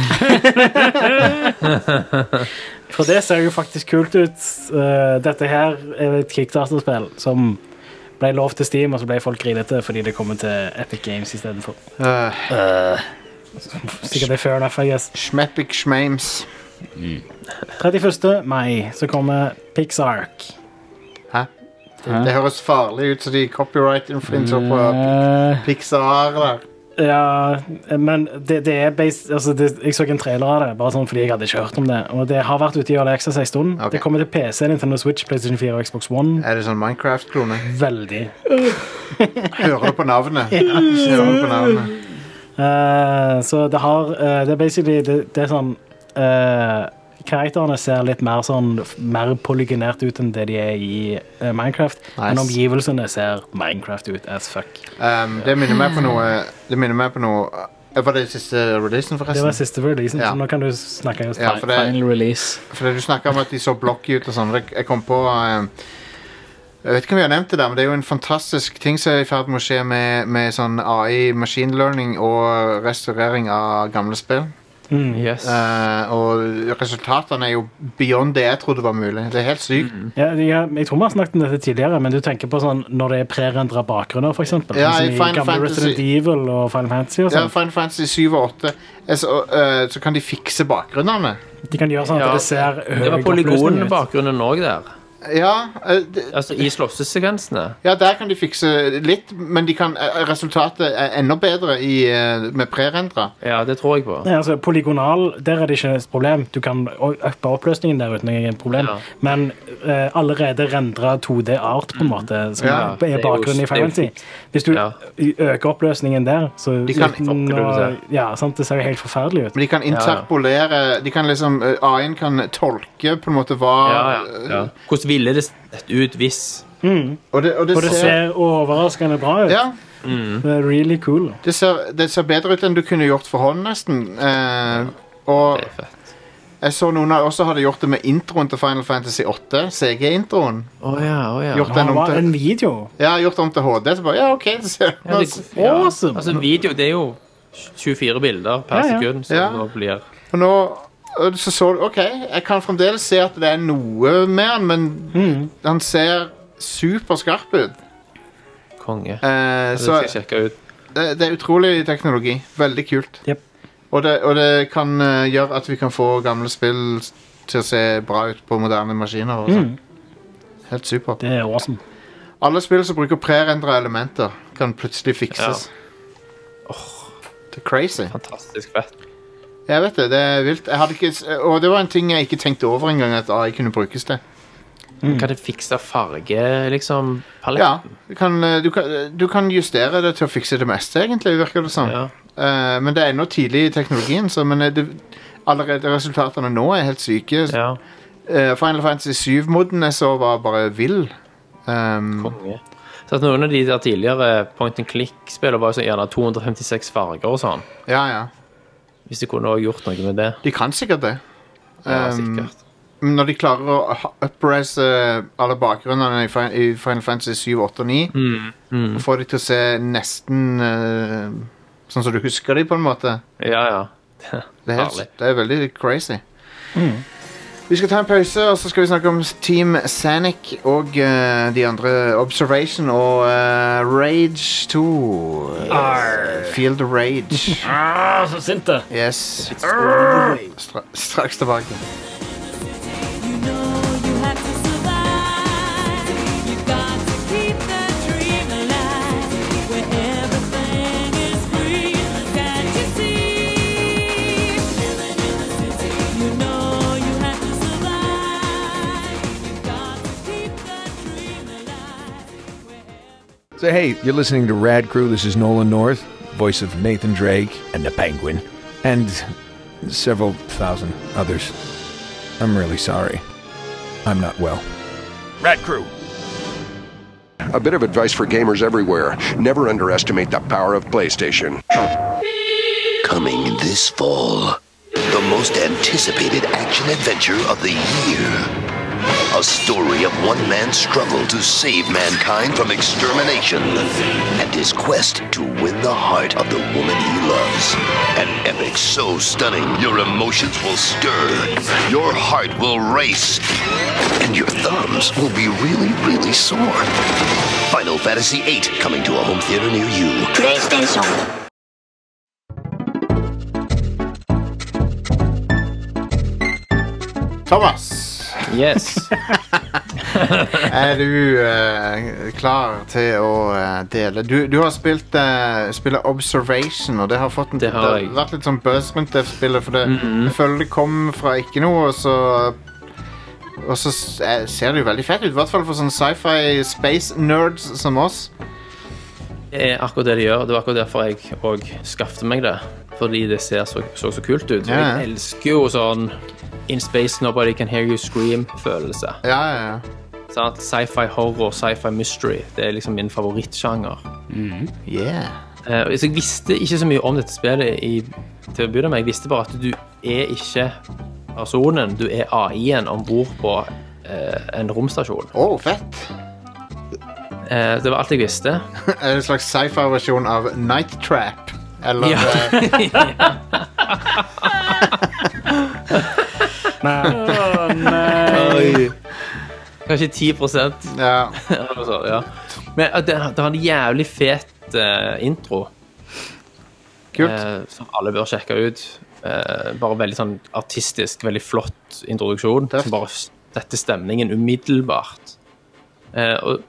[SPEAKER 4] For det ser jo faktisk kult ut. Eh, dette her er et kickstarter-spill som ble lov til Steam, og så ble folk grinete fordi det kommer til Epic Games istedenfor.
[SPEAKER 1] Uh,
[SPEAKER 4] Sikkert det er fair enough, I guess.
[SPEAKER 1] Schmepic Schmames.
[SPEAKER 4] 31. mai så kommer Pixark.
[SPEAKER 1] Hæ? Det høres farlig ut som de copyright-influencer på Pixar. Der.
[SPEAKER 4] Ja, men det, det er based, altså det, Jeg så en trailer av det, bare sånn fordi jeg hadde ikke hørt om det. Og det har vært ute i Early Access en stund.
[SPEAKER 1] Ok.
[SPEAKER 4] Det kommer til PC, Nintendo Switch, PlayStation 4 og
[SPEAKER 1] <laughs>
[SPEAKER 4] Xbox One.
[SPEAKER 1] Er det sånn Minecraft-klone?
[SPEAKER 4] Veldig.
[SPEAKER 1] Hører du på navnet? Hører du på navnet?
[SPEAKER 4] Eh, så det har eh, Det er basically Det, det er sånn eh, Karakterene ser litt mer sånn Mer polygenert ut enn det de er i eh, Minecraft. Men
[SPEAKER 1] Nice.
[SPEAKER 4] omgivelsene ser Minecraft ut as fuck.
[SPEAKER 1] Um, det minner meg på noe Det minner meg på noe eh, Var det siste releasen,
[SPEAKER 4] Det var
[SPEAKER 1] forresten?
[SPEAKER 4] siste releasen,
[SPEAKER 1] Ja.
[SPEAKER 4] så nå kan du snakke. Just.
[SPEAKER 1] Ja, for det-
[SPEAKER 3] Final release.
[SPEAKER 1] Fordi du snakka om at de så blocky ut og sånn. Jeg- Jeg kom på eh, Jeg vet ikke om vi har nevnt det der, men det er jo en fantastisk ting som er i ferd med å skje med, med sånn AI, machine learning og restaurering av gamle spill.
[SPEAKER 5] Yes.
[SPEAKER 1] Eh, og resultatene er jo beyond det jeg trodde var mulig. Det er helt sykt.
[SPEAKER 5] Mhm.
[SPEAKER 4] Ja, de har- jeg tror vi har snakket om dette tidligere, men du tenker på sånn når det er prerendra bakgrunner, f.eks.
[SPEAKER 1] Ja, i
[SPEAKER 4] som i
[SPEAKER 1] Final
[SPEAKER 4] gamle
[SPEAKER 1] Fantasy.
[SPEAKER 4] Resident Evil og Final Fantasy og
[SPEAKER 1] Ja,
[SPEAKER 4] sånn.
[SPEAKER 1] Final Fantasy 7 og 8 eh, så, eh, så kan de fikse bakgrunnene.
[SPEAKER 4] De kan gjøre sånn at
[SPEAKER 5] Ja,
[SPEAKER 4] det ser
[SPEAKER 5] Det var
[SPEAKER 4] høy
[SPEAKER 5] polygonen
[SPEAKER 4] oppløsning
[SPEAKER 5] i
[SPEAKER 4] ut.
[SPEAKER 5] bakgrunnen òg der.
[SPEAKER 1] Ja, eh, det-
[SPEAKER 5] Altså i slåssesekvensene.
[SPEAKER 1] ja, der kan de fikse litt, men de kan, eh, resultatet er enda bedre i, eh, med prerendra.
[SPEAKER 5] Ja, det tror jeg på.
[SPEAKER 4] Ja, altså, polygonal, der er det ikke et problem. Du kan o- uppe oppløsningen der uten noe problem.
[SPEAKER 5] Ja.
[SPEAKER 4] Men eh, allerede rendra 2D-art, på en måte, som
[SPEAKER 1] Ja,
[SPEAKER 5] Mm. det er
[SPEAKER 4] er
[SPEAKER 5] jo-
[SPEAKER 4] bakgrunnen i Final
[SPEAKER 5] det
[SPEAKER 4] Fantasy.
[SPEAKER 5] er jo-
[SPEAKER 4] Hvis du
[SPEAKER 5] Ja.
[SPEAKER 4] ø- øker oppløsningen der, så
[SPEAKER 1] De kan-
[SPEAKER 4] uten
[SPEAKER 5] Fucker du
[SPEAKER 4] å-
[SPEAKER 5] det
[SPEAKER 4] ja, sant, Det ser jo helt forferdelig ut.
[SPEAKER 1] Men de kan interpolere De kan liksom, eh, AI-en kan tolke på en måte hva eh,
[SPEAKER 5] Ja, ja. ja. Hvordan ville det sett ut hvis
[SPEAKER 1] Og, det, og, det,
[SPEAKER 4] Og det
[SPEAKER 1] ser,
[SPEAKER 4] ser overraskende bra ut.
[SPEAKER 1] ja,
[SPEAKER 4] Det er really cool.
[SPEAKER 1] det, ser, det ser bedre ut enn du kunne gjort for hånd, nesten. Eh, og
[SPEAKER 5] Det er fett.
[SPEAKER 1] jeg så noen av også hadde gjort det med introen til Final Fantasy 8. CG-introen.
[SPEAKER 5] Å ja, å ja.
[SPEAKER 1] Gjort
[SPEAKER 4] Han
[SPEAKER 1] den om
[SPEAKER 4] var
[SPEAKER 1] til
[SPEAKER 4] en video.
[SPEAKER 1] Ja, gjort om til HD. Så bare, ja, ok, det ser
[SPEAKER 5] Ja, det, ja.
[SPEAKER 4] Awesome.
[SPEAKER 5] Altså, video det er jo 24 bilder per
[SPEAKER 4] Ja, ja.
[SPEAKER 5] sekund, så
[SPEAKER 1] Ja.
[SPEAKER 5] nå blir
[SPEAKER 1] Og nå og så så du, ok, jeg kan fremdeles se at det er noe med han, men han ser superskarp ut.
[SPEAKER 5] konge.
[SPEAKER 1] Eh,
[SPEAKER 5] Det
[SPEAKER 1] så
[SPEAKER 5] skal jeg sjekke ut.
[SPEAKER 1] det, det er utrolig teknologi. Veldig kult.
[SPEAKER 4] Jep.
[SPEAKER 1] Og, det, og det kan eh, gjøre at vi kan få gamle spill til å se bra ut på moderne maskiner. Og sånn. Helt supert.
[SPEAKER 4] Det er awesome.
[SPEAKER 1] Alle spill som bruker prerendra elementer, kan plutselig fikses. Det er crazy.
[SPEAKER 5] Fantastisk fett.
[SPEAKER 1] Jeg vet det. Det er vilt. Jeg hadde ikke, s- og det var en ting jeg ikke tenkte over engang, at AI kunne brukes til.
[SPEAKER 5] Kan det fikse farge, liksom?
[SPEAKER 1] Ja,
[SPEAKER 5] Paletten?
[SPEAKER 1] du kan, eh, du, kan, du kan justere det til å fikse det meste, egentlig, virker det som.
[SPEAKER 5] Ja.
[SPEAKER 1] Eh, men det er ennå tidlig i teknologien, så men eh, det, allerede resultatene nå er helt syke.
[SPEAKER 5] ja.
[SPEAKER 1] Eh, Final Fantasy 7-moden jeg så, var bare vill. Um,
[SPEAKER 5] Konge. Så at noen av de der tidligere point and click-spillene var jo sånn gjerne 256 farger og sånn.
[SPEAKER 1] ja, ja.
[SPEAKER 5] Hvis de kunne også gjort noe med det.
[SPEAKER 1] De kan sikkert det.
[SPEAKER 5] Ja,
[SPEAKER 1] Um,
[SPEAKER 5] sikkert.
[SPEAKER 1] Men når de klarer å ha- uppresse alle bakgrunnene i Fi- i Final Fantasy 7, 8 og 9,
[SPEAKER 3] Mm.
[SPEAKER 1] og får de til å se nesten eh, sånn som du husker de, på en måte
[SPEAKER 5] Ja, ja.
[SPEAKER 1] Det er,
[SPEAKER 5] Herlig.
[SPEAKER 1] helt, det er veldig crazy. Vi skal ta en pause, og så skal vi snakke om Team Sanic og eh, de andre Observation og eh, Rage 2. Field of Rage.
[SPEAKER 3] <laughs> Ah, så sint det.
[SPEAKER 1] Yes. Stra straks tilbake.
[SPEAKER 7] You know you have to survive. You've got to keep that dream alive. Where everything is free, can you see? You know you have to survive. You've got to keep that dream alive.
[SPEAKER 8] Say, hey, you're listening to Rad Crew. This is Nolan North, voice of Nathan Drake and the Penguin, and several thousand others. I'm really sorry. I'm not well. Rad Crew!
[SPEAKER 9] A bit of advice for gamers everywhere never underestimate the power of PlayStation.
[SPEAKER 10] Coming this fall, the most anticipated action adventure of the year. A story of one man's struggle to save mankind from extermination and his quest to win the heart of the woman he loves. An epic so stunning, your emotions will stir, your heart will race, and your thumbs will be really, really sore. Final Fantasy VIII coming to a home theater near you. PlayStation.
[SPEAKER 1] Thomas,
[SPEAKER 5] Yes.
[SPEAKER 1] er du eh, klar til å eh, dele? Du, du har spilt eh, spillet Observation, og det har, fått en,
[SPEAKER 5] Det har jeg. Mhm.
[SPEAKER 1] vært litt sånn buzz rundt det spillet, for det, jeg føler det kom fra ikke noe, og så og så s- eh, ser det jo veldig fett ut, i hvert fall for sånne sci-fi space-nerds som oss.
[SPEAKER 5] Det er akkurat det de gjør. Det var akkurat derfor jeg òg skaffet meg det. Fordi det ser så så, så kult ut.
[SPEAKER 1] Ja, ja.
[SPEAKER 5] Jeg elsker jo sånn In space nobody can hear you scream-følelse.
[SPEAKER 1] Ja, ja, ja.
[SPEAKER 5] Sant? Sci-fi horror, sci-fi mystery. Det er liksom min favorittsjanger.
[SPEAKER 1] Yeah.
[SPEAKER 5] Eh, og så jeg visste ikke så mye om dette spillet i, til å begynne med. Jeg visste bare at du er ikke personen, du er AI-en om bord på eh, en romstasjon.
[SPEAKER 1] Å, fett! <laughs>
[SPEAKER 5] Eh, det var alt jeg visste.
[SPEAKER 1] Er det en slags sci-fi-versjon av Night Trap? Eller eh,
[SPEAKER 4] Nei,
[SPEAKER 5] Kanskje 10 eller <laughs>
[SPEAKER 1] Ja.
[SPEAKER 5] noe sånt, ja. Men eh, det, det har en jævlig fet eh, intro
[SPEAKER 1] Kult.
[SPEAKER 5] eh, som alle bør sjekke ut. Eh, bare veldig sånn artistisk, veldig flott introduksjon
[SPEAKER 1] Tøft.
[SPEAKER 5] som bare setter stemningen umiddelbart. Eh, og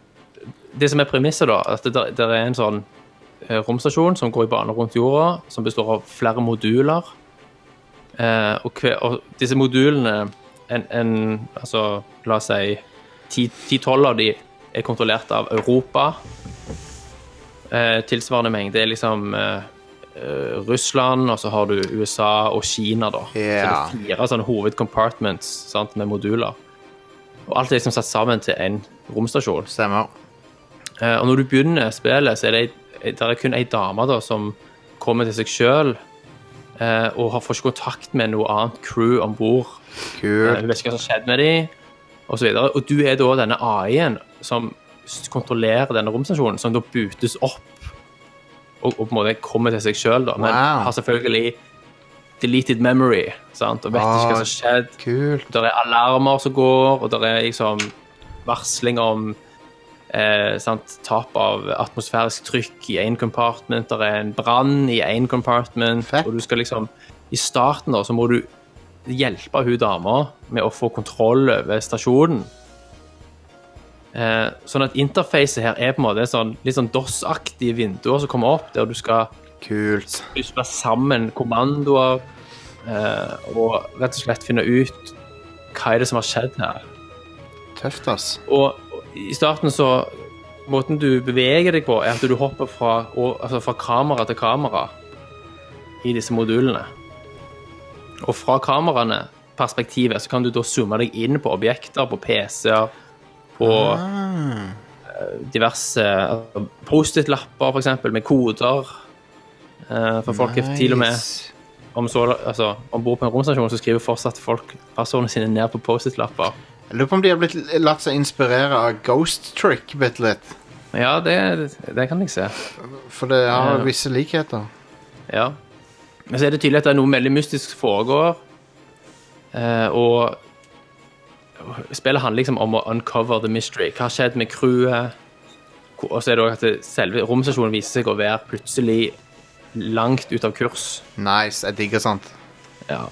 [SPEAKER 5] det som er premisset, da, at det der, der er en sånn eh, romstasjon som går i bane rundt jorda, som består av flere moduler. Eh, og, hver, og disse modulene en, en, altså, La oss si 10-12 av de er kontrollert av Europa. Eh, tilsvarende mengde er liksom eh, eh, Russland, og så har du USA og Kina, da.
[SPEAKER 1] Ja.
[SPEAKER 5] Så det er fire sånne hovedcompartments sant, med moduler. Og alt er liksom satt sammen til en romstasjon.
[SPEAKER 1] Stemmer.
[SPEAKER 5] Eh, Og når du begynner spillet, så er det, ei- der er kun ei dame da, som kommer til seg sjøl. Og har får ikke kontakt med noe annet crew om bord. Hun
[SPEAKER 1] Kult.
[SPEAKER 5] vet ikke hva som skjedde med dem, osv. Og du er da denne AI-en som s- kontrollerer denne romstasjonen, som da butes opp og, og på en måte kommer til seg sjøl, da. Men
[SPEAKER 1] Wow.
[SPEAKER 5] har selvfølgelig deleted memory, sant? og vet ikke
[SPEAKER 1] Ah,
[SPEAKER 5] hva som skjedde.
[SPEAKER 1] Kult.
[SPEAKER 5] Der er alarmer som går, og der er liksom varsling om eh, sant? tap av atmosfærisk trykk i én compartment, det er en brann i én compartment, og du skal liksom I starten da, så må du hjelpe hun dama med å få kontroll over stasjonen. Eh, sånn at interfacet her er på en måte sånn, litt sånn DOS-aktige vinduer som kommer opp, der du skal
[SPEAKER 1] Kult.
[SPEAKER 5] spille sammen kommandoer eh, og rett og slett finne ut hva er det som har skjedd her.
[SPEAKER 1] Tøft, ass.
[SPEAKER 5] Og i starten så Måten du beveger deg på, er at du hopper fra, og, altså fra kamera til kamera i disse modulene. Og fra kameraene perspektivet, så kan du da zoome deg inn på objekter, på PC-er, på
[SPEAKER 1] Ah.
[SPEAKER 5] eh, diverse altså, Post-it-lapper, for eksempel, med koder. Eh, For folk er til og med
[SPEAKER 1] Nice.
[SPEAKER 5] om så, altså, ombord på en romstasjon så skriver fortsatt folk passordene sine ned på Post-it-lapper.
[SPEAKER 1] Jeg lurer på om de har blitt latt seg inspirere av Ghost Trick bitte litt.
[SPEAKER 5] Ja, det, det kan jeg se.
[SPEAKER 1] For det har
[SPEAKER 5] Ja.
[SPEAKER 1] visse likheter.
[SPEAKER 5] Ja. Men så er det tydelig at det er noe veldig mystisk som foregår. Eh, og spillet handler liksom om å uncover the mystery. Hva har skjedd med crewet? Hvor- Og så er det også at det, selve romstasjonen viser seg å være plutselig langt ut av kurs.
[SPEAKER 1] Nice. Jeg digger sånt.
[SPEAKER 5] Ja.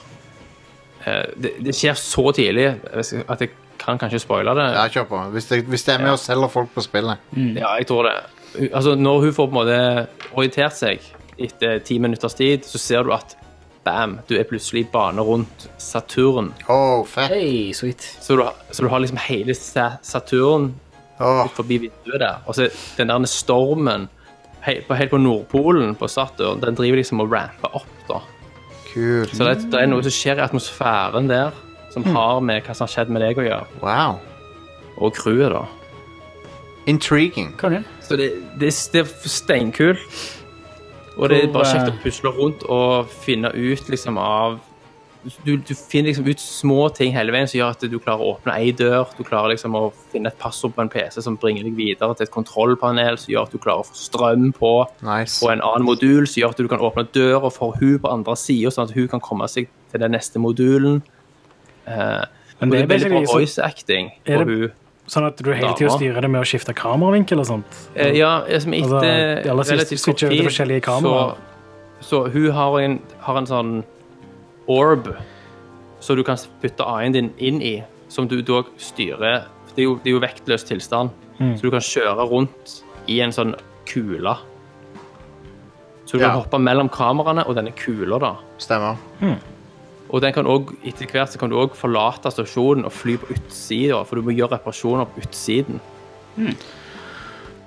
[SPEAKER 5] Eh, det, det skjer så tidlig jeg vet ikke- at jeg kan kanskje spoile det.
[SPEAKER 1] Ja, kjør på. Hvis det, hvis det er med og selger folk på spillet.
[SPEAKER 5] Ja, jeg tror det. Hun- Altså, når hun får på en måte orientert seg etter ti minutters tid, så ser du at bam, du er plutselig i bane rundt Saturn.
[SPEAKER 1] Oh, fett.
[SPEAKER 3] Hei, sweet.
[SPEAKER 5] Så du, har- så du har liksom hele Sa- Saturn
[SPEAKER 1] Åh,
[SPEAKER 5] ut forbi vinduet der. Og så den der stormen helt på, helt på Nordpolen på Saturn, den driver liksom og ramper opp, da.
[SPEAKER 1] kult.
[SPEAKER 5] Så det, det er noe som skjer i atmosfæren der, som har med hva som har skjedd med deg å gjøre,
[SPEAKER 1] Wow.
[SPEAKER 5] og crewet, da.
[SPEAKER 1] Intriguing.
[SPEAKER 3] Kongen.
[SPEAKER 5] Så det, det, det er steinkult. Og det er bare
[SPEAKER 4] eh,
[SPEAKER 5] kjekt å pusle rundt og finne ut liksom av du, du finner liksom ut små ting hele veien som gjør at du klarer å åpne ei dør. Du klarer liksom å finne et passord på en PC som bringer deg videre til et kontrollpanel som gjør at du klarer å få strøm på,
[SPEAKER 1] Nice.
[SPEAKER 5] og en annen modul som gjør at du kan åpne døra for hun på andre sida, sånn at hun kan komme seg til den neste modulen. Eh,
[SPEAKER 4] Men
[SPEAKER 5] og det er veldig bra
[SPEAKER 4] basically så-
[SPEAKER 5] voice acting
[SPEAKER 4] Er
[SPEAKER 5] på
[SPEAKER 4] det-
[SPEAKER 5] hun.
[SPEAKER 4] Sånn at du hele tida
[SPEAKER 5] Dama.
[SPEAKER 4] styrer det med å skifte kameravinkel og sånt.
[SPEAKER 5] Eh, ja, som etter
[SPEAKER 4] Altså, de aller siste
[SPEAKER 5] relativt kort
[SPEAKER 4] switcher over til
[SPEAKER 5] tid,
[SPEAKER 4] forskjellige
[SPEAKER 5] så,
[SPEAKER 4] kameraer.
[SPEAKER 5] så hun har en, har en sånn orb som du kan putte AI-en din inn i, som du da styrer. Det er jo, det er jo vektløs tilstand,
[SPEAKER 4] Mm.
[SPEAKER 5] så du kan kjøre rundt i en sånn kule. Så du
[SPEAKER 1] Ja.
[SPEAKER 5] kan hoppe mellom kameraene og denne kula, da.
[SPEAKER 1] Stemmer.
[SPEAKER 5] Og den kan også, etter hvert så kan du òg forlate stasjonen og fly på utsida, for du må gjøre reparasjoner på utsiden.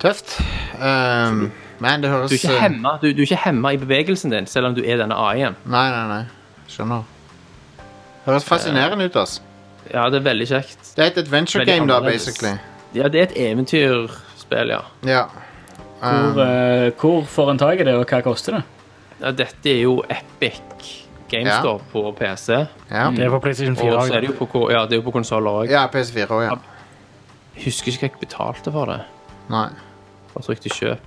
[SPEAKER 1] Tøft. Um, man, det høres
[SPEAKER 5] Du er ikke
[SPEAKER 1] eh,
[SPEAKER 5] hemmet- du, du er ikke hemma i bevegelsen din, selv om du er denne AI-en.
[SPEAKER 1] Nei, nei, nei. Skjønner. Høres fascinerende ut, ass.
[SPEAKER 5] Ja, det er veldig kjekt.
[SPEAKER 1] Det er et adventure
[SPEAKER 5] Veldig
[SPEAKER 1] game, da,
[SPEAKER 5] annerledes.
[SPEAKER 1] basically.
[SPEAKER 5] Ja, det er et eventyrspill, ja.
[SPEAKER 1] Ja. Um,
[SPEAKER 3] Hvor, eh, hvor får en tak i det, og hva koster det?
[SPEAKER 5] ja. Dette er jo Epic Games
[SPEAKER 1] Ja.
[SPEAKER 5] Store på PC.
[SPEAKER 1] Ja,
[SPEAKER 4] Det er på PlayStation
[SPEAKER 5] Og
[SPEAKER 4] 4.
[SPEAKER 5] så er det
[SPEAKER 4] også.
[SPEAKER 5] jo på, ko- ja, det er jo på konsoller òg.
[SPEAKER 1] ja PS4 òg, ja.
[SPEAKER 5] Husker ikke hva jeg betalte for det.
[SPEAKER 1] Nei.
[SPEAKER 5] Bare trykte kjøp.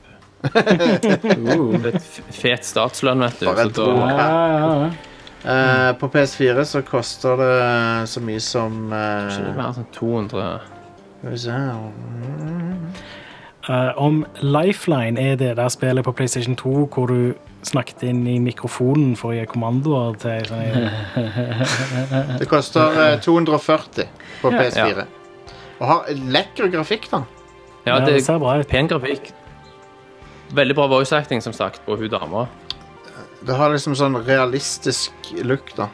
[SPEAKER 5] Det er et f- fet statslønn, vet du.
[SPEAKER 1] Bare
[SPEAKER 5] Så
[SPEAKER 1] et
[SPEAKER 5] da,
[SPEAKER 1] ord.
[SPEAKER 3] Ja, ja, ja.
[SPEAKER 1] Eh, på PS4 så koster det så mye som eh,
[SPEAKER 5] ikke mer enn sånn 200
[SPEAKER 1] Skal vi se her
[SPEAKER 4] Eh, om Lifeline er det der spillet på PlayStation 2 hvor du snakket inn i mikrofonen for å gi kommandoer til sånn,
[SPEAKER 1] Det koster eh, 240 på PS4.
[SPEAKER 5] Ja.
[SPEAKER 1] Og har lekker grafikk, da.
[SPEAKER 5] Ja, det er
[SPEAKER 4] ser bra ut.
[SPEAKER 5] pen grafikk. Veldig bra voice acting, som sagt, på hun dama.
[SPEAKER 1] Det har liksom sånn realistisk look, da.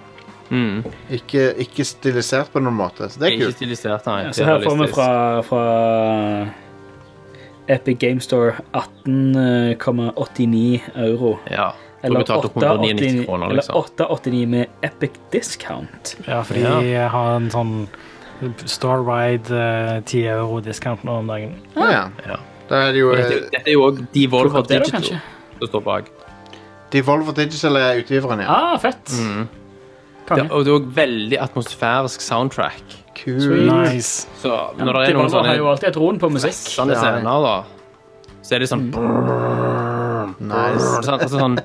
[SPEAKER 5] Mm.
[SPEAKER 1] Ikke, ikke stilisert på noen måte. Så det er
[SPEAKER 5] Ikke
[SPEAKER 1] kult.
[SPEAKER 5] stilisert, nei.
[SPEAKER 3] Så her får vi
[SPEAKER 5] Realistisk.
[SPEAKER 3] fra, fra eh, Epic Game Store 18,89 euro.
[SPEAKER 5] Ja. Du
[SPEAKER 3] Eller
[SPEAKER 5] betalte 199 kroner,
[SPEAKER 3] 8,89
[SPEAKER 5] liksom.
[SPEAKER 3] med epic discount.
[SPEAKER 4] Ja, for de har en sånn Star Ride eh, 10 euro discount nå om dagen.
[SPEAKER 1] Ja, ja.
[SPEAKER 5] Ja.
[SPEAKER 1] Da er det jo
[SPEAKER 5] Og
[SPEAKER 1] eh,
[SPEAKER 5] Dette, dette er jo òg
[SPEAKER 3] Plukk
[SPEAKER 5] Devolver
[SPEAKER 3] opp det da,
[SPEAKER 5] Digital
[SPEAKER 3] kanskje?
[SPEAKER 5] som står bak.
[SPEAKER 1] Devolver Digital er utgiveren, ja.
[SPEAKER 3] Ah, fett!
[SPEAKER 5] Mm. Ja,
[SPEAKER 3] Konge.
[SPEAKER 5] og det er òg veldig atmosfærisk soundtrack.
[SPEAKER 1] Kult.
[SPEAKER 4] Nice.
[SPEAKER 5] Så
[SPEAKER 3] Ja,
[SPEAKER 5] når det er
[SPEAKER 3] Devolver
[SPEAKER 5] noen sånne
[SPEAKER 3] har jo alltid et ron på musikk.
[SPEAKER 5] sånne scener, da, så er det sånn
[SPEAKER 3] Mm.
[SPEAKER 1] Nice.
[SPEAKER 5] sånn- altså sånn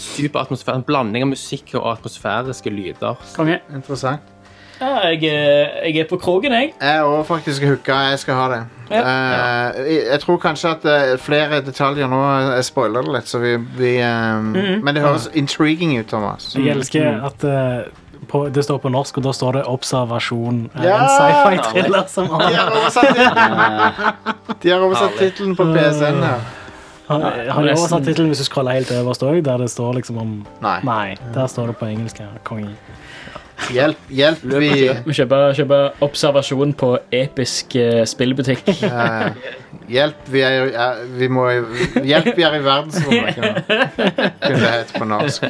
[SPEAKER 5] super atmosfære, En blanding av musikk og atmosfæriske lyder.
[SPEAKER 3] Konge.
[SPEAKER 1] Interessant.
[SPEAKER 3] Ja, jeg, er- jeg er på kroken, jeg.
[SPEAKER 1] Jeg òg faktisk hooka. Jeg skal ha det.
[SPEAKER 3] Ja.
[SPEAKER 1] Eh, jeg- jeg tror kanskje at eh, flere detaljer nå eh, Jeg spoiler det litt, så vi, vi eh,
[SPEAKER 4] Mhm.
[SPEAKER 1] Men det høres intriguing ut, Thomas.
[SPEAKER 4] Jeg elsker at eh, på, det står på norsk, og da står det 'Observasjon'. eh,
[SPEAKER 1] Ja!
[SPEAKER 4] En sci-fi-thriller som <laughs>
[SPEAKER 1] De har
[SPEAKER 3] <laughs>
[SPEAKER 1] oversatt, det. de har oversatt tittelen på PSN her.
[SPEAKER 4] Han har
[SPEAKER 1] Resten-
[SPEAKER 4] jo oversatt tittelen hvis du scroller helt øverst òg, der det står liksom om
[SPEAKER 1] Nei.
[SPEAKER 4] der står det på engelsk. her, Kongen.
[SPEAKER 1] Hjelp, hjelp. Vi
[SPEAKER 3] Vi kjøper, kjøper observasjon på episk eh, spillbutikk.
[SPEAKER 1] Eh, Hjelp, vi er, i- eh, vi må, i- hjelp, vi er i verdensrommet. Kunne kunne det hett på norsk.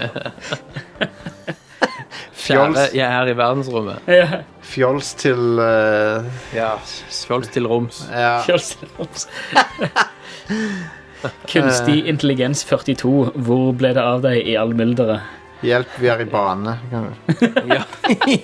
[SPEAKER 5] Kjære, jeg er i verdensrommet.
[SPEAKER 3] <laughs> Ja.
[SPEAKER 1] Fjols til eh,
[SPEAKER 5] Ja, Fjols til roms.
[SPEAKER 1] Ja.
[SPEAKER 3] Kunstig intelligens 42. Hvor ble det av deg i all mylderet?
[SPEAKER 1] Hjelp, vi er i bane. Kan du-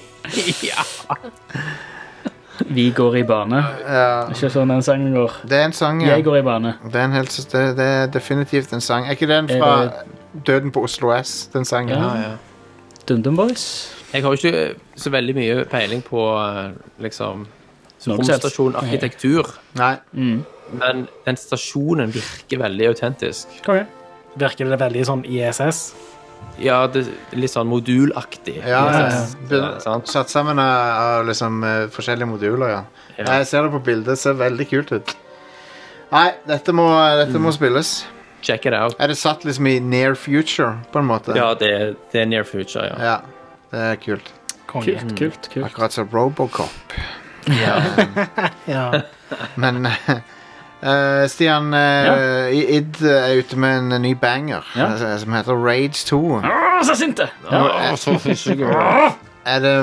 [SPEAKER 3] Vi går i bane.
[SPEAKER 1] Ja.
[SPEAKER 3] Ikke sånn den sangen går.
[SPEAKER 1] Det er en sang, ja.
[SPEAKER 3] Jeg går i bane.
[SPEAKER 1] Det er, en helt, det, det er definitivt en sang. Er ikke den
[SPEAKER 3] Er
[SPEAKER 1] fra Døden på Oslo S, den sangen?
[SPEAKER 3] Ja, ja. DumDum Boys.
[SPEAKER 5] Jeg har jo ikke eh, så veldig mye peiling på eh, liksom
[SPEAKER 3] Noe som helst.
[SPEAKER 5] romstasjonarkitektur,
[SPEAKER 1] Nei.
[SPEAKER 5] men den stasjonen virker veldig autentisk.
[SPEAKER 4] Virker det veldig sånn ISS?
[SPEAKER 5] Ja, det er litt sånn modulaktig.
[SPEAKER 1] Ja,
[SPEAKER 5] Ja,
[SPEAKER 1] ja. Begynner- Satt sammen av, av liksom, eh, forskjellige moduler, ja.
[SPEAKER 5] Ja.
[SPEAKER 1] Jeg ser det på bildet, det ser veldig kult ut. Nei, dette må, dette må spilles.
[SPEAKER 5] Check it out.
[SPEAKER 1] Er det satt liksom i near future, på en måte?
[SPEAKER 5] Ja, det, er- det er near future, ja.
[SPEAKER 1] Ja, det er kult.
[SPEAKER 4] Kongen.
[SPEAKER 3] Kult, kult, kult.
[SPEAKER 1] Akkurat som Robocop.
[SPEAKER 4] Ja.
[SPEAKER 1] <laughs> Men eh, Stian, eh, I- Id er ute med en ny banger
[SPEAKER 3] Ja.
[SPEAKER 1] eh, som heter Rage 2.
[SPEAKER 3] Åh, så sinte!
[SPEAKER 1] Er det,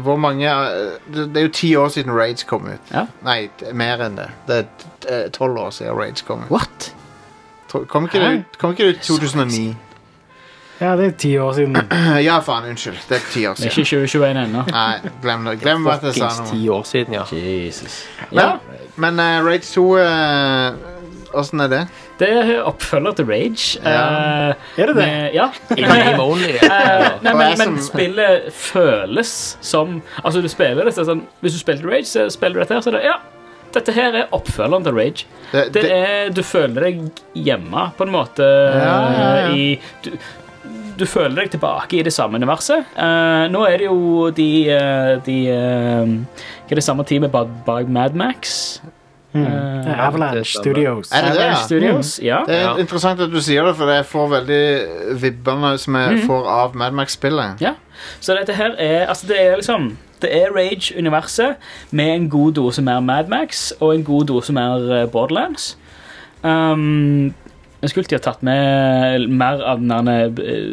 [SPEAKER 1] hvor mange eh, Det det er jo ti år siden Rage kom ut.
[SPEAKER 3] Ja.
[SPEAKER 1] Nei, t- mer enn det. Det er t- eh, tolv år siden Rage kom ut.
[SPEAKER 3] What?
[SPEAKER 1] To- Kom ikke det ut kom ikke det ut 2009?
[SPEAKER 4] ja, det er ti år siden.
[SPEAKER 1] <clears throat> Ja, faen. Unnskyld. Det er ti år
[SPEAKER 3] Det er ikke
[SPEAKER 1] siden.
[SPEAKER 3] 2021 ennå.
[SPEAKER 1] Nei, glem det. Glem at jeg sa
[SPEAKER 5] Fuckings
[SPEAKER 1] noe.
[SPEAKER 5] ti år siden, ja.
[SPEAKER 3] Jesus. Ja,
[SPEAKER 1] Men, men eh, Rage 2 eh, Åssen er det?
[SPEAKER 3] det er oppfølger til Rage.
[SPEAKER 1] Ja.
[SPEAKER 3] er det det? <laughs> ja.
[SPEAKER 5] I <laughs> name only.
[SPEAKER 3] Eh, nei,
[SPEAKER 1] Og jeg
[SPEAKER 3] men,
[SPEAKER 1] som-
[SPEAKER 3] men spillet føles som Altså, du spiller det, så er det sånn Hvis du spilte Rage, så spiller du dette her, så er det Ja, dette her er oppfølgeren til Rage.
[SPEAKER 1] Det,
[SPEAKER 3] Det er, du føler deg hjemme, på en måte, eh,
[SPEAKER 1] ja, ja.
[SPEAKER 3] i du, du føler deg tilbake i det samme universet. Eh, nå er det jo de, eh, de eh, Hva er det samme teamet bak, bak Mad Max?
[SPEAKER 4] Mm.
[SPEAKER 3] Eh,
[SPEAKER 4] Avalanche
[SPEAKER 5] det stemmer.
[SPEAKER 4] Studios.
[SPEAKER 1] Er det det?
[SPEAKER 3] Avalanche
[SPEAKER 1] ja?
[SPEAKER 3] Studios? Ja.
[SPEAKER 1] Det er
[SPEAKER 5] Ja.
[SPEAKER 1] interessant at du sier det, for jeg får veldig vibbene som jeg får av Mad Max-spillet.
[SPEAKER 3] Mhm. Ja, så dette her er Altså, det er liksom Det er Rage-universet med en god dose mer Mad Max og en god dose mer eh, Borderlands. Um, jeg skulle ikke ha tatt med mer av den der eh,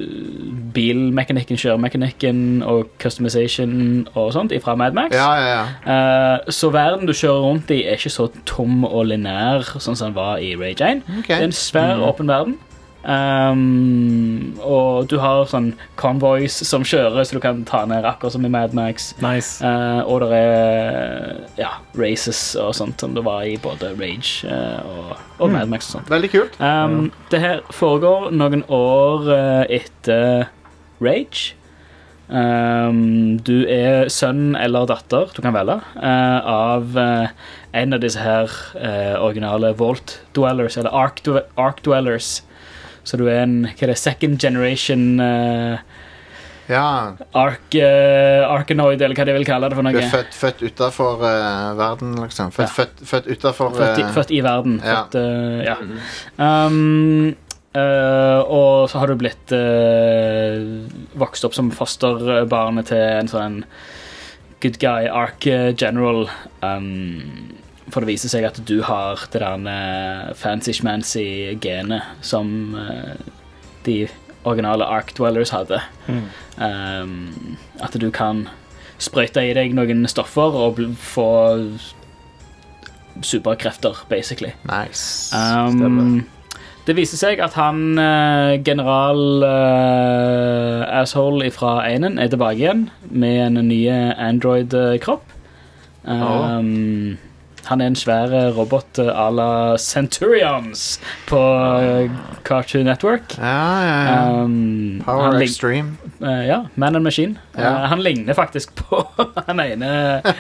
[SPEAKER 3] bilmekanikken, kjøremekanikken og customization og sånt ifra Mad Max.
[SPEAKER 1] Ja, ja, ja.
[SPEAKER 3] Eh, så verden du kjører rundt i, er ikke så tom og lineær sånn som den var i Rage 1.
[SPEAKER 1] Ok.
[SPEAKER 3] Det er en svær, åpen verden. Ehm, og du har sånn convoys som kjører, så du kan ta ned akkurat som i Mad Max.
[SPEAKER 4] Nice.
[SPEAKER 3] Eh, og det er ja, races og sånt som det var i både Rage eh, og, og Mad Max. og sånt
[SPEAKER 1] Veldig kult.
[SPEAKER 3] Um, Det her foregår noen år eh, etter Rage. Um, du er sønn eller datter, du kan velge, eh, av eh, en av disse her eh, originale Vault Dwellers, eller Ark, Dwe- Ark Dwellers. Så du er en hva er det, second generation eh,
[SPEAKER 1] Ja,
[SPEAKER 3] Ark, eh, Arkanoid, eller hva de vil kalle det for
[SPEAKER 1] Du er
[SPEAKER 3] noe.
[SPEAKER 1] født, født utafor verden, liksom. Født,
[SPEAKER 3] Ja.
[SPEAKER 1] født, født utafor
[SPEAKER 3] Født i, født i verden.
[SPEAKER 1] Eh, ja.
[SPEAKER 3] Født, eh, ja. Um, eh, og så har du blitt eh, vokst opp som fosterbarnet til en sånn good guy ark eh, general. Um, for det viser seg at du har det der fancy-schmancy genet som eh, de originale ark dwellers hadde. Um, at du kan sprøyte i deg noen stoffer og bl- få superkrefter, basically.
[SPEAKER 1] Nice.
[SPEAKER 3] Um, det viser seg at han eh, general eh, asshole fra Einen er tilbake igjen med en ny android-kropp. Um, Han er en svær eh, robot eh, à la Centurions på eh, Cartoon Network. Um,
[SPEAKER 1] Power
[SPEAKER 3] han lig-
[SPEAKER 1] Extreme.
[SPEAKER 3] eh, ja, Man and Machine.
[SPEAKER 1] Ja.
[SPEAKER 3] Eh, han ligner faktisk på <laughs> han ene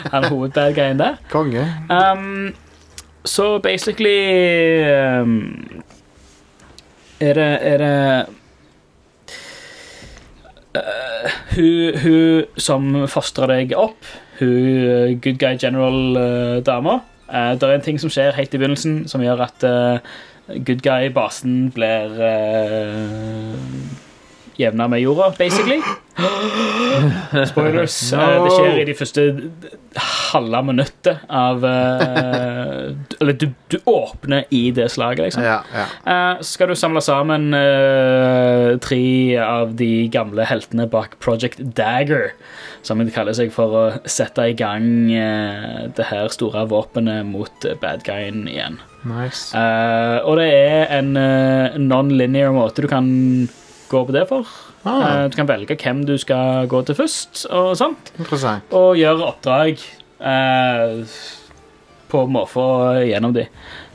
[SPEAKER 3] han hovedbadguyen der.
[SPEAKER 1] Konge.
[SPEAKER 3] Um, så basically um, Er det, er det Eh, hun, hun som fostrer deg opp, hun eh, good guy general-dama Eh, Det er en ting som skjer helt i begynnelsen som gjør at eh, good guy-basen blir uh, jevna med jorda, basically. Spoilers. Eh, det skjer i de første halve minuttet av eh, du- Eller du, du åpner i det slaget, liksom.
[SPEAKER 1] Ja, ja.
[SPEAKER 3] Eh, så skal du samle sammen eh, tre av de gamle heltene bak Project Dagger, som de kaller seg for å sette i gang eh, det her store våpenet mot eh, bad guyen igjen.
[SPEAKER 1] Nice.
[SPEAKER 3] Eh, og det er en eh, non-linear måte du kan gå på det for.
[SPEAKER 1] Ah.
[SPEAKER 3] Eh, du kan velge hvem du skal gå til først, og sånn. sånt.
[SPEAKER 1] Interessant.
[SPEAKER 3] Og gjøre oppdrag eh, på måfå gjennom de.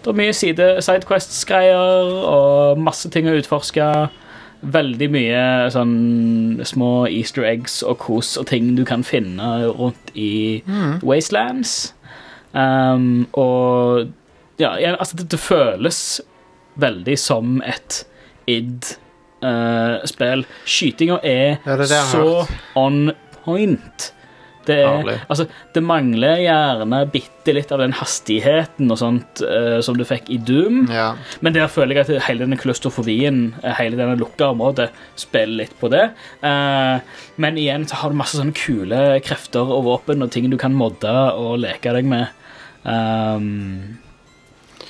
[SPEAKER 3] Det er mye side, sidequests-greier og masse ting å utforske. Veldig mye sånn små easter eggs og kos og ting du kan finne rundt i
[SPEAKER 1] Mhm.
[SPEAKER 7] Mm.
[SPEAKER 3] Wastelands. Um, og ja, ja, altså det, det føles veldig som et id-spill. Skytinga er,
[SPEAKER 1] Ja, det er det jeg har
[SPEAKER 3] så on point. Det, er,
[SPEAKER 1] Herlig.
[SPEAKER 3] altså, det mangler gjerne bitte litt av den hastigheten og sånt eh, som du fikk i Doom. Men der føler jeg at hele denne klaustrofobien, eh, hele denne lukka området, spiller litt på det. Eh, men igjen så har du masse sånne kule krefter og våpen og ting du kan modde og leke deg med. Um,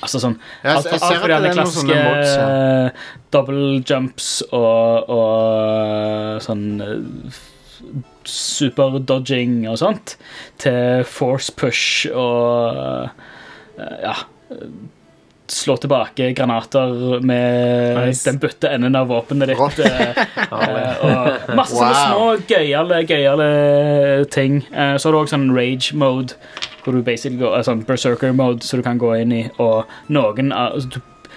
[SPEAKER 3] altså sånn
[SPEAKER 1] Ja,
[SPEAKER 3] Alt
[SPEAKER 1] jeg ser
[SPEAKER 3] alt fra
[SPEAKER 1] at
[SPEAKER 3] de
[SPEAKER 1] det er noen sånne
[SPEAKER 3] klassiske
[SPEAKER 1] mods, ja.
[SPEAKER 3] eh, double jumps og, og sånn eh, f- super dodging og sånt, til force push og eh, ja Slå tilbake granater med
[SPEAKER 4] Nice.
[SPEAKER 3] den butte enden av våpenet ditt. eh, eh, og masse sånne små
[SPEAKER 4] Wow.
[SPEAKER 3] gøyale, gøyale ting. Eh, Så har du også sånn rage mode, hvor du basically går, eh, sånn berserker mode, så du kan gå inn i, og noen av- altså, du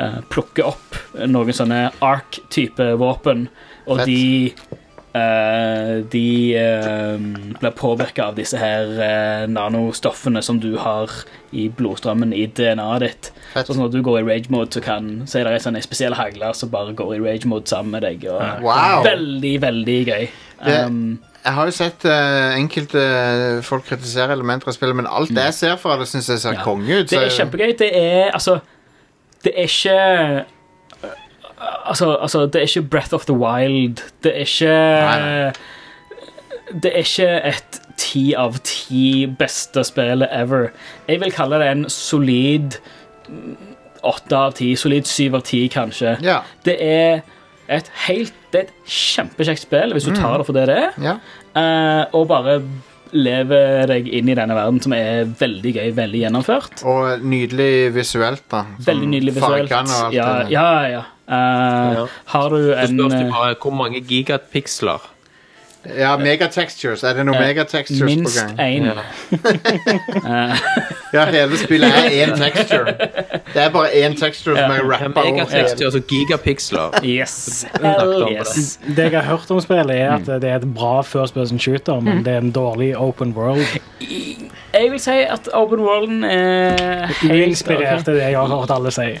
[SPEAKER 3] eh, plukker opp noen sånne ark-type våpen, og
[SPEAKER 1] Fett.
[SPEAKER 3] de eh, de eh, blir påvirka av disse her eh, nanostoffene som du har i blodstrømmen i DNA-et ditt. Så når du går i rage mode, så, kan, så er det en sånn spesiell hagle som bare går i rage mode sammen med deg. Og,
[SPEAKER 1] Wow.
[SPEAKER 3] Veldig, veldig gøy.
[SPEAKER 1] Det,
[SPEAKER 3] Um,
[SPEAKER 1] jeg har jo sett eh, enkelte eh, folk kritisere elementer av spillet, men alt jeg ser fra det, syns jeg ser konge ut.
[SPEAKER 3] Mm. det er kjempegøy. Det er altså Det er ikke Altså, altså det er ikke Breath of the Wild. Det er ikke Det er ikke et ti av ti beste spillet ever. Jeg vil kalle det en solid mm, åtte av ti. Solid syv av ti, kanskje. Det er et helt Det er et kjempekjekt spill, hvis du
[SPEAKER 1] Mm.
[SPEAKER 3] tar det for det det er. Eh, og bare lever deg inn i denne verden, som er veldig gøy, veldig gjennomført.
[SPEAKER 1] Og nydelig visuelt, da. Sånn
[SPEAKER 3] Veldig nydelig visuelt.
[SPEAKER 1] fargene og alt
[SPEAKER 3] ja,
[SPEAKER 1] det.
[SPEAKER 3] ja, ja. Eh, Har du
[SPEAKER 5] Så
[SPEAKER 3] en eh,
[SPEAKER 5] spørs det bare hvor mange gigapiksler.
[SPEAKER 1] Ja, megatextures. Er det noe
[SPEAKER 3] Eh,
[SPEAKER 1] megatextures
[SPEAKER 3] minst
[SPEAKER 1] på gang?
[SPEAKER 3] én. Ja.
[SPEAKER 1] ja, hele spillet er én texture. Det er bare én texture som er rappa
[SPEAKER 5] Megatextur, altså gigapiksler.
[SPEAKER 3] Yes.
[SPEAKER 4] Det jeg har hørt om spillet, er at det er et bra first person shooter, men
[SPEAKER 3] Mm.
[SPEAKER 4] det er en dårlig open <laughs> world.
[SPEAKER 3] Jeg vil si at Open Worlden er helt
[SPEAKER 4] Uinspirert er det jeg har hørt alle si.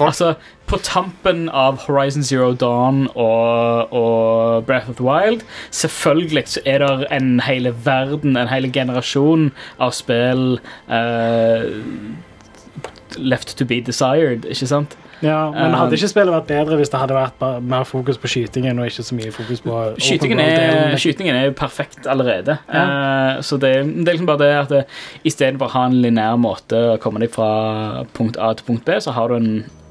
[SPEAKER 3] Altså, på tampen av Horizon Zero Dawn og, og Breath of the Wild Selvfølgelig så er det en hele verden, en hele generasjon av spill eh, left to be desired, ikke sant?
[SPEAKER 4] Ja,
[SPEAKER 3] Um,
[SPEAKER 4] men hadde ikke spillet vært bedre hvis det hadde vært bare mer fokus på skytingen og ikke så mye fokus på open
[SPEAKER 3] Skytingen
[SPEAKER 4] world-delen?
[SPEAKER 3] er, skytingen er jo perfekt allerede. Eh, så det, det er liksom bare det at eh, istedenfor å ha en lineær måte å komme deg fra punkt A til punkt B, så har du en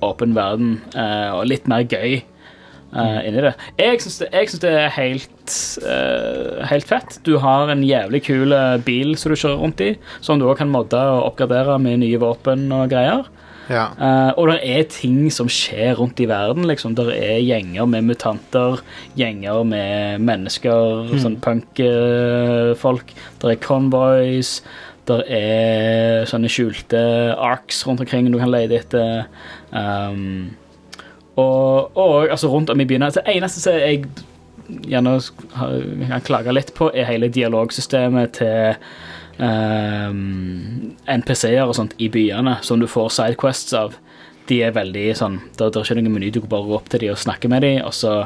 [SPEAKER 3] åpen verden eh, og litt mer gøy eh, inni det. Jeg syns det, jeg syns det er helt, eh, helt fett. Du har en jævlig kul eh, bil som du kjører rundt i, som du også kan modde og oppgradere med nye våpen og greier.
[SPEAKER 1] Ja.
[SPEAKER 3] Eh, og det er ting som skjer rundt i verden. Liksom. Det er gjenger med mutanter, gjenger med mennesker,
[SPEAKER 4] Mm.
[SPEAKER 3] sånn punkfolk. Uh, det er convoys, Der er sånne skjulte arcs rundt omkring du kan lete etter. Um, og, og altså rundt om i byen. Altså, det eneste som jeg gjerne har- kan klage litt på, er hele dialogsystemet til um, NPC-er og sånt i byene, som du får sidequests av. De er veldig sånn Der, der er ikke noen meny, du kan bare gå opp til dem og snakke med dem, og så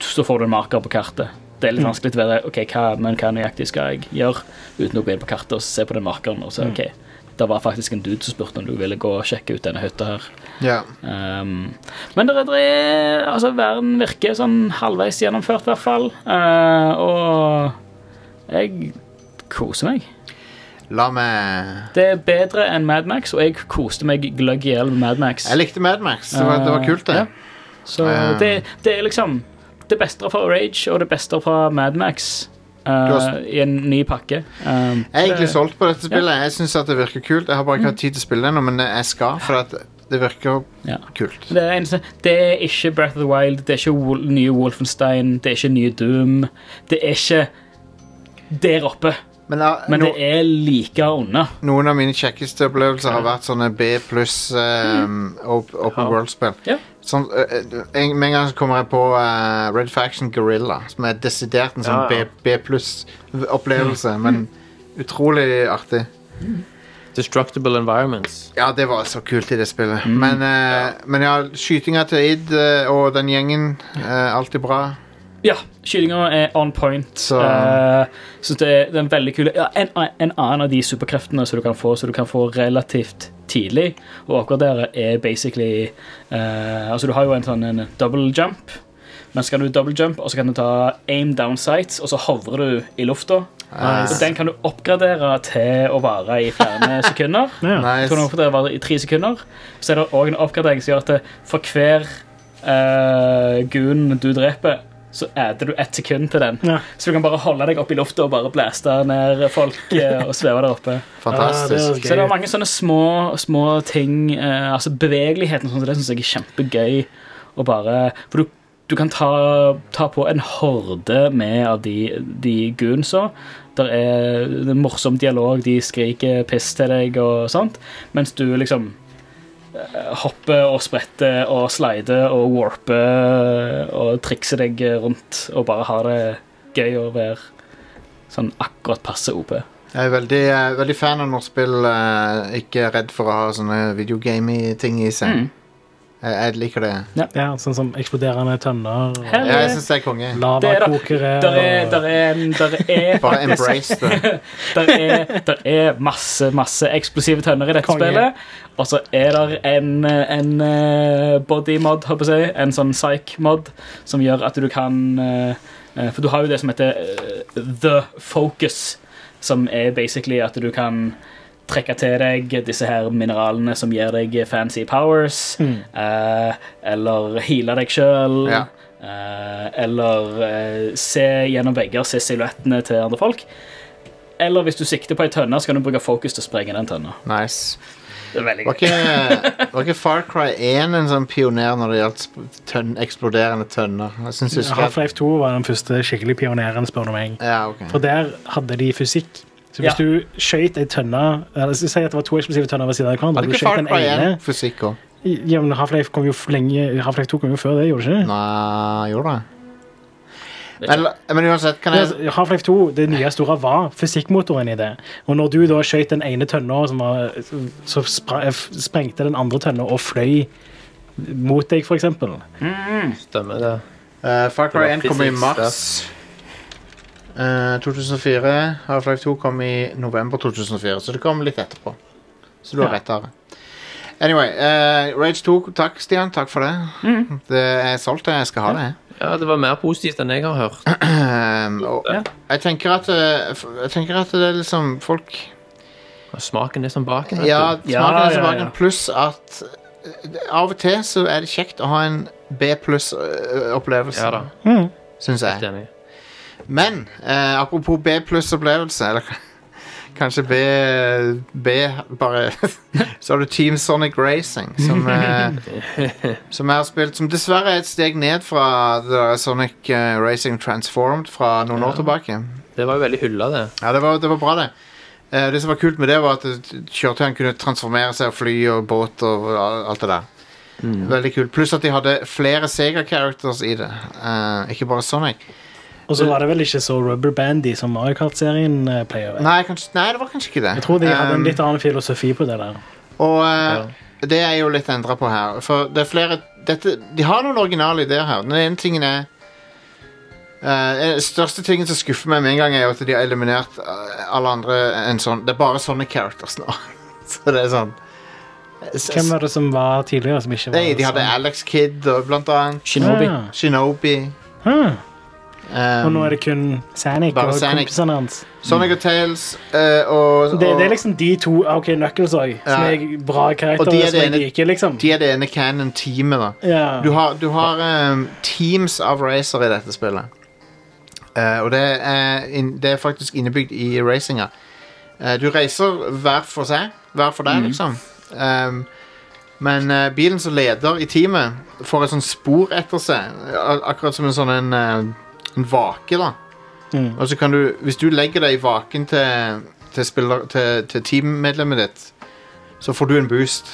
[SPEAKER 3] Så får du en marker på kartet. Det er litt
[SPEAKER 4] Mm.
[SPEAKER 3] vanskelig å være OK, hva, men hva nøyaktig skal jeg gjøre, uten å gå inn på kartet og se på den markeren og se
[SPEAKER 4] Mm.
[SPEAKER 3] OK, det var faktisk en dude som spurte om du ville gå og sjekke ut denne hytta her.
[SPEAKER 1] Ja.
[SPEAKER 3] Um, men det er, det er Altså, verden virker sånn halvveis gjennomført, i hvert fall. Eh, og jeg koser meg.
[SPEAKER 1] La meg
[SPEAKER 3] Det er bedre enn Mad Max, og jeg koste meg gløgg i hjel med Mad Max.
[SPEAKER 1] Jeg likte Mad Max. Det var, det var kult, det.
[SPEAKER 3] Ja. Så
[SPEAKER 1] Eh.
[SPEAKER 3] det, det er liksom det beste fra Rage og det beste fra Mad Max eh,
[SPEAKER 1] har s-
[SPEAKER 3] i en ny pakke.
[SPEAKER 1] Jeg
[SPEAKER 3] Um,
[SPEAKER 1] er egentlig
[SPEAKER 3] det-
[SPEAKER 1] solgt på dette spillet. Jeg synes at det virker kult. Jeg har bare ikke hatt tid til å spille det ennå, men jeg skal, for at det virker
[SPEAKER 3] Mm. Ja.
[SPEAKER 1] kult.
[SPEAKER 3] Det er, eneste, det er ikke Breath of the Wild, det er ikke Wol- nye Wolfenstein, det er ikke nye Doom. Det er ikke der oppe,
[SPEAKER 1] Men, ja,
[SPEAKER 3] men
[SPEAKER 1] no,
[SPEAKER 3] det er like unna.
[SPEAKER 1] noen av mine kjekkeste opplevelser har vært sånne B pluss ehm, op, Open World-spill.
[SPEAKER 3] Mm. Ja.
[SPEAKER 1] Sånn, eh, eh, en- Med en gang så kommer jeg på eh, Red Faction Gorilla, som er desidert en sånn
[SPEAKER 5] Ja, ja.
[SPEAKER 1] B, B pluss-opplevelse,
[SPEAKER 3] Mm.
[SPEAKER 1] men utrolig artig.
[SPEAKER 5] Destructible environments.
[SPEAKER 1] Ja, det var så kult i det spillet.
[SPEAKER 3] Mm.
[SPEAKER 1] Men, eh, men ja, skytinga til Id eh, og den gjengen, eh, alltid bra.
[SPEAKER 3] Ja, skytinga er on point.
[SPEAKER 1] Så-
[SPEAKER 3] Eh, så det er, det er en veldig kul ja, en, en annen av de superkreftene som du kan få, som du kan få relativt tidlig og oppgradere, er basically eh, Altså, du har jo en sånn en double jump, men så kan du double jump, og så kan du ta aim down sights, og så hovrer du i lufta. Og den kan du oppgradere til å vare i <laughs> flere sekunder. Jeg tror den
[SPEAKER 1] Nice.
[SPEAKER 3] oppgraderer varer i tre sekunder. Så er det òg en oppgradering som gjør at det- for hver uh, goon du dreper, så adder du ett sekund til den.
[SPEAKER 4] Ja.
[SPEAKER 3] Så du kan bare holde deg opp i lufta og bare blæste ned folk eh, og sveve der oppe.
[SPEAKER 1] Fantastisk.
[SPEAKER 3] Så det er mange sånne små, små ting eh, Altså bevegeligheten og sånt, det syns jeg er kjempegøy. Og bare, for du, du kan ta, ta på en horde med av de, de goonsa. Der er det er morsom dialog, de skriker piss til deg og sånt, mens du liksom eh, hopper og spretter og slider og warper eh, og trikser deg rundt og bare har det gøy å være sånn akkurat passe OP.
[SPEAKER 1] Jeg er veldig, eh, veldig fan av når spill eh, ikke er redd for å ha sånne videogame-ting i seg.
[SPEAKER 3] Mm.
[SPEAKER 1] Jeg, jeg liker det.
[SPEAKER 4] Ja, sånn som eksploderende tønner, og
[SPEAKER 3] Hell
[SPEAKER 1] Ja,
[SPEAKER 3] yeah.
[SPEAKER 1] jeg syns det er konge.
[SPEAKER 4] lavakokere
[SPEAKER 3] Der er,
[SPEAKER 4] og-
[SPEAKER 3] der er, en- der er,
[SPEAKER 1] Bare embrace det.
[SPEAKER 3] der er, der er masse, masse eksplosive tønner i dette
[SPEAKER 4] Konge.
[SPEAKER 3] spillet. Og så er det en, eh, en eh, body mod, håper jeg, å si, en sånn psych mod, som gjør at du kan eh, eh, For du har jo det som heter eh, the focus, som er basically at du kan trekke til deg disse her mineralene som gir deg fancy powers,
[SPEAKER 1] Hmm.
[SPEAKER 3] eh, eller heale deg sjøl.
[SPEAKER 1] Ja.
[SPEAKER 3] Eh, eller eh, se gjennom vegger, se silhuettene til andre folk. Eller hvis du sikter på ei tønne, så kan du bruke fokus til å sprenge den tønna.
[SPEAKER 1] Nice.
[SPEAKER 3] Det er veldig
[SPEAKER 1] Var
[SPEAKER 3] gøy.
[SPEAKER 1] ikke, var ikke Far Cry 1 en sånn pioner når det gjaldt sp- tønn, eksploderende tønner? Jeg synes jeg husker
[SPEAKER 4] Half-Life 2 var den første skikkelig pioneren, spør du meg.
[SPEAKER 1] Ja, ok.
[SPEAKER 4] For der hadde de fysikk. Så
[SPEAKER 3] Ja.
[SPEAKER 4] hvis du skøyt ei tønne eller Si at det var to eksplosive tønner ved siden av hverandre.
[SPEAKER 1] Hadde
[SPEAKER 4] Du
[SPEAKER 1] ikke
[SPEAKER 4] skjøt
[SPEAKER 1] Far
[SPEAKER 4] den
[SPEAKER 1] Cry 1
[SPEAKER 4] ene
[SPEAKER 1] fysikk òg?
[SPEAKER 4] Ja, men Half-Life kom jo f- lenge Half-Life 2 kom jo før det, gjorde det ikke det?
[SPEAKER 1] Nei, gjorde det? Men, men uansett, kan
[SPEAKER 4] Ja,
[SPEAKER 1] jeg
[SPEAKER 4] altså, Half-Life 2, det nye store, var fysikkmotoren i det. Og når du da skøyt den ene tønna, som var- så spra- f- sprengte den andre tønna og fløy mot deg, for eksempel.
[SPEAKER 5] Stemmer det.
[SPEAKER 1] Eh, Far
[SPEAKER 5] Det
[SPEAKER 1] Cry
[SPEAKER 5] var
[SPEAKER 1] 1 kom i
[SPEAKER 5] precis
[SPEAKER 1] mars eh, 2004. Half-Life 2 kom i november 2004, så det kom litt etterpå. Så du har
[SPEAKER 3] Ja.
[SPEAKER 1] rett der. Anyway, eh, Rage 2, takk Stian, takk for det.
[SPEAKER 3] Mm.
[SPEAKER 1] Det er solgt, det. Jeg skal ha det. jeg.
[SPEAKER 5] Ja, det var mer positivt enn jeg har hørt.
[SPEAKER 1] Ehm, og jeg tenker at eh, f- Jeg tenker at det er liksom folk
[SPEAKER 5] Smaken er som baken. vet
[SPEAKER 1] Ja,
[SPEAKER 5] du.
[SPEAKER 1] smaken er
[SPEAKER 3] ja,
[SPEAKER 1] som
[SPEAKER 3] ja.
[SPEAKER 1] baken, pluss at eh, av og til så er det kjekt å ha en B pluss-opplevelse,
[SPEAKER 5] ja da.
[SPEAKER 1] syns jeg.
[SPEAKER 5] Enig.
[SPEAKER 1] Men eh, apropos B pluss opplevelse, eller kanskje B, B bare <laughs> Så har du Team Sonic Racing, som, eh, som jeg har spilt Som dessverre er et steg ned fra det der Sonic eh, Racing Transformed fra noen år tilbake.
[SPEAKER 5] Det Det var jo veldig hylla, det.
[SPEAKER 1] Ja, det var, det var bra, det. Eh, det som var kult med det, var at eh, kjøretøyene kunne transformere seg og fly og båt og al- alt det der. Veldig kult. Pluss at de hadde flere Sega-characters i det. Eh, ikke bare Sonic.
[SPEAKER 4] Og så var det vel ikke så rubber bandy som Mario Kart-serien eh, pleier å være.
[SPEAKER 1] Nei, kanskje, nei, det var kanskje ikke det.
[SPEAKER 4] Jeg tror de hadde
[SPEAKER 1] Um,
[SPEAKER 4] en litt annen filosofi på det der.
[SPEAKER 1] Og eh, det er jo litt endra på her. For det er flere dette, De har noen originale ideer her. Den ene tingen er eh, Den største tingen som skuffer meg med en gang, er jo at de har eliminert eh, alle andre enn sånn Det er bare sånne characters nå. <laughs> Så det er sånn S-
[SPEAKER 4] Hvem sånn? var det som var tidligere som ikke var
[SPEAKER 1] Nei, de hadde Alex Kidd og blant annet.
[SPEAKER 4] Shinobi. Ja.
[SPEAKER 1] Shinobi.
[SPEAKER 4] Hmm.
[SPEAKER 1] Um,
[SPEAKER 4] Og nå er det kun Sanic
[SPEAKER 1] bare
[SPEAKER 4] og
[SPEAKER 1] Sanic.
[SPEAKER 4] kompisene hans.
[SPEAKER 1] Sonic og Tales eh, og, og
[SPEAKER 4] Det, det er liksom de to ah, Ok, Knuckles òg, som
[SPEAKER 1] Ja.
[SPEAKER 4] er bra
[SPEAKER 1] Og de
[SPEAKER 4] karakterer
[SPEAKER 1] er
[SPEAKER 4] som
[SPEAKER 1] det
[SPEAKER 4] jeg
[SPEAKER 1] ene,
[SPEAKER 4] liker, liksom.
[SPEAKER 1] de er det ene canon-teamet, da.
[SPEAKER 4] Ja.
[SPEAKER 1] Du har, du har um, teams av racer i dette spillet. Eh, og det er, inn- det er faktisk innebygd i racinga. Eh, du racer hver for seg. Hver for deg, liksom. Um, men eh, bilen som leder i teamet, får et sånt spor etter seg. Ak- Akkurat som en sånn en, eh, en vake, da.
[SPEAKER 4] Mm.
[SPEAKER 1] Og så kan du, hvis du legger deg i vaken til, til, spiller, til, til teammedlemmet ditt, så får du en boost.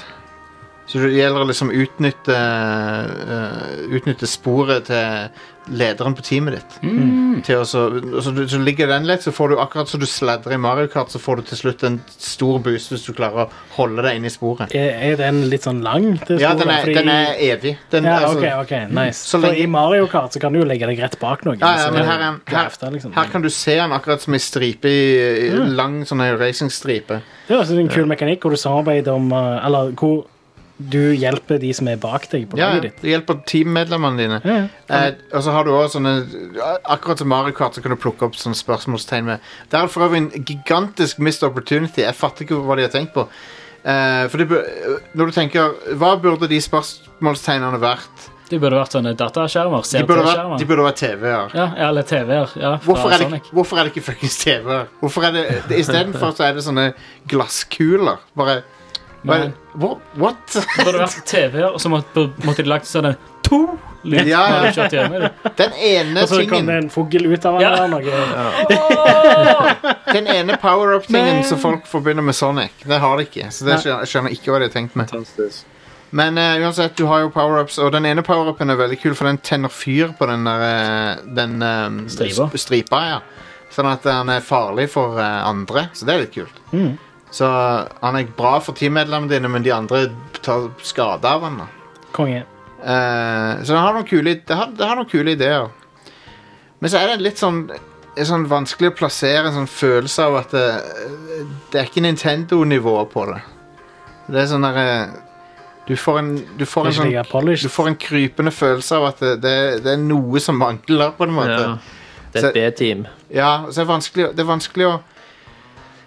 [SPEAKER 1] Så det gjelder å liksom utnytte, eh, utnytte sporet til lederen på teamet ditt.
[SPEAKER 4] Mm.
[SPEAKER 1] Til å så, og så, du- så ligger den litt, så får du akkurat som du sladrer i Mario Kart, så får du til slutt en stor boost hvis du klarer å holde deg inne i sporet.
[SPEAKER 4] Er, er den litt sånn lang? det
[SPEAKER 1] Ja,
[SPEAKER 4] sporet?
[SPEAKER 1] den er,
[SPEAKER 4] Fordi-
[SPEAKER 1] den er evig. Den,
[SPEAKER 4] ja,
[SPEAKER 1] altså-
[SPEAKER 4] ok, ok, nice.
[SPEAKER 1] Så
[SPEAKER 4] For
[SPEAKER 1] lenge-
[SPEAKER 4] I Mario Kart så kan du jo legge deg rett bak noen.
[SPEAKER 1] Ja, ja,
[SPEAKER 4] så
[SPEAKER 1] men
[SPEAKER 4] det er
[SPEAKER 1] her er-
[SPEAKER 4] jo drafta, liksom.
[SPEAKER 1] Her kan du se den akkurat som ei stripe i, i lang sånn her racingstripe.
[SPEAKER 4] Det er også en kul mekanikk hvor du samarbeider om eh, Eller hvor du hjelper de som er bak deg på
[SPEAKER 1] Ja, ja,
[SPEAKER 4] laget ditt.
[SPEAKER 1] det hjelper teammedlemmene dine.
[SPEAKER 4] Ja, ja.
[SPEAKER 1] Eh, og så har du også sånne Akkurat som Mario Kart så kan du plukke opp sånne spørsmålstegn med Det er for øvrig en gigantisk missed opportunity. Jeg fatter ikke hva de har tenkt på. Eh, for det, bur- når du tenker Hva burde de spørsmålstegnene vært?
[SPEAKER 3] De burde vært sånne dataskjermer.
[SPEAKER 1] De burde vært, de
[SPEAKER 3] CRT-skjermer.
[SPEAKER 1] burde vært TV-er.
[SPEAKER 3] Ja, ja, eller TV-er. Ja, fra
[SPEAKER 1] Hvorfor er, det,
[SPEAKER 3] Sonic.
[SPEAKER 1] hvorfor er det ikke fuckings TV-er? Hvorfor er det, det Istedenfor så er det sånne glasskuler. Bare, bare
[SPEAKER 3] Men-
[SPEAKER 1] What? what? <laughs>
[SPEAKER 3] Det burde vært TV-er, og så måtte, måtte de lagt sånn en to-lyd.
[SPEAKER 1] Ja, ja.
[SPEAKER 3] når de kjørte gjennom det.
[SPEAKER 1] Den ene
[SPEAKER 4] Og så kom
[SPEAKER 1] tingen
[SPEAKER 4] Altså, det en fugl ut av den
[SPEAKER 3] Ja.
[SPEAKER 4] eller noe.
[SPEAKER 1] Den ene power-up-tingen som folk forbinder med Sonic, det har de ikke. Så det skjønner, jeg skjønner ikke hva de har tenkt med. Men eh, uansett, du har jo power-ups, og den ene power-upen er veldig kul, for den tenner fyr på den der eh, den, eh,
[SPEAKER 3] Stripa.
[SPEAKER 1] sp- stripa. ja. Sånn at han er farlig for eh, andre, så det er litt kult.
[SPEAKER 4] Mhm.
[SPEAKER 1] Så eh, han er bra for teammedlemmene dine, men de andre tar skade av han. da.
[SPEAKER 4] Konge.
[SPEAKER 1] Eh, så det har, noen kule, det, har, det har noen kule ideer. Men så er det litt sånn, det er sånn vanskelig å plassere en sånn følelse av at det, det er ikke Nintendo-nivået på det. Det er sånn derre du, får en- du, får
[SPEAKER 4] Kan
[SPEAKER 1] en
[SPEAKER 4] ikke
[SPEAKER 1] sånn,
[SPEAKER 4] ligge polished.
[SPEAKER 1] du får en krypende følelse av at det, det, det er noe som mangler, på en måte.
[SPEAKER 5] Ja. Det er
[SPEAKER 1] Så-
[SPEAKER 5] et B-team.
[SPEAKER 1] Ja, så er det, vanskelig, det er vanskelig å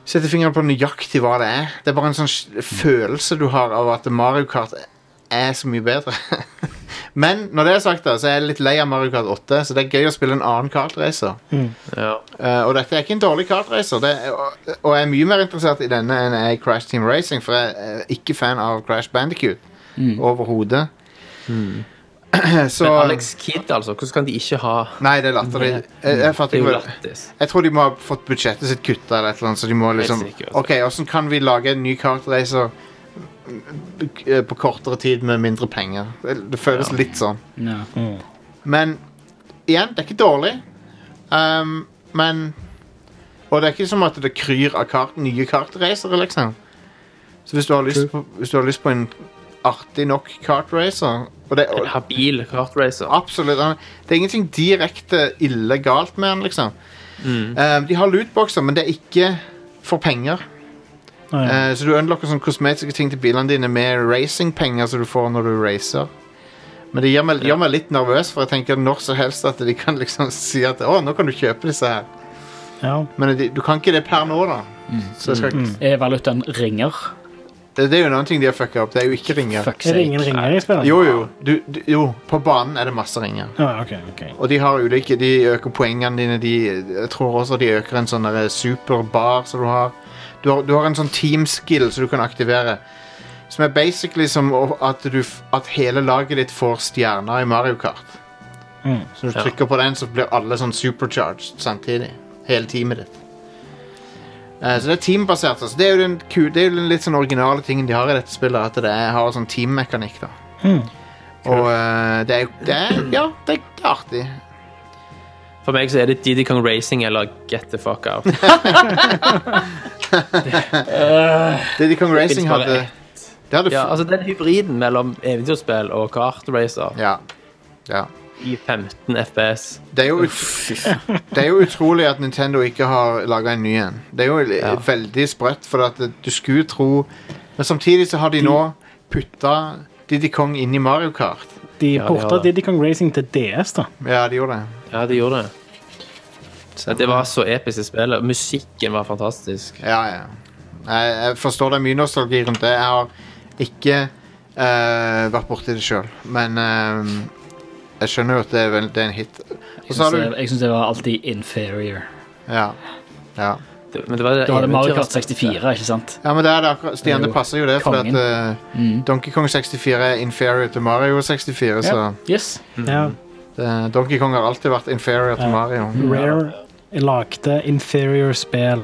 [SPEAKER 1] sette fingeren på nøyaktig hva det er. Det er bare en sånn sj- følelse du har av at Mario Kart er så mye bedre. <laughs> Men når det er sagt, da, så er jeg litt lei av Mario Kart 8, så det er gøy å spille en annen kartracer.
[SPEAKER 5] Ja.
[SPEAKER 1] Eh, og dette er ikke en dårlig kartracer, det er, og, og jeg er mye mer interessert i denne enn jeg er i Crash Team Racing, for jeg er ikke fan av Crash Bandicoot overhodet. <clears throat> så
[SPEAKER 5] Mm. Men Alex Kidd, altså. Hvordan kan de ikke ha
[SPEAKER 1] Nei, det er latterlig. Jeg, jeg
[SPEAKER 5] Det
[SPEAKER 1] fatter
[SPEAKER 5] er
[SPEAKER 1] ikke
[SPEAKER 5] jo
[SPEAKER 1] hva
[SPEAKER 5] lættis.
[SPEAKER 1] jeg tror de må ha fått budsjettet sitt kutta eller et eller annet, så de må liksom
[SPEAKER 5] sikkert.
[SPEAKER 1] Ok, hvordan kan vi lage en ny kartracer eh, på kortere tid med mindre penger? Det- Det føles litt sånn.
[SPEAKER 3] Ja.
[SPEAKER 4] Mm.
[SPEAKER 1] Men igjen, det er ikke dårlig. Um, men Og det er ikke som at det kryr av kart, nye kartracere, liksom. Så hvis du har lyst på, hvis du har lyst på en artig nok kartracer og det, og,
[SPEAKER 5] En habil kartracer.
[SPEAKER 1] Absolutt. Han- Det er ingenting direkte illegalt med han, liksom. Eh, de har lootboxer, men det er ikke for penger.
[SPEAKER 4] Nei.
[SPEAKER 1] Eh, så du unlocker sånne kosmetiske ting til bilene dine med racingpenger som du får når du racer. Men det gjør meg, gjør meg litt nervøs, for jeg tenker når som helst at de kan liksom <laughs> si at å, nå kan du kjøpe disse her.
[SPEAKER 4] Ja.
[SPEAKER 1] Men de, du kan ikke det per nå, da. Så jeg skal, ikke-
[SPEAKER 3] Er valutaen ringer?
[SPEAKER 1] det, det er jo en annen ting de har fucka opp. Det er jo ikke ringer.
[SPEAKER 3] Fuck
[SPEAKER 4] Er det
[SPEAKER 3] sake.
[SPEAKER 4] ingen ringer i spillet?
[SPEAKER 1] Jo, jo. Du, du, jo, på banen er det masse ringer.
[SPEAKER 4] Ja, ok, ok.
[SPEAKER 1] Og de har ulike, de øker poengene dine de, Jeg tror også de øker en sånn der superbar som du har. du har Du har en sånn team skill som du kan aktivere Som er basically som å- at, du, f- at hele laget ditt får stjerner i Mario Kart
[SPEAKER 4] Mm.
[SPEAKER 1] Så når du trykker på den så blir alle sånn supercharged samtidig hele teamet ditt. Eh, Så det er teambasert. Altså. Det er jo den, ku- det er jo den litt sånn originale tingen de har i dette spillet, at det er, har sånn teammekanikk. da. Og eh, det er jo det er, Ja, det er artig.
[SPEAKER 5] For meg så er det Didi Kong Racing eller Get the fuck <laughs> out.
[SPEAKER 1] Diddy Kong
[SPEAKER 5] Det
[SPEAKER 1] Racing
[SPEAKER 5] finnes bare
[SPEAKER 1] hadde
[SPEAKER 5] ett.
[SPEAKER 1] Det hadde
[SPEAKER 5] Ja, altså den hybriden mellom eventyrspill og kartracer
[SPEAKER 1] ja. ja.
[SPEAKER 5] i 15 FPS.
[SPEAKER 1] Det er, jo ut, <laughs> det er jo utrolig at Nintendo ikke har laga en ny en. Det er jo li-
[SPEAKER 5] Ja.
[SPEAKER 1] veldig sprøtt, for at du skulle tro Men samtidig så har de nå
[SPEAKER 5] Mm.
[SPEAKER 1] putta Didi Kong inn i Mario Kart.
[SPEAKER 4] De
[SPEAKER 5] de
[SPEAKER 4] porta
[SPEAKER 5] har det.
[SPEAKER 4] Diddy Kong Racing til DS, da.
[SPEAKER 1] Ja, de gjorde det.
[SPEAKER 5] Ja, de gjorde det. Så det var så episk i spillet. og Musikken var fantastisk.
[SPEAKER 1] Ja, ja. Jeg, jeg forstår det er mye nostalgi rundt det. Jeg har ikke eh, vært borti det sjøl, men eh, jeg skjønner jo at det er, vel, det er en hit. Og
[SPEAKER 3] Jeg
[SPEAKER 1] så har du
[SPEAKER 3] syns- Jeg syns det var alltid inferior.
[SPEAKER 1] Ja. Ja.
[SPEAKER 5] Det, men det var det
[SPEAKER 3] Du hadde Mario
[SPEAKER 1] altså.
[SPEAKER 3] Kart
[SPEAKER 5] eventyret-
[SPEAKER 3] 64, ikke sant?
[SPEAKER 1] Ja, men det er det akkurat. Stian, det passer jo det, for at
[SPEAKER 3] Kongen.
[SPEAKER 1] eh,
[SPEAKER 4] Mm.
[SPEAKER 1] Donkey Kong 64 er inferior til Mario 64, så
[SPEAKER 3] Yes.
[SPEAKER 1] Mm.
[SPEAKER 4] Ja.
[SPEAKER 1] det, Donkey Kong har alltid vært inferior til
[SPEAKER 4] Ja.
[SPEAKER 1] Mario.
[SPEAKER 4] Rare lagde inferior spill.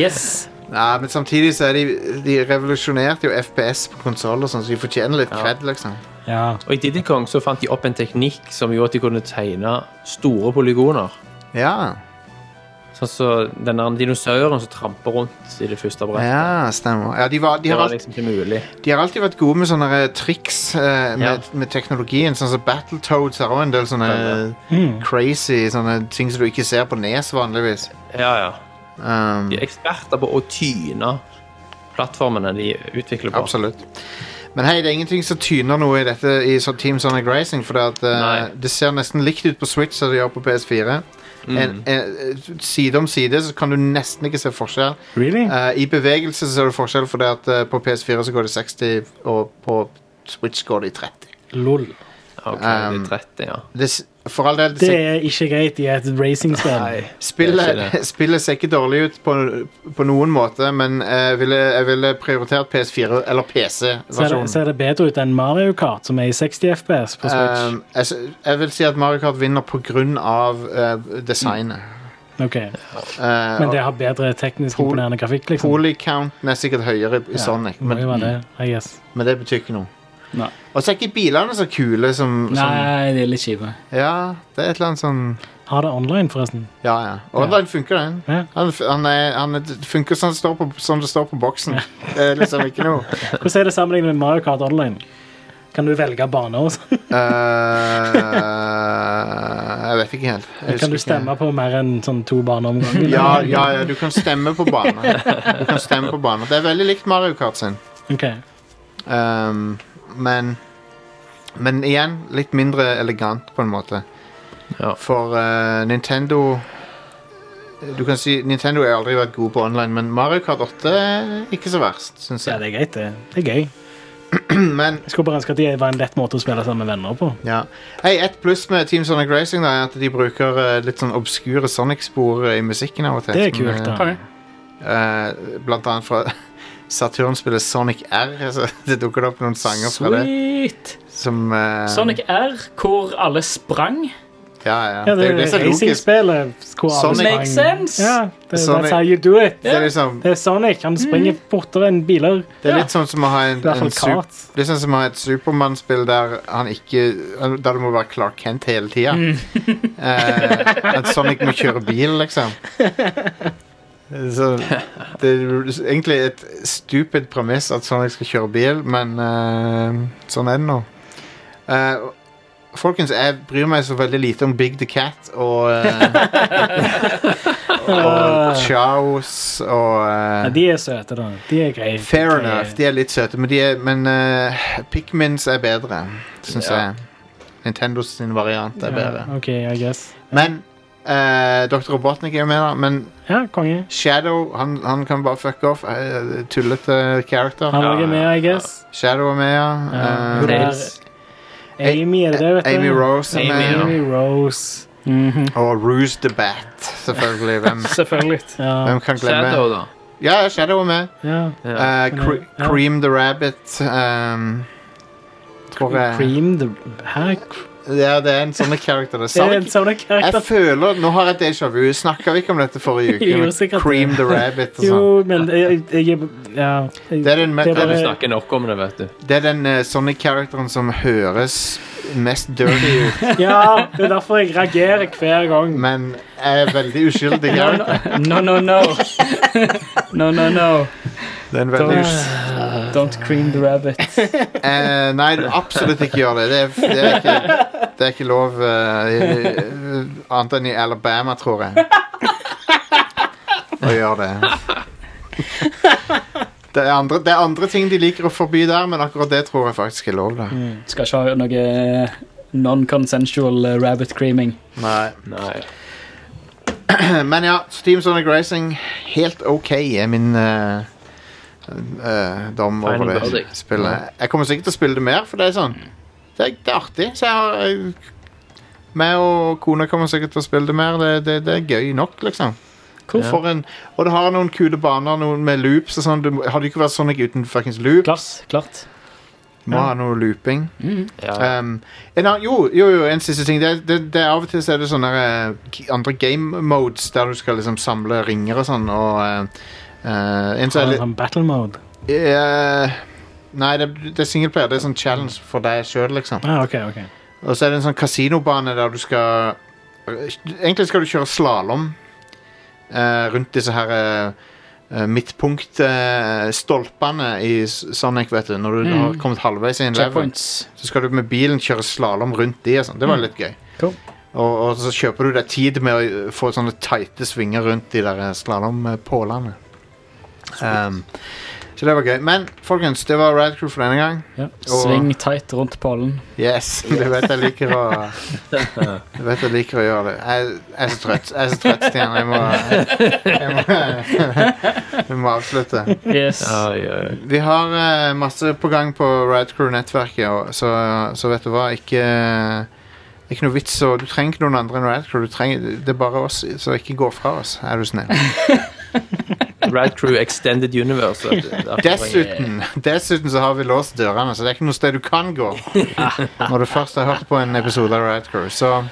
[SPEAKER 3] Yes.
[SPEAKER 1] Nei, men samtidig så er de De revolusjonerte jo FPS på konsoller, sånn, så de fortjener litt cred, liksom.
[SPEAKER 4] Ja.
[SPEAKER 5] Og i Diddy Kong så fant de opp en teknikk som gjorde at de kunne tegne store polygoner.
[SPEAKER 1] Ja,
[SPEAKER 5] Sånn som den der dinosauren som tramper rundt i det første brettet.
[SPEAKER 1] ja stemmer. Ja, de, var, de,
[SPEAKER 5] Det
[SPEAKER 1] har
[SPEAKER 5] var
[SPEAKER 1] alt,
[SPEAKER 5] liksom ikke mulig.
[SPEAKER 1] de har alltid vært gode med sånne eh, triks eh,
[SPEAKER 5] Ja.
[SPEAKER 1] med, med teknologien. Sånn som Battletoads har også en del sånne eh, crazy sånne ting som du ikke ser på nes vanligvis.
[SPEAKER 5] Ja, ja.
[SPEAKER 1] Um,
[SPEAKER 5] De er eksperter på å tyne plattformene de utvikler på.
[SPEAKER 1] Absolutt. Men hei, det er ingenting som tyner noe i dette i så- Team Sonic Racing, for det, at, eh,
[SPEAKER 5] Nei.
[SPEAKER 1] det ser nesten likt ut på Switch som det gjør på PS4.
[SPEAKER 5] Mm.
[SPEAKER 1] En, en, side om side så kan du nesten ikke se forskjell.
[SPEAKER 4] Really?
[SPEAKER 1] Eh, I bevegelse så ser du forskjell, for det at eh, på PS4 så går det 60, og på Switch går det i 30.
[SPEAKER 4] Lol.
[SPEAKER 5] Ok, de
[SPEAKER 1] Um,
[SPEAKER 5] er 30, ja.
[SPEAKER 1] Det, s- for all del, det
[SPEAKER 4] Det
[SPEAKER 1] ser,
[SPEAKER 4] er ikke greit i et racingspill.
[SPEAKER 5] Nei. det er ikke
[SPEAKER 1] spillet, <laughs> spillet ser ikke dårlig ut på, på noen måte, men eh, jeg ville, jeg ville prioritert PS4 eller
[SPEAKER 4] Ser det,
[SPEAKER 1] PC-versjonen.
[SPEAKER 4] ser det bedre ut enn Mario Kart, som er i 60 FPS på Switch?
[SPEAKER 1] Um, jeg, s- jeg vil si at Mario Kart vinner på grunn av eh, designet.
[SPEAKER 4] Ok,
[SPEAKER 1] Eh,
[SPEAKER 4] Mm. Men
[SPEAKER 1] og
[SPEAKER 4] det har bedre teknisk
[SPEAKER 1] Pol-
[SPEAKER 4] imponerende grafikk, liksom?
[SPEAKER 1] Polycounten er sikkert høyere i Sonic,
[SPEAKER 4] Må
[SPEAKER 1] men,
[SPEAKER 4] jo være det, I guess.
[SPEAKER 1] men det betyr ikke noe.
[SPEAKER 3] Nei.
[SPEAKER 1] Og så er ikke bilene så kule som, som
[SPEAKER 3] Nei, de er litt kjipe.
[SPEAKER 1] Ja, det er et eller annet sånn
[SPEAKER 4] Har det online, forresten.
[SPEAKER 1] Ja, ja. Online funker, den.
[SPEAKER 4] Ja.
[SPEAKER 1] Han, f- han, er, han er, funker sånn det, står på, sånn det står på boksen. Det er liksom ikke
[SPEAKER 4] <laughs>
[SPEAKER 1] noe
[SPEAKER 4] Hvordan er det sammenlignet med Mario Kart online? Kan du velge bane og sånn?
[SPEAKER 1] Eh, Jeg vet ikke helt. Jeg husker
[SPEAKER 4] Kan du
[SPEAKER 1] ikke.
[SPEAKER 4] stemme på mer enn sånn to baner om gangen?
[SPEAKER 1] Ja, ja, ja, du kan stemme på baner. Du kan stemme på baner. Det er veldig likt Mario Kart sin.
[SPEAKER 4] Ok.
[SPEAKER 1] Um, men Men igjen, litt mindre elegant, på en måte.
[SPEAKER 5] Ja.
[SPEAKER 1] For eh, Nintendo Du kan si Nintendo har aldri vært gode på online, men Mario Kart 8 er ikke så verst, syns
[SPEAKER 4] Ja,
[SPEAKER 1] jeg.
[SPEAKER 4] det er greit, det. Det er gøy.
[SPEAKER 1] <clears throat> Men
[SPEAKER 4] Jeg skulle bare ønske at det var en lett måte å spille sammen med venner på.
[SPEAKER 1] ja. Hei, ett pluss med Team Sonic Racing da, er at de bruker eh, litt sånn obskure Sonic-spor eh, i musikken av og til.
[SPEAKER 4] Det er
[SPEAKER 1] som,
[SPEAKER 4] kult, da.
[SPEAKER 3] Konge.
[SPEAKER 1] eh, eh, blant annet fra <laughs> Saturn-spillet Sonic R. <laughs> Så det dukker opp noen sanger fra det.
[SPEAKER 3] Sweet.
[SPEAKER 1] Som eh,
[SPEAKER 3] Sonic R, hvor alle sprang.
[SPEAKER 1] Ja, ja.
[SPEAKER 4] Ja, det er
[SPEAKER 1] det
[SPEAKER 4] jo
[SPEAKER 1] som er logisk.
[SPEAKER 4] racingspillet. hvor alle
[SPEAKER 1] Sonic-
[SPEAKER 4] sprang.
[SPEAKER 3] Makes sense.
[SPEAKER 4] Ja, det,
[SPEAKER 1] Sonic-
[SPEAKER 4] that's how you do it.
[SPEAKER 1] Det er liksom
[SPEAKER 4] Det er Sonic. Han springer
[SPEAKER 3] Mm.
[SPEAKER 4] fortere enn biler.
[SPEAKER 1] Det er litt sånn som å ha en,
[SPEAKER 4] I hvert
[SPEAKER 1] en
[SPEAKER 4] fall
[SPEAKER 1] sup-
[SPEAKER 4] kart.
[SPEAKER 1] Det er sånn som å ha et Supermann-spill der han ikke Der det må være Clark Kent hele tida.
[SPEAKER 4] Mm.
[SPEAKER 1] <laughs> Eh, at Sonic må kjøre bil,
[SPEAKER 4] <laughs>
[SPEAKER 1] liksom. Så det er jo egentlig et stupid premiss at Sonic skal kjøre bil, men eh, sånn er det nå. Eh, folkens, jeg bryr meg så veldig lite om Big the Cat og eh,
[SPEAKER 4] <laughs>
[SPEAKER 1] Og Chows og eh,
[SPEAKER 4] Ja, de er søte, da. De er greie.
[SPEAKER 1] Fair
[SPEAKER 4] De er-
[SPEAKER 1] enough. De er litt søte, men, de er, men eh, Pikmins er bedre, syns jeg. Nintendos sin variant er bedre.
[SPEAKER 4] Ja, OK, I guess.
[SPEAKER 1] Men eh, Dr. Robotnik er jo med, da. Men
[SPEAKER 4] Ja, konge.
[SPEAKER 1] Shadow han, han kan bare fucke off. Eh, tullete character.
[SPEAKER 4] Han òg er med, I guess.
[SPEAKER 1] Shadow er med, ja.
[SPEAKER 4] Ja.
[SPEAKER 1] Eh,
[SPEAKER 5] Nails.
[SPEAKER 4] Amy er det, vet du.
[SPEAKER 1] Amy Rose er
[SPEAKER 5] Amy,
[SPEAKER 1] med.
[SPEAKER 5] ja.
[SPEAKER 4] Amy Rose.
[SPEAKER 1] Og Ruse the Bat,
[SPEAKER 4] <laughs>
[SPEAKER 1] selvfølgelig. Hvem,
[SPEAKER 3] Selvfølgelig.
[SPEAKER 4] Ja.
[SPEAKER 1] hvem kan glemme
[SPEAKER 5] Shadow, da.
[SPEAKER 1] Ja, Shadow er med.
[SPEAKER 4] ja.
[SPEAKER 5] Ja.
[SPEAKER 1] Eh, Cre
[SPEAKER 4] Ja.
[SPEAKER 1] Cream the Rabbit. Um, eh, tror jeg
[SPEAKER 4] Cream the Hæ?
[SPEAKER 1] Ja, det er en sånn karakter. Det
[SPEAKER 4] Det er
[SPEAKER 1] sa
[SPEAKER 4] en sånn
[SPEAKER 1] Jeg
[SPEAKER 4] karakter.
[SPEAKER 1] føler, Nå har jeg déjà vu. Snakka vi ikke om dette forrige uke?
[SPEAKER 4] <laughs> Jo,
[SPEAKER 1] med
[SPEAKER 4] sikkert det.
[SPEAKER 1] Cream the Rabbit og sånn.
[SPEAKER 4] Jo, men jeg, jeg, jeg Ja.
[SPEAKER 1] Det er den, me-
[SPEAKER 4] Det er
[SPEAKER 5] Du
[SPEAKER 4] bare-
[SPEAKER 5] snakker nok om det, vet du.
[SPEAKER 1] det er den eh, sånne karakteren som høres mest dirty
[SPEAKER 4] <laughs>
[SPEAKER 1] ut,
[SPEAKER 4] ja, det er derfor jeg reagerer hver gang.
[SPEAKER 1] men er veldig uskyldig. character.
[SPEAKER 3] No, no, no. No, no, no.
[SPEAKER 1] Det er en veldig
[SPEAKER 3] Don't-
[SPEAKER 1] us
[SPEAKER 3] Don't cream the rabbit.
[SPEAKER 1] eh, nei, du absolutt ikke gjør det. Det er, det er, ikke, det er ikke lov eh, i- annet enn i Alabama, tror jeg. Å gjøre det. Det er, andre, det er andre ting de liker å forby der, men akkurat det tror jeg faktisk er lov. Da.
[SPEAKER 3] Skal ikke ha noe non-consensual eh, rabbit creaming.
[SPEAKER 1] Nei.
[SPEAKER 5] Nei.
[SPEAKER 1] Men ja, Steam Sonic Racing Helt ok er min eh, eh, dom
[SPEAKER 5] Final
[SPEAKER 1] over det
[SPEAKER 5] verdict.
[SPEAKER 1] spillet. Jeg kommer sikkert til å spille det mer, for det er sånn Det er, det er artig. Så jeg har jeg, meg og kona kommer sikkert til å spille det mer. Det, det, det er gøy nok, liksom. For en, og det har noen kule baner noen med loops og sånn. Du, må- hadde jo ikke vært Sonic uten fuckings loop.
[SPEAKER 3] Klart. klart.
[SPEAKER 1] Må ha noe looping.
[SPEAKER 5] Ja.
[SPEAKER 1] Um, en annen, jo, jo, jo, en siste ting. Det, er- det, det er Av og til så er det sånne eh, g- andre game modes der du skal liksom samle ringer og sånn, og eh, eh, en som er litt
[SPEAKER 4] Sånn battle mode.
[SPEAKER 1] eh, Nei, det, det er singleplayer. Det er sånn challenge for deg sjøl, liksom.
[SPEAKER 4] Ah, ok, ok. <laughs>
[SPEAKER 1] Og så er det en sånn kasinobane der du skal Egentlig skal du kjøre slalåm rundt disse her uh, midtpunktstolpene eh, i S- Sonic, vet du. Når du har kommet halvveis i en level.
[SPEAKER 3] Checkpoints.
[SPEAKER 1] Så skal du med bilen kjøre slalåm rundt de og sånn. Det var litt gøy.
[SPEAKER 3] Cool.
[SPEAKER 1] Og, og så kjøper du deg tid med å eh, få sånne tighte svinger rundt de der slalåmpålene. Um, så det var gøy. Men folkens, det var Radcrew for denne gang.
[SPEAKER 3] Ja. Sving tight rundt pollen.
[SPEAKER 1] Yes, <laughs> du vet jeg liker å Du vet jeg liker å gjøre det. Jeg, jeg er så trøtt, jeg er så trøtt, Stian. Jeg må, jeg må, vi må <laughs> avslutte.
[SPEAKER 3] Yes.
[SPEAKER 5] Oi, oi.
[SPEAKER 1] Vi har eh, masse på gang på Radcrew-nettverket, og- så, så vet du hva Ikke, ikke noe vits å Du trenger ikke noen andre enn Radcrew. Du trenger, det er bare oss, så ikke gå fra oss, er du snill.
[SPEAKER 5] Rad Crew Extended Universe. vet du. Derfor-
[SPEAKER 1] Dessuten, dessuten så har vi låst dørene, så det er ikke noe sted du kan gå når du først har hørt på en episode av Radcrew. Så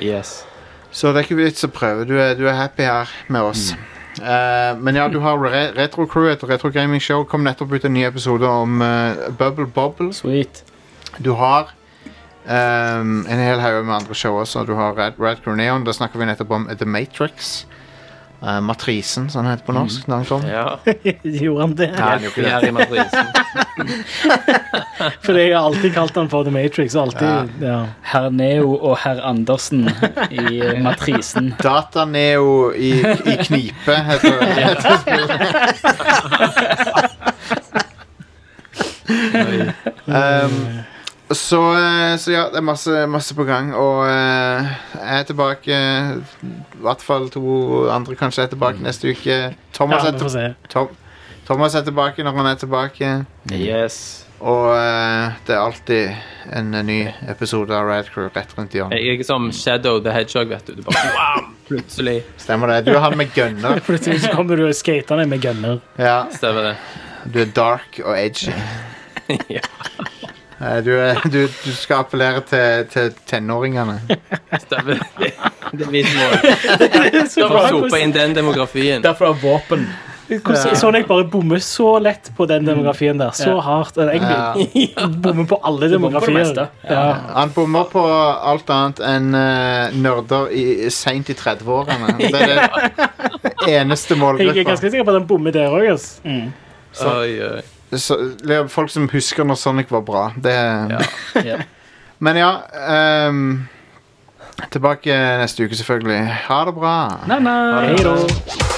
[SPEAKER 5] Yes.
[SPEAKER 1] Så det er ikke vits å prøve. Du er, du er happy her med oss. Eh, men ja, du har re Retro Crew, et retro gaming show. Kom nettopp ut en ny episode om eh, Bubble Bobbles.
[SPEAKER 3] Sweet.
[SPEAKER 1] Du har ehm, en hel haug med andre show også. Du har Rad, Rad Crew Neon. Da snakker vi nettopp om The Matrix. Eh, Matrisen, som den heter på norsk. da den kom.
[SPEAKER 5] Ja.
[SPEAKER 4] Gjorde han det?
[SPEAKER 1] Nei, den gjorde ikke det.
[SPEAKER 5] Jerry
[SPEAKER 1] <laughs>
[SPEAKER 5] Matrisen.
[SPEAKER 4] Fordi jeg har alltid kalt han for The Matrix. Alltid, ja.
[SPEAKER 3] Herr Neo og herr Andersen i eh, matrisen.
[SPEAKER 1] Dataneo i, i knipe, heter, heter spillet. um, så, eh, så ja, det er masse, masse på gang, og eh, jeg er tilbake eh, I hvert fall to andre kanskje er tilbake neste uke.
[SPEAKER 4] ja
[SPEAKER 1] Thomas,
[SPEAKER 4] vi
[SPEAKER 1] er
[SPEAKER 4] får
[SPEAKER 1] til,
[SPEAKER 4] se.
[SPEAKER 1] Tom, Thomas er tilbake når han er tilbake,
[SPEAKER 5] Yes.
[SPEAKER 1] og eh, det er alltid en ny episode av Rad Crew rett rundt hjørnet.
[SPEAKER 5] Jeg er som Shadow the Hedgehog, vet du. du bare, wow, plutselig
[SPEAKER 1] Stemmer det. Du er han med gunner.
[SPEAKER 4] <laughs> Plutselig så kommer du skatende med gunner.
[SPEAKER 1] Ja.
[SPEAKER 5] stemmer det.
[SPEAKER 1] Du er dark og
[SPEAKER 4] <laughs>
[SPEAKER 1] edgy.
[SPEAKER 5] Ja.
[SPEAKER 1] Eh, Du, er, du, du skal appellere til, til tenåringene.
[SPEAKER 5] Stemmer det.
[SPEAKER 1] <laughs>
[SPEAKER 5] Det er mitt mål. Skal få sope inn den demografien.
[SPEAKER 3] Derfor har våpen.
[SPEAKER 4] Hvordan, sånn jeg bare bommer så lett på den demografien der. Så
[SPEAKER 3] Ja.
[SPEAKER 4] hardt. Eller, Jeg bommer på
[SPEAKER 3] bommer på
[SPEAKER 4] alle
[SPEAKER 3] det
[SPEAKER 4] demografier.
[SPEAKER 3] meste.
[SPEAKER 4] Ja.
[SPEAKER 1] Han bommer på alt annet enn eh, nerder i- seint i 30-årene. Det er det
[SPEAKER 4] <laughs>
[SPEAKER 1] eneste
[SPEAKER 4] Jeg er
[SPEAKER 1] målgruppa.
[SPEAKER 4] ganske sikker på at den bommer der òg.
[SPEAKER 5] Oi, oi.
[SPEAKER 1] Så, det er folk som husker når Sonic var bra. Det, <laughs>
[SPEAKER 3] Ja.
[SPEAKER 1] Men ja ehm, Tilbake neste uke, selvfølgelig. Ha det bra.
[SPEAKER 3] Nei, nei.
[SPEAKER 4] Hei da.